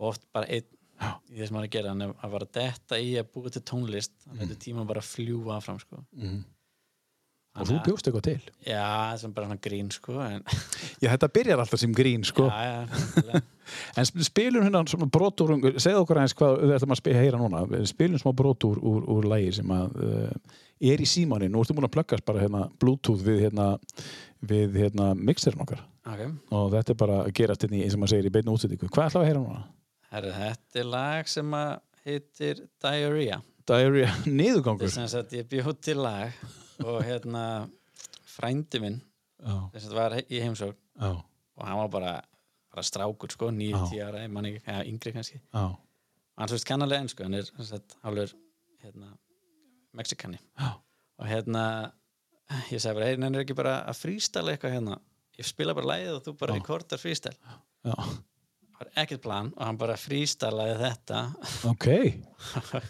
og oft bara einn Já. í þessum maður að gera, en ef- að bara detta í að búa til tónlist, Mm. þannig að þetta tíma bara að fljúa fram, sko og þú bjóst eitthvað til Já, það er bara svona grín sko en, Já, þetta byrjar alltaf sem grín, sko já, já, náttúrulega. En sp- spilum hérna svona brot úr segðu okkur aðeins hvað við ætlum að spi- heyra núna spilum smá brot úr, úr, úr lægi sem að uh, er í símaninn nú ertu múin að pluggast bara hérna bluetooth við hérna, við hérna mixerin okkar ok, og þetta er bara að gerast hérna í- eins og maður segir í beinni útsendingu hvað ætlum við að heyra núna? herru, þetta er lag sem að heitir Diarrhea Diarrhea, <laughs> þetta er niðurgangur sem sagt ég bjó til lag og hérna frændi minn Já, þess að var í heimsókn já, og hann var bara, bara strákur sko, 9-10 Já. ára, ég man ekki, eða yngri kannski já, hann svo veist kannarlega enn sko, hann er sem sagt hálfur hérna, mexikani já, og hérna ég sagði bara, hey, hann er ekki bara að freestyle eitthvað hérna, ég spila bara lagið og þú bara rekordar freestyle já. var ekkert plan og hann bara frístalaði þetta <laughs> ok já,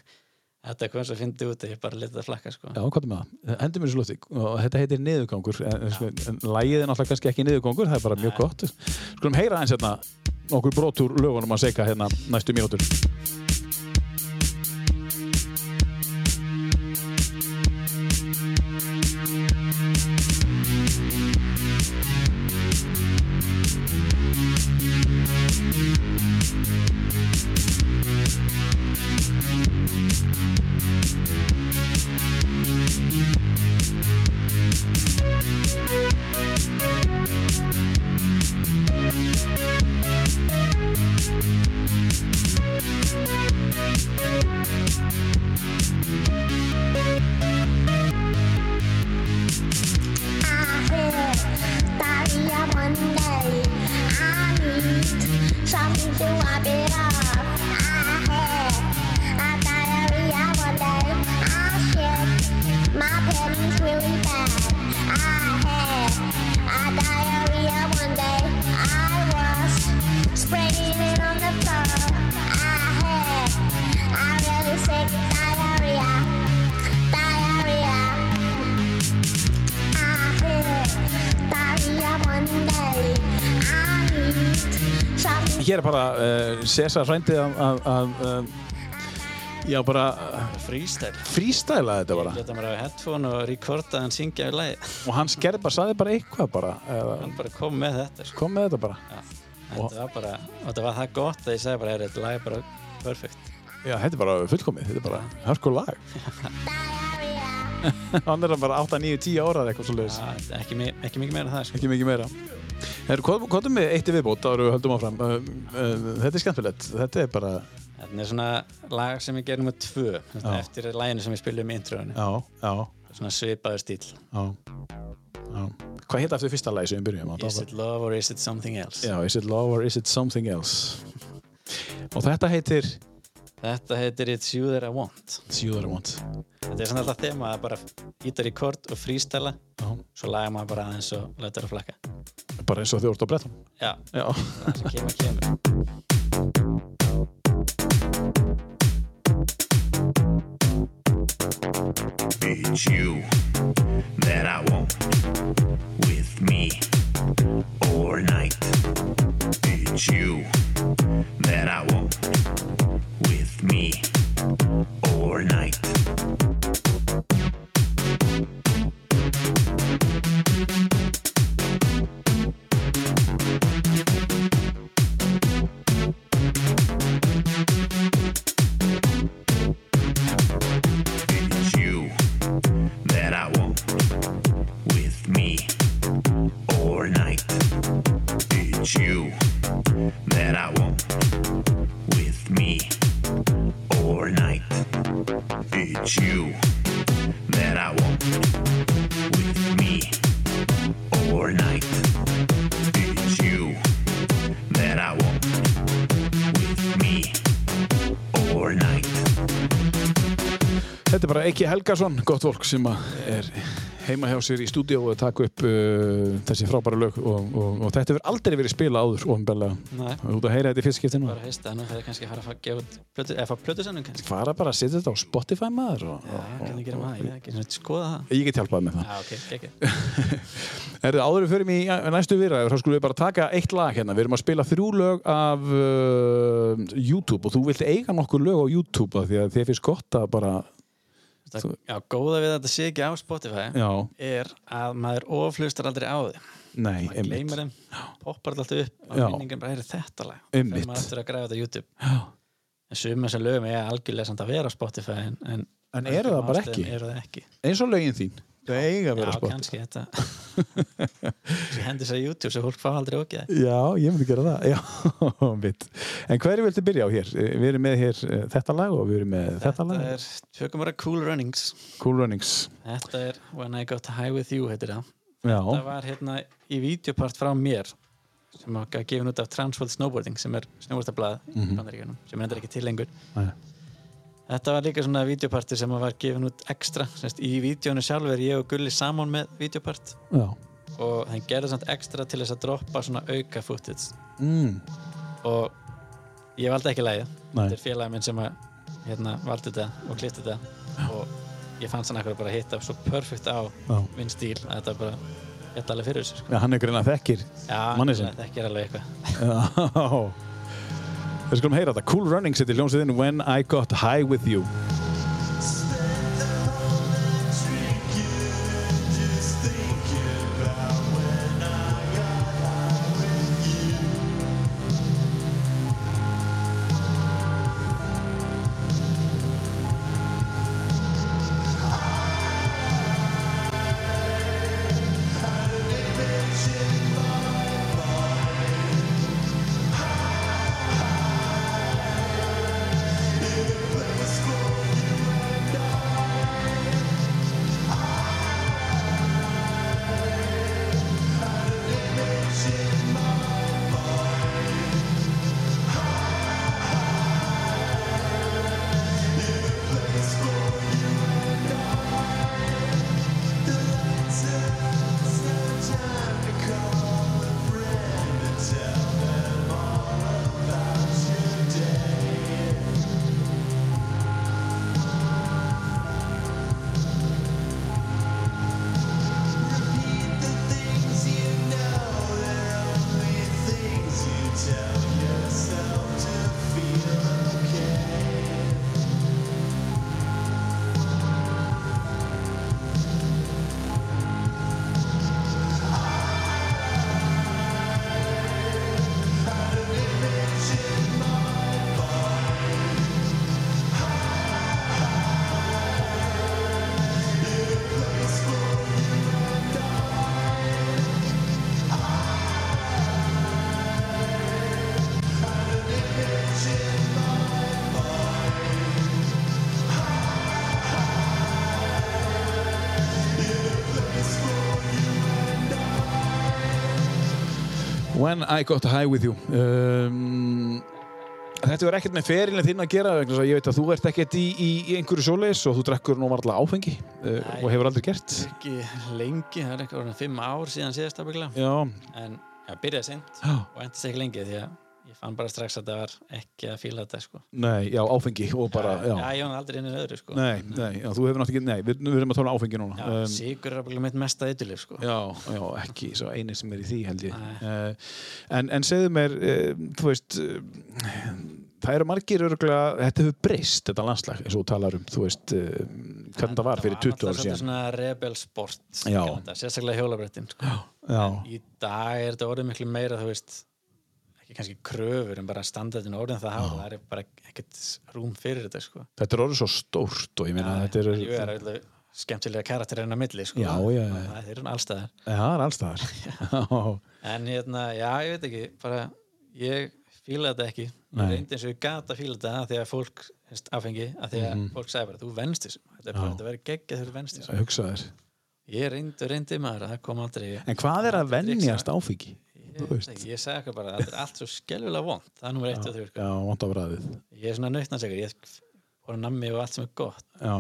þetta kom svo fyndi út að ég bara leta það flakka sko. hvað er með það? Eh, Hendur mér svo lóti og þetta heitir niðurgangur en, en, en lægið er náttúrulega kannski ekki niðurgangur það er bara mjög gott Skulum heyra aðeins hérna okkur brot úr lögunum að segja hérna næstu mínútur Spraying it on the floor. I had, I really sick diarrhea, diarrhea. Something Hér er bara uh, César frændið að- að að, um, eh, já bara frístæl frístæla þetta bara leta mér á headphone og rekorda hann syngja í lagi og hann skerði bara, saði bara eitthvað bara uh, <laughs> hann bara kom með þetta sko. kom með þetta bara Já. þetta var bara, og þetta var það gott að ég segi bara, "Heyrðu, þetta lag er bara perfect já, þetta er bara fullkomið, þetta er bara hörkur lag diarrhea. Hann er hann bara 8, 9, 10 ára eða eitthvað svo leiðis. Það er ekki, mi- ekki mikið meira en það sko. Ekki mikið meira. Herru, hvað, hvað er með eitt í viðbót þá eru við höldum áfram? Uh, uh, þetta er skemmtilegt. Þetta er bara, Þetta er svona lag sem ég gerum með tvö Þetta Já. er eftir laginu sem ég spilum í introinu já, já, svona svipaður stíl já. já. Hvað heit aftur fyrsta lagi sem við byrjum á? Is it love or is it something else? Já, is it love or is it something else? Og þetta heitir Þetta heitir It's you that I want It's you that I want. Þetta er svona alltaf þema að bara ítar í kort og frístæla Já. svo laga maður bara aðeins og letur að flakka Bara eins og þú ert á brettum. Já, Já. það sem kemur kemur It's you that I want with me all night. It's you that I want with me all night. It's you that I want with me all night. It's you that I want with me all night. It's you that I want with me all night. It's you that I want with me all night. Þetta er bara Eiki Helgason, gott fólk sem að er heima hjá sér í stúdíó og taka upp uh, þessi frábæra lög og, og, og þetta hefur aldrei verið spila áður ofinbella. Nei. Þú ert að heyra þetta í fyrstskiptinu. bara heist að nú þegar kannski að fara að fara að gefa út plötu, eða fá plötusennum kannski Fara bara að setja þetta á Spotify maður og, Já, hvernig gerum við það? Ég er ekki svona skoða það Ég get hjálpað með það. Já, ok, ekki Erðu áður en við förum í ja, næstu viðræður, þá skulum við bara taka eitt lag hérna. Við erum að spila þrjú lög af uh, YouTube og þú vilt eiga nokkur lög á YouTube af því að þið finnst gott að bara, Það- Já, góða við að þetta sé ekki á Spotify já, er að maður oflustar aldrei á því nei, maður gleymir þeim, poppar þetta alltaf Já. upp og minningin bara er þetta lag og Einmitt. þegar maður eftir að græfa þetta á YouTube Já. en sumum þessar lögum er algjörlega samt að vera á Spotify en, en, En eru það bara ástæðum ekki? eru það ekki Eins og lögin þín. Það eiga að Já, vera á Spotify. kannski <laughs> þetta Svo hendi sér YouTube svo fólk fá aldrei okkið okay. Já, ég myndi gera það <laughs> Já, mitt En hverju viltu byrja á hér? Eh, Við erum með hér eh, þetta lag og við erum með þetta, Þetta lag er tökum bara Cool Runnings Cool Runnings Þetta er When I Got High With You heitir það Já, Það var hérna í videopart frá mér sem var gefin út af Transworld Snowboarding sem er snowboardablað Mhm. í bandaríkjunum sem er endur ekki til lengur Nei. Þetta var líka svona videopartur sem var gefin út ekstra semst, í videónu sjálf er ég og Gulli saman með videopart já og hann gerði samt ekstra til þess að droppa svona auka footage mm. og ég valdi ekki lægið Nei. þetta er félagið minn sem að hérna, valdi þetta og klifti þetta og ég fannst hann akkur bara hitta svo perfekt á Já. minn stíl að þetta bara þetta alveg fyrir þessu sko. Já, hann er greina þekkir Já, Manninn sinn. þetta ekki er alveg eitthvað <laughs> Já Við skulum heyra þetta Cool Runnings Þetta er hljómsveitin When I Got High With You Let's go. When I Got High With You um, Þetta verður ekkert með ferilin þinn að gera vegna þess að ég veit að þú ert ekkert í, í, í einhverju svoleiðis og þú drekkur nú varla áfengi uh, Nei. og hefur aldrei gert Ekki lengi, það er eitthvað orðin fimm ár síðan síðast afbygglega. Já, En það byrjaði seint Já. og endist ekki lengi því að ég fann bara strax að það var ekki að fíla þetta sko. nei, já, áfengi og bara, já, Já, ég var aldrei inn í öðru sko. Nei, nei, já, þú hefur náttúrulega ekki, nei, við, við erum að tala um áfengi núna Já, sigur er afbygglega mitt mesta eitthulif sko. Já, já, ekki svo eini sem er í því held ég Nei. uh, en, en segðu mér uh, þú veist uh, það eru margir örgulega, þetta hefur breyst þetta landslag, eins og þú talar um þú veist, uh, hvernig það var fyrir 20 ára Þetta var síðan svona rebel sport, Já. kallar þetta, sérstaklega hjólabrettin sko. Já, Í dag er þetta orðið miklu meira, þú veist, ekki kannski kröfur en bara standardin orðin það hafa, það er bara ekkert rúm fyrir þetta sko. þetta er orðið svo stórt og ég meina Já, þetta er, jú, er auðvitað skemmtilega karakterinn á milli sko. Já, já, já. Það- það er hún allstaðar Já, það er <laughs> allstaðar Já, en hérna, já, ég veit ekki bara, ég fíla þetta ekki Nei. ég reyndi eins og ég gata fíla þetta af því að fólk hefst, afengi, af því að Mhm. fólk sagði bara, þú venst þessu, þetta er bara, þetta verður geggja þegar þú venst þessu, það hugsa þér ég reyndi, reyndi maður það kom aldrei, ég, En hvað er að venjast áfengi? ég, veit ekki, ég sagði eitthvað bara, þetta er allt svo skelvilega vond það er nummer eitt og þrjú, sko. Já, vant á bræðið ég er svona nautnarsegur ég voru nammi og allt sem er gott Já,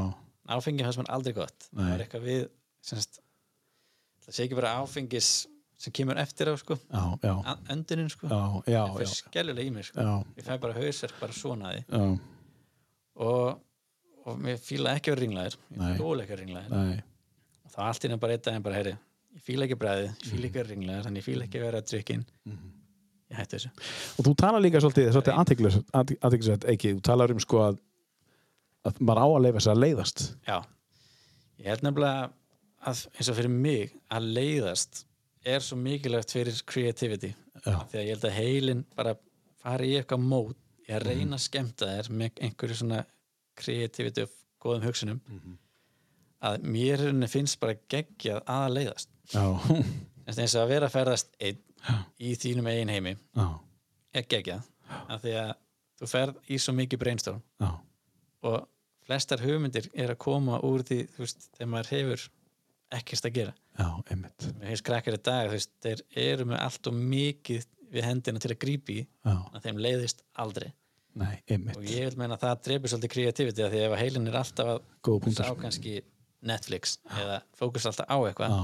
áfengi fannst mér aldrei gott Nei. það er eitthvað við semst, það sé ekki bara áfengis sem kemur eftir á sko já, já a- öndunin sko Já, já, það já, fyrir skellulega í mér sko já, ég fæ bara hausverk bara svona af því já og, og mér fíla ekki að vera ringlaðir Nei. ég fíla ekki að vera ringlaðir Nei, og það allt innan bara einn daginn bara heyri ég fíla ekki bræðið, ég fíla Mhm. ekki að vera ringlaðir þannig ég fíla ekki að vera drikkin ég hætti þessu og þú talar líka svolítið, svolítið athyglisvert- athyglisvert athyglisvert, ekki, þú talar um sko að, að maður á að leifa sér að leiðast Já, ég held nefnilega að eins og fyrir mig að leiðast er svo mikilvægt fyrir creativity Já. því að ég held að heilin bara fari í eitthvað mót ég að reyna að skemmta þér með einhverju svona creativity og góðum hugsunum að mér í rauninni finnst bara geggjað að leiðast Já, Þess- eins og að vera að ferðast einn í þínum eigin heimi <laughs> já, er geggjað af því að þú ferð í svo mikið brainstorm já, og flestar hugmyndir er að koma úr því þú veist, þegar maður hefur ekkert að gera já, einmitt mér finnst krakkar í dag, þú veist, þeir eru með allt og mikið við hendina til að grípi Já, að þeim leiðist aldrei nei, einmitt, og ég vil meina að það dreipur svolítið kreativiti af því ef að heilin er alltaf að góða sá punktar kannski Netflix eða fókus alltaf á eitthvað Já,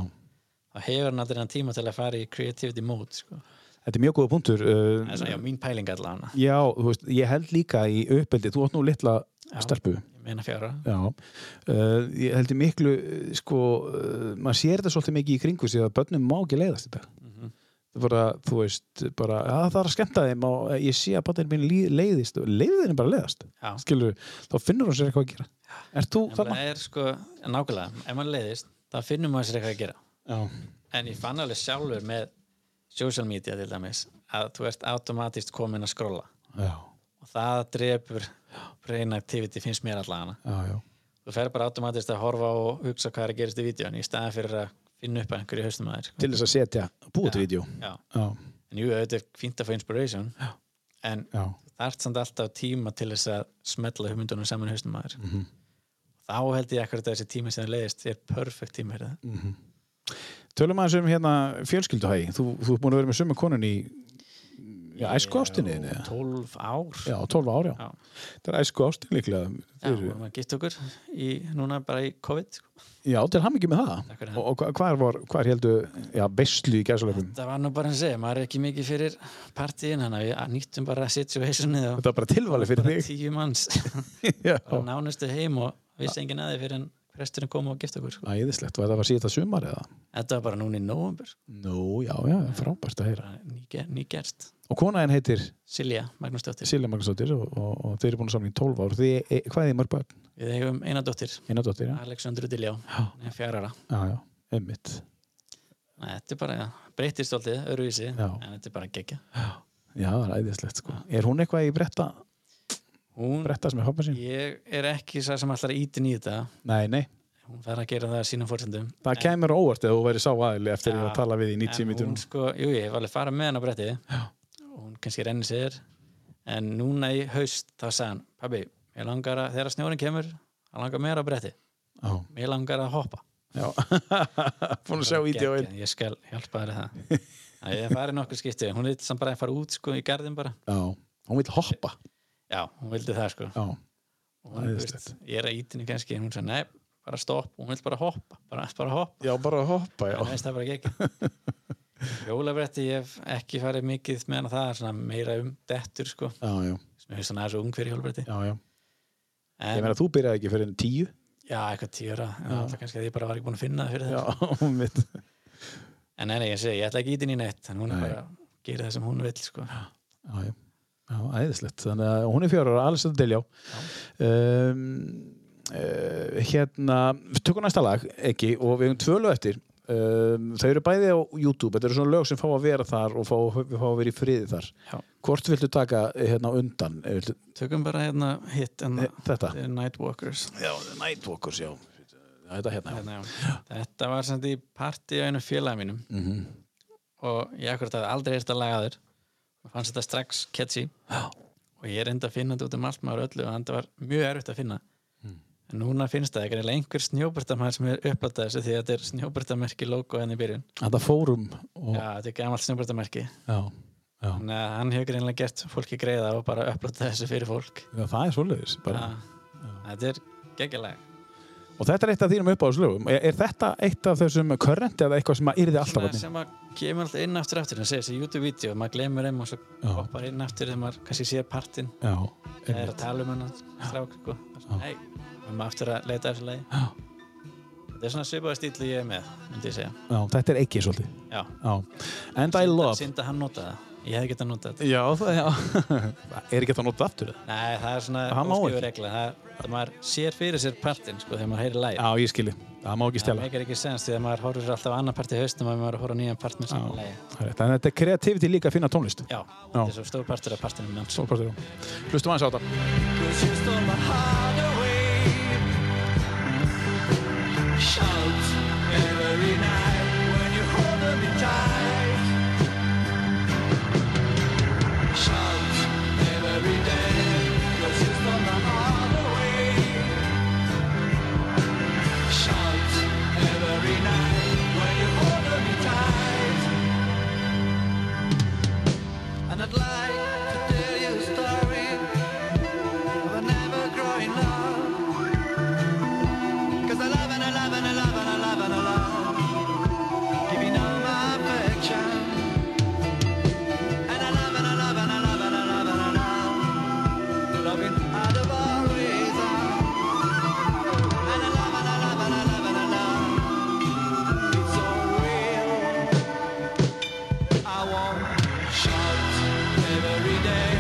þá hefur hann aldrei hann tíma til að fara í creativity mode sko. þetta er mjög góða punktur það uh, er svona, já, mín pæling allavega Já, þú veist, ég held líka í uppeldi þú átt nú litla stelpu ég meina fjára Já, uh, ég heldur miklu uh, sko, uh, maður sér þetta svolítið mikið í kringu sér að börnum má ekki leiðast þetta mm Mhm. bara, þú veist, bara að það er að skemmta þeim og ég sé að börnum minn lí- leiðist, leiðið þeim bara að leiðast Já. skilur, þá finnur hún sér eitthvað að gera Er þú það þarna? er sko, nákvæmlega, ef maður leiðist þá finnum maður sér eitthvað að gera Já, en ég fann alveg sjálfur með social media til dæmis að þú ert automatist komin að skrolla já, og það drepur brain activity finnst mér allavega já, já þú fer bara automatist að horfa og hugsa hvað er að gerast í vídjón í staðan fyrir að finna upp að einhverju haustum að þér sko. Til þess að setja, búið til vídeo Já. Já, en jú, auðvitað er fínt að fá inspiration já. en já, það ert samt alltaf tíma til þess að smetla hugmyndunum saman í haustum að þér Mhm. þá held ég akkurat að þessi tími sem leiðist er perfect tími fyrir það Tölum aðeins um hérna fjölskylduhægi þú, þú ert búin að vera með sömu konun í já, æsku ástinni þinni, eða? 12 ár Já, 12 ár, já. Já. Það er æsku ástin líklega Já, Þau við eru- erum að geta okkur í, núna bara í COVID sko. Já, til hamingi með Takk það. fyrir Og, og hva- hvar var, hvar heldur, já, veistlu í gæsalöfum? Það var nú bara að segja, maður er ekki mikið fyrir partíin, þannig að við nýttum bara situationnið og <laughs> Þetta var bara tilvalið fyrir bara þig. tíu <laughs> manns Já, bara nánustu heim og vissi enginn að þið fyrir en presturinn kom og gift okkur sko. æðislegt. Var þetta var síðasta sumar eða? Þetta var bara núna í nóvambur, Nú, já, já, frábært að heyra. nýgerst Og konaðin heitir Silja Magnúsdóttir, Silja Magnúsdóttir og, og, og þeir eru búin saman í 12 ár. Þið, e, hvað er þið mörg börn? við eigum eina dóttir Eina dóttir, já. Alexandru Diljá, hún er fjárara Já, já, einmitt. Nei, Þetta er bara, ja, breytist alltaf, öruvísi Já. en þetta er bara geggja Já, það er æðislegt, sko. Er hún eitthvað í bretta, Hún, bretta sem er hoppa sín? ég er ekki sá sem allar ítin í þetta Nei, nei. hún fer að gera það sínum fórsendum Það kemur óvart eða þú væri sá aðili eftir Já, að tala við í 90 En mítur. hún sko, jú, ég hef alveg farið með hann á bretti og hún kannski rennir sér en núna í haust þá sagði hann pabbi, mér langar að, þegar snjórin kemur hann langar mér á bretti, Já, mér langar að hoppa Já, <laughs> búin að sjá vídjóin. Geggjað, Ég skal hjálpa þér að það Æ, Ég farið nokkur skipti, hún vildi samt bara að fara út sko, í garðin bara Já, hún vil hoppa. Já, hún vildi það sko Já, og hún, æðislegt. veist, Ég er að ítinu kannski, hún sagði nei, bara stopp, hún vildi bara hoppa bara, bara hoppa, já bara hoppa, já. það veist það bara gegn <laughs> Jólabretti, ég hef ekki farið mikið meðan að það er svona meira um dettur sko, Já, já, sem hefur svona aðeins ung fyrir jólabretti já, já. Ég en, meina, þú byrjaði ekki fyrir enn tíu. Já, eitthvað tíra, það kannski að ég bara var ekki búin að finna það fyrir Já, <laughs> það mitt. En nei, nei, ég segi, ég ætla ekki ítin í neitt en hún Nei. er bara að gera það sem hún vil sko. Já, já. Já, æðislegt. Þannig að hún er fjár ára, alls að deljá. Um, uh, hérna, við tökum næsta lag, ekki, og við höfum tvö lög eftir. Um, þau eru bæði á YouTube, þetta eru svona lög sem fá að vera þar og fá, fá að vera í friði þar. Já. Hvort viltu taka eh, hérna á undan? Eh, Viltu, Tökum bara hérna hitt en eh, þetta? The Nightwalkers Já, Nightwalkers, já. Þetta hérna, já. hérna, já. Þetta var samt í partí á einu félagi mínum Mhm. og ég akkurat hafði aldrei eitt að laga þér og fannst þetta strax catchy Já. og ég reyndi að finna þetta út um allt maður öllu og þetta var mjög erfitt að finna en núna finnst það ekkert einhver snjóbærtamæður sem er uppátt að þessu því að þetta er snjóbærtamerki logo henni í byrjun Þetta fórum og, Já, þetta er gamalt snjóbærtamerki já. Já. þannig að hann hefur greinlega gert fólki greiða og bara uppátt þessu fyrir fólk Já, það er svoleiðis. Bara. Já. Þetta er geggjalag Og þetta er eitt af þínum uppáðslögum. Er, er þetta eitt af þessum körrendi eða eitthvað sem að yrði alltaf svona að sem að kemur alltaf inn aftur aftur en segir þessi YouTube-vídeó, maður glemur þeim og svo Já. hoppar inn aftur þegar maður kannski sér partinn Já, það er einmitt. að tala um hennar strák sko. hei, við maður aftur að leita að þessu lagi Já. þetta er svona svipaða stílu ég er með myndi ég segja Já, þetta er ekki svolítið. já. Já. And I love. Synd að hann nota það, ég hef getað notað þetta Já, það, <laughs> já. er ekki þetta notað aftur það? nei, það er svona Hann má ekki. óskjöfu regla það, það maður sér fyrir sér partinn sko, þegar maður heyrir lagi Já, ég skilji. Það má ekki það stjala. meikar ekki sens því að maður horfir alltaf á annan part í haustum að maður er að horfa á nýjan part með saman lagi Það er rétt. En þetta er kreativiti líka að finna tónlist. já, þetta er svo stór partur af partinu minn Svo partur á. Hlustum aðeins á þetta. And I'd like to tell you a story of an ever growing love. Cause I love and I love and I love and I love and I love. Giving all my affection. And I love and I love and I love and I love and I love. Loving out of all reason. And I love and I love and I love and I love. It's so real. I won't shout every day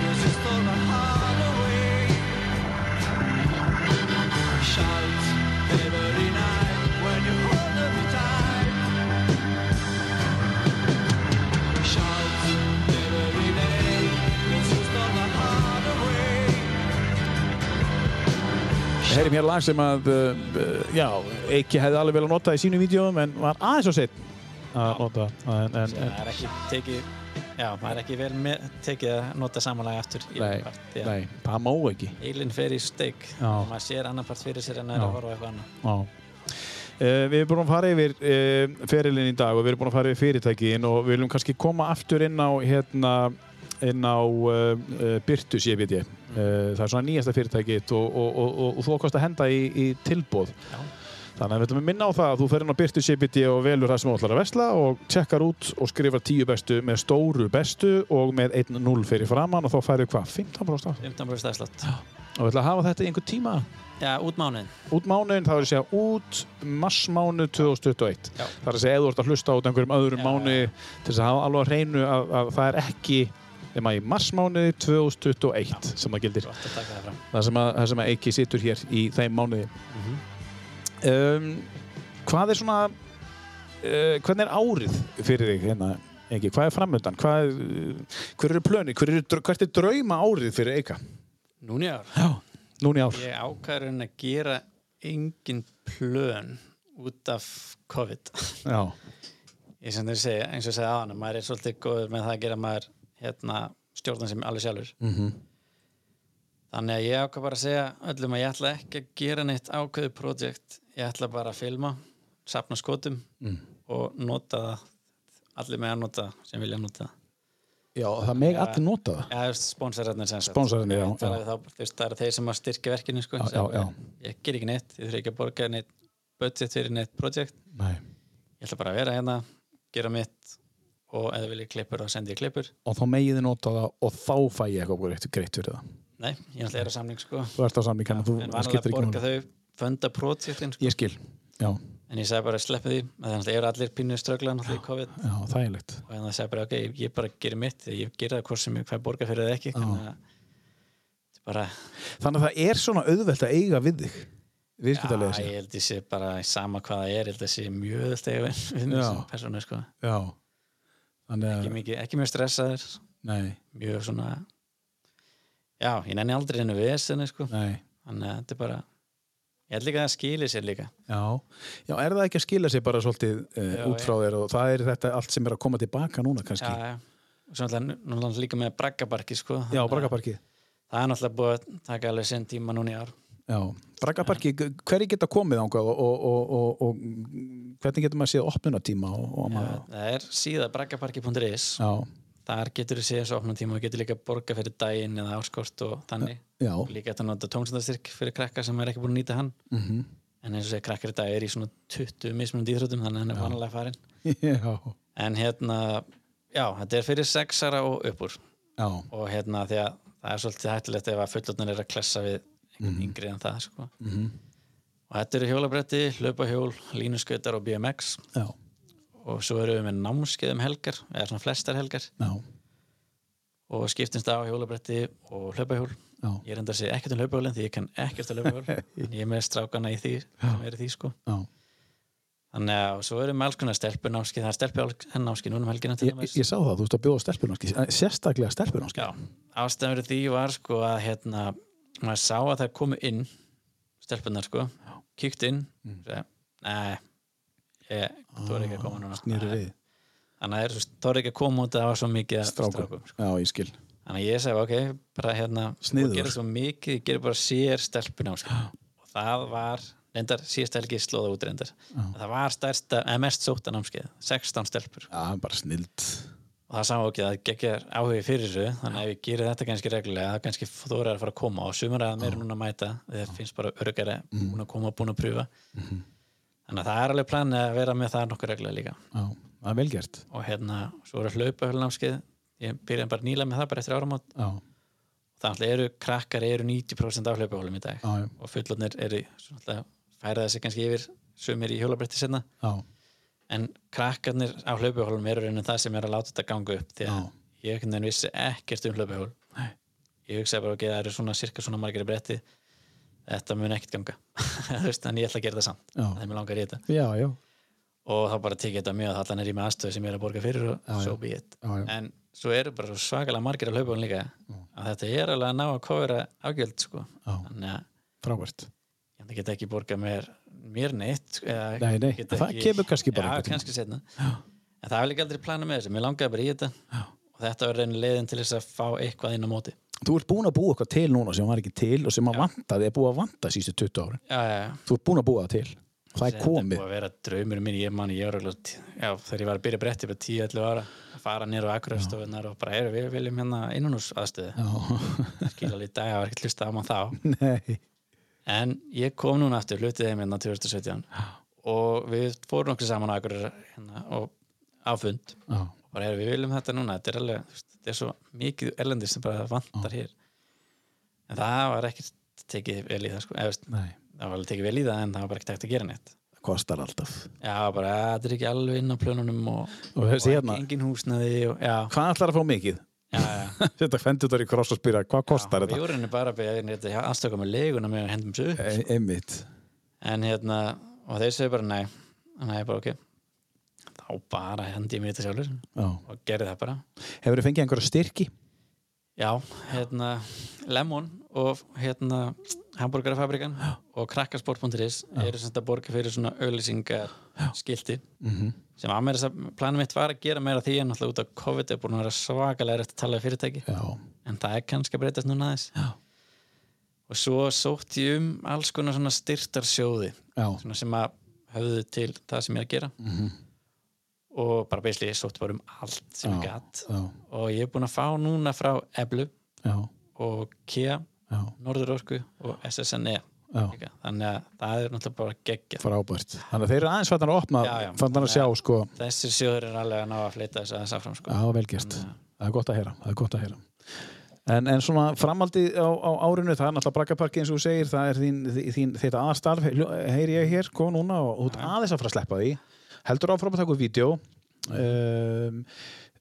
Cause you stole my heart away Shout every night when you hold me tight Shout every day Cause you stole my heart away Heyrjum hér lag sem að, uh, uh, já, ekki hefði alveg vel að nota í sínum vídjóum, en var aðeins og sitt að nota. En, en, en, það er ekki tekið já, það er ekki vel með, tekið að nota samanlega aftur í nei, part, því að nei, það má ekki. eilin fer í steik Já. og maður sér annan part fyrir sér en er Já. að horfa á eitthvað annað Já. Uh, við erum búin að fara yfir uh, ferilinn í dag og við erum búin að fara yfir fyrirtækiðin og við viljum kannski koma aftur inn á hérna, inn á uh, uh, Byrtus ég veit ég uh, það er svona nýjasta fyrirtækið og, og, og, og, og þú ákvæmst að henda í, í tilbóð Já. þannig að við ætlum að minna á það að þú fer inn á Byrtus ég veit ég og velur það sem þú ætlar að vesla og tjekkar út og skrifar tíu bestu með stóru bestu og með 1-0 fyrir framann og þá færðu hvað, 15% af? 15% afslátt og við ætlum að hafa þetta í einhver tíma já, út mánuðin út mánuðin, það er að segja út massmánuð 2021 Já. það er að segja eða þú ert að hlusta út einhverjum öðrum Já. mánuði til þess að hafa alveg að reynu að, að það er ekki nema í massmánuði 2021 sem það gildir, gott að taka það fram það sem, að, það sem að ekki situr hér í þeim mánuði Mhm. um, hvað er svona uh, hvernig er árið fyrir þig hérna Ekki, hvað er framöndan? Hvað, uh, hver eru plöni? Hver eru, dr- hvert er drauma árið fyrir Eika? núni ár, Já. Núni ár? ég ákvæður en að gera engin plön út af COVID Já. ég sem þeir segja, eins og ég segja á hann maður er svolítið góður með það að gera maður hérna, stjórna sem alveg sjálfur Mhm. Þannig að ég ákvað bara að segja öllum að ég ætla ekki að gera neitt ákveðu projekt, ég ætla bara að filma, sapna skotum Mm. og nota það, allir með að nota sem vilja nota það. Já, það meg allir nota það. Já, þú veist, sponsararnir sem sagt. Sponsorarnir, já, Það er, þá, þú veist, það er þeir sem að styrkja verkinu, sko. Já, já, já. Ég ger ekki neitt, ég þurfi ekki að borga neitt budget fyrir neitt projekt. Nei. Ég ætla bara að vera hérna, gera mitt og ef þið viljið klippur þá sendi ég klippur. Og þá megið þið nota það og þá fæ ég eitthvað greitt, greitt fyrir það. Nei, ég ætla að gera samning, sko. Þú ert á samning hann, þú En vanlega skiptir ekki borga núna. þau funda projektin, sko. Ég skil, já, En ég sagði bara að sleppa því, að það náttúrulega eru allir pínu ströggla náttúrulega í COVID já, þægilegt. og þannig að segja bara, ok, ég, ég bara gerir mitt, því ég gerir það hvort sem ég fæ borga fyrir það ekki. Þannig að þetta er bara, Þannig að það er svona auðvelt að eiga við þig, viðskiptarlega Já, sér. ég held ég sé bara sama hvað það er, ég held ég sé mjög öðvöld eða við Já. mjög sem persónu, sko. Já, þannig Ekki að, mikið, ekki mjög stressaður, nei, mjög svona, já, ég nenni aldrei hennu vesinu, sko. nei, Þannig að þetta er bara, ég held líka að það skilir sér líka. já. Já, er það ekki að skila sér bara svolítið uh, Já, út frá þér og það er þetta allt sem er að koma tilbaka núna Já, kannski. já. Og svo náttúrulega náttúrulega líka með braggabarki, sko. Já, Þannig að braggaparkið. Það er náttúrulega búið að taka alveg sinn tíma núna í ár. Já, braggaparkið, hverju geta komið ángað og, og, og, og, og hvernig getur maður séð opnunatíma og, og maður... Það er síða braggabarki.is. Já, Þar getur þú séð svo opnum tíma og getur líka borga fyrir daginn eða áskort og þannig. já, Og líka þetta nota tómsendastyrk fyrir krakka sem er ekki búin að nýta hann mhm, en eins og segja krakkar í dag er í svona 20 mismunandi íþrótum þannig að hann er vanalega farin já, <laughs> en hérna, já, þetta er fyrir sexara og uppur já, og hérna því að það er svolítið hættilegt ef að fullotnir er að klessa við einhvern yngri en það sko. mhm, og þetta eru hjólabretti, hlaupahjól, línuskautar og BMX já, og svo erum við með námskeið um helgar eða svona flestar helgar já, og skiptumst á hjólabretti og hlaupahjól já, ég reyndar að segja ekkert um hlaupahjólinn því ég kann ekkert um <laughs> hlaupahjól en ég er með strákana í því sem er í því sko já. Þannig að og svo erum við alls konar stelpunámski, það er stelpunámski núna um helgina til Ég, ég- ég sá það, þú ert að bjóða stelpunarski, sérstaklega stelpunarski. Já, ástæðan fyrir því var sko að hérna, maður sá að það komu inn, stelpunar sko, kíkt inn, mm. sagði, nei, ég þorði ekki að koma núna. Snýru Nei. við. Þannig að það er svo- þorði ekki að koma út að það var svo mikið af Strákum. Sko. Já, ég skil. Þannig að ég sagði, ok, bara hérna, Sniðugur. og gera svo mikið, ég gera bara sér stelpunámski. Og það var, reyndar, síðast helgi slóða út reyndar. Það var stærsta, eða mest sóta námskeið, 16 stelpur. Já, það er bara snild. og það sama ekki að geggjar áhugi fyrir þessu þannig að ef ég gerir þetta kannski reglulega það kannski þóra að fara að koma og sumar að mér núna að mæta þegar finnst bara örgara Mhm. búin að koma, búin að pröfa þannig að það er alveg planið að vera með það nokkuð reglulega líka Já, það er velgjert. og hérna, svo er að hlaupa hölnámskeið ég byrjaði bara nýla með það bara eftir áramót Já, þannig að eru krakkar eru 90% af hlaupahólum í dag já, já, og fullotnir eru svona alltaf færa þessi kannski yfir sumir í hjólabretti senna já, en krakkarnir á hlaupahólum eru raunin það sem er að láta þetta ganga upp því að Já. ég einhvern veginn vissi ekkert um hlaupahól ég hugsaði bara ok, það eru svona cirka svona margir í bretti þetta mun ekkert ganga <laughs> Þú veist, en ég ætla að gera það samt Já. þegar mér langar í þetta já, já, og þá bara tekið þetta mjög að allan er ég með aðstöðu sem ég er að borga fyrir og so be it já, já. en svo eru bara svo svakalega margir á hlaupahólum líka að þetta er alveg að ná að kofra afgjöld sko. Já. þannig að Frábært. ég get ekki borga mér, mér neitt sko, eða Nei, nei, get það kemur kannski bara já, einhvern tímann. kannski setna en það var líka aldrei plana með þessu, mér langaði bara í þetta já. og þetta var reyni leiðin til þess að fá eitthvað inn á móti já, Þú ert búin að búa eitthvað til núna sem var ekki til og sem að vantaði, er búið að vanta sístu 20 ári. já, já. Þú ert búin að búa það til. Það er Þetta komið. búið að vera draumur minn, ég man ég var alveg, t- já, þegar ég var að byrja bretti bara 10-11 ára, að fara nýra á akkurafstofunar og bara, eru við viljum hérna innanús aðstöðu, Já, skil alveg í dag, það var ekkert hlusta á mann þá <laughs> nei, En ég kom núna aftur, hlutið þeim hérna 2017 og við fórum okkur saman á okkur hérna, og á fund já, og bara, "Heyrðu, við viljum þetta núna, þetta er alveg þú veist, þetta er svo mikið erlendis sem bara vantar hér en það var ekkert tekið vel í það sko, eða, þú veist, nei. það var alveg tekið vel í það en það var bara ekki takt að gera neitt Það kostar alltaf. Já, bara, "Ah, þetta er ekki alveg inn á plönunum og, Og þessi hérna? ekki engin húsnaði og, já, Hvað ætlar að fá mikið? <laughs> já, já Þetta fendur þar í kross og spýra, hvað kostar Við þetta? vorum henni bara að beða þetta aðstöka með leguna með hendum svo upp E- Einmitt. en hérna, og þeir segir bara nei þannig að ég bara ok þá bara hendi ég mér þetta sjálfur Já. og gerði það bara Hefur þið fengið einhverja styrki? já, hérna, Lemon og hérna, Hamburgerafabrikan og krakkasport.is eru sem þetta borga fyrir svona auðlýsingar skilti Mhm. -hmm. sem að mér þess að planum mitt var að gera meira af því en alltaf út af COVID er búin að vera svakalega eftir að tala við fyrirtæki Já. en það er kannski að breytast núna aðeins Já. og svo sótti ég um alls konar svona styrtarsjóði Já. svona sem að höfðu til það sem ég er að gera -hmm. Mhm. og bara beisli ég sótti bara um allt sem ég gatt já. og ég er búin að fá núna frá Eblu já, og KEA já, Norðurorku og SSNE já, E líka. þannig að það er náttúrulega bara geggja frábært. Þannig að þeir eru aðeins fannir að opna, Já, já. fannir að sjá, sko, þessir sjóður er alveg að ná að fleita þess að þess áfram sko. já, vel gert. Það er gott að heyra, það er gott að heyra. En, en svona framaldið á, á árinu, það er náttúrulega brakkaparki eins og þú segir, það er þín, þín, þetta aðstarf, heyri ég hér, kom núna og þú ert aðeins að fara að sleppa því. Heldur áfram að taka upp vídeo um,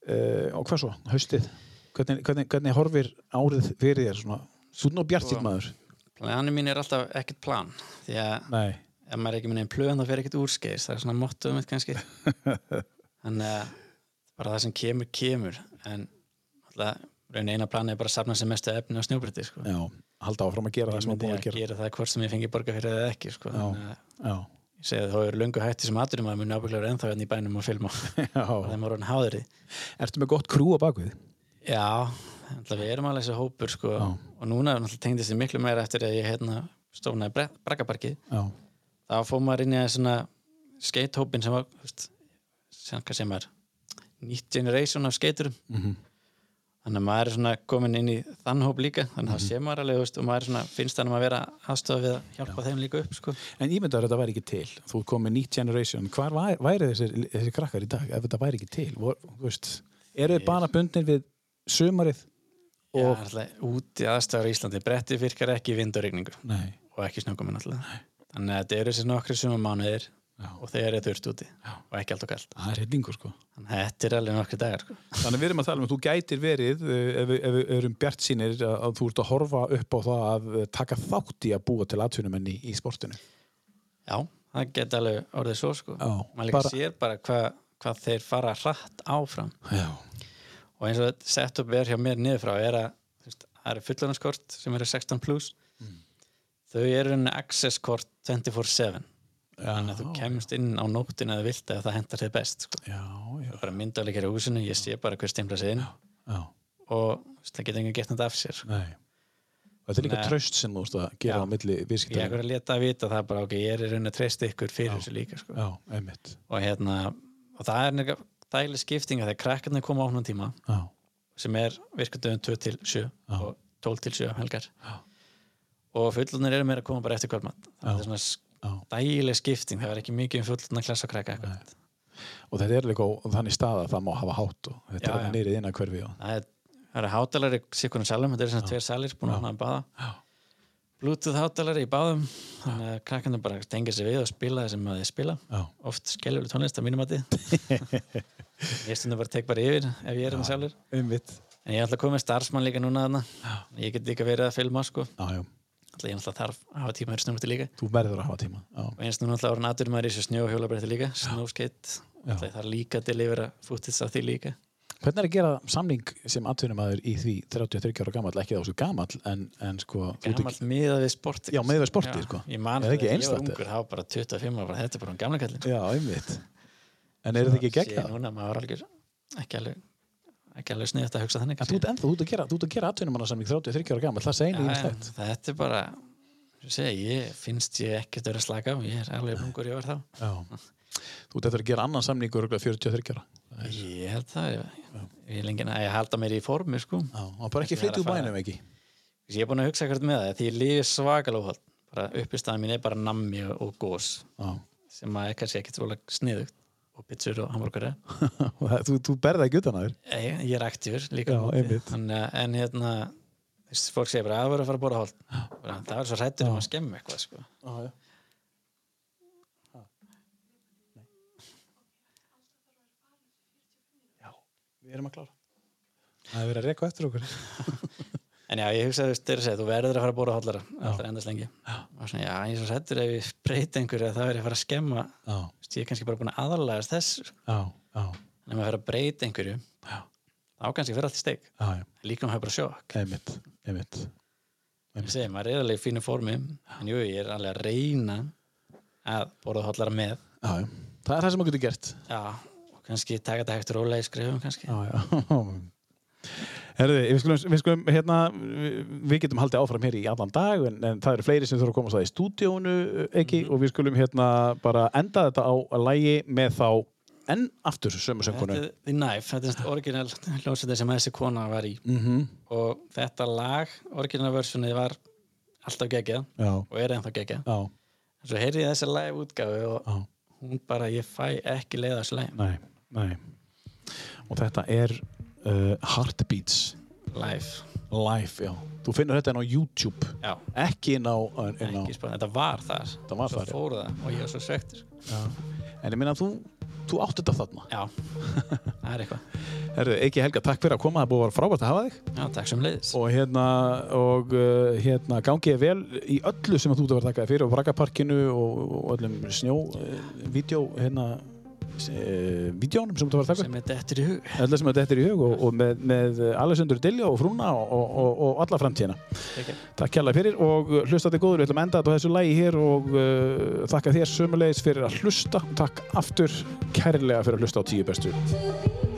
uh, og hvað svo, haustið? Hvernig, hvernig, hvernig horfir árið fyrir þér svona? Þú ert nú bjart sitt maður? planið mín er alltaf ekkert plan því að Nei, ef maður er ekki minn einn plöðan þá fer ekkert úrskeis það er svona mottuðum mitt <laughs> kannski þannig að bara það sem kemur kemur en alltaf raun eina planið er bara að safna sem mestu efni á snjóbriti sko. já, halda áfram að gera það sem þú myndi búið að að gera. gera það hvort sem ég fengi borga fyrir það eða ekki sko. Þannig að Já, ég segi að þá eru löngu hætti sem aðurum að mun ábygglega vera ennþá hérna í bænum og <laughs> filma já. þeim voru hann háður í Ertu með gott krú á bakvið? Já, alltaf við erum alveg þessi hópur sko. og núna náttúrulega tengdist ég miklu meira eftir að ég hérna, stofnaði Bragabarkið Já, þá fór maður inn í að svona skeithópin sem var þú veist, sem hvað sem er nýtt generation af skeiturum Mhm. þannig að maður er svona komin inn í þann hóp líka þannig að Mhm. það sé maður alveg þú veist, og maður er svona, finnst þannig að vera aðstofa við að hjálpa þeim líka upp sko. en ég myndi að þetta væri ekki til. Þú ert komið nýtt generation. Hvar væri, væri þessir, þessir krakkar í dag ef þetta væri ekki til? Vor, þú veist, eru þið bara bundin við sumarið? og Og- Já, alltaf, úti aðstofar í Íslandi bretti virkar ekki í vind og rigningu Nei. og ekki snöggum alltaf þannig að þetta eru þessi nokkri sumamánuðir Já. og þegar er þurft úti og ekki allt og kallt Það er reyningur sko. þannig að þetta er alveg nokkri dagar sko. Þannig að við erum að tala um að þú gætir verið, eh, ef við, ef við erum bjart sínir, að, að þú ert að horfa upp á það að eh, taka þátt í að búa til atvinnumenn í, í sportinu. Já, það geti alveg orðið svo sko. Já, maður líka bara- sér bara hvað hva þeir fara hratt áfram Já. og eins og þetta setup er hjá mér niður frá er að þú veist, það eru fullanarskort sem eru 16 plus Mm. þau eru enn access kort 24-7 þannig að þú kemst inn á nóttin eða vilt eða það hentar þið best sko. Já, já, bara myndalegir í húsinu, ég sé bara hver stimla sig inn já. og þú veist, það getur enginn gett þetta af sér sko. Nei. Og þetta er líka Nei. tröst sem þú ert að gera Já. á milli ég er viðskiptar. að leta að vita það bara ok, ég er í raun að treysta ykkur fyrir þessu líka sko. Já, einmitt. og hérna og það er nefnilega dæli skipting að þegar krakkarnir koma á honum tíma Já, sem er virkundöðum 2 til 7 og 12 til 7 um helgar og fullunir eru meira að koma bara eftir kvöldmatt það er svona já. dægileg skipting það var ekki mikið um fullunna klassa og krakka akkúrat. og þetta er líka á þannig stað að það má hafa hátt og þetta Já, er já. það nýrið innan hverfi og... það er, það er hátalari sikkunum salum, þetta eru svona tveir salir búin að hana að baða Já. Bluetooth hátalari í báðum þannig að krakkarnir bara tengja sig við og spila það sem að þið spila Já. oft skeljuleg tónlist að <laughs> mínum að þið ég stundum bara tek bara yfir ef ég er hann sjálfur Einmitt. en ég ætla að koma með starfsmann líka núna þarna ég get líka verið að filma sko Já, já, Alltaf ég náttúrulega þarf að hafa tíma fyrir snjóbreytti líka þú verður að hafa tíma. Já, og eins og náttúrulega orðin aðdur maður í þessu snjó og hjólabreyti líka, snjóskeitt það er líka til yfir að fúttist af því líka Hvernig er að gera samning sem atvinnumæður í því 33 ára gamall, ekki þá svo gamall en, en sko, þú ert gammal miðað við sporti Já, miðað við sportið, sko. ég man Er það þegar ekki ég var einstakt, ungur, þá bara 25 ára, bara, þetta er bara um gamla kallin Já, einmitt. En eru þið ekki gegn það? núna, maður var algjör ekki alveg, ekki alveg sniðið að hugsa þannig En þú ert ennþá, þú ert að gera, þú ert að gera atvinnumanna 33 ára gamall, það segir Já, nýjum en stætt. þetta er bara ég segi, ég finnst ég ekkert vera að slaka á ég er alveg ungur ég var þá Já. Þú ert eftir að gera annan samning og 43 ára. ég held það, ég, ég, lengi, að ég halda mér í formi sko. Já, og bara ekki Þetta er flytja úr að fara- bænum ekki. ég er búin að hugsa ekkert með það því ég lifi svakalóhald bara uppistæðan mín er bara nammi og- og gós Já. sem að er kannski ekkert svolega sniðugt og pizzur og hamburgari <laughs> Og það- þú, þú berða ekki utan að þér. ég, ég er aktífur líka Já, á móti. einmitt. Þannig að- en hérna þú veist, fólk segir bara að vera að fara að bóra hold bara, það er svo hrættur um að skemmu eitthvað sko. Já, já. Við erum að klára. Það er verið að rekka eftir okkur. en já ég hugsaði þú veist, þeir segja þú verður að fara að bóra holdara alltaf endast lengi og svona já ég er svo hrættur ef ég breyti einhverju að það er að fara að skemma Já, Þú veist, ég er kannski bara búin að aðalæðast þessu já, já, en ef maður fer að breyta einhverju þá kannski fer allt í steik já, já, líka maður hefur bara sjokk einmitt, einmitt. ég segi, maður er alveg í fínu formi en jú, ég er alveg að reyna að borða hóllara með Já, já, það er það sem maður getur gert. já, og kannski taka þetta hægt rólega í skrifum kannski Já, já. Herði, við skulum, við skulum hérna, við, við getum haldið áfram hér í allan dag en, en það eru fleiri sem þurfa að komast að í stúdíónu ekki Mhm. og við skulum hérna bara enda þetta á lægi með þá enn aftur sömu Þetta söngunu er The Knife, þetta er svona orginal hljómsveitin sem þessi kona var í -hmm. og þetta lag, orginal versionið var alltaf geggjað Já, og er ennþá geggjað já, en svo heyrði ég þessi live útgáfu og já, hún bara, ég fæ ekki leið á þessu live, nei, nei og þetta er uh, Heartbeats live Live, já Þú finnur þetta inn á YouTube já, ekki inn á, inn á. ekki spara, þetta var þar Þetta var svo þar, já. fór það og ég var svo svektur en ég minna þú, þú átt þetta þarna <laughs> já, það er eitthvað Herðu, ekki Helga, takk fyrir að koma, það er búið að vera frábært að hafa þig já, takk sem leiðis, og hérna og uh, hérna gangið vel í öllu sem þú ert að vera takkaði fyrir og Bragaparkinu og, og öllum snjó uh, vídjó hérna uh, vídjónum sem þú ert að vera takkaði sem er dettur í hug öllu sem þetta er í hug og, og með, með Alessandur Dilja og Frúna og, og, og, og alla framtíðina Ekki. Takk kjærlega fyrir og hlustaði góður, við ætlum að enda þetta á þessu lægi hér og uh, þakka þér sömulegis fyrir að hlusta, takk aftur kærlega fyrir að hlusta á tíu bestu To be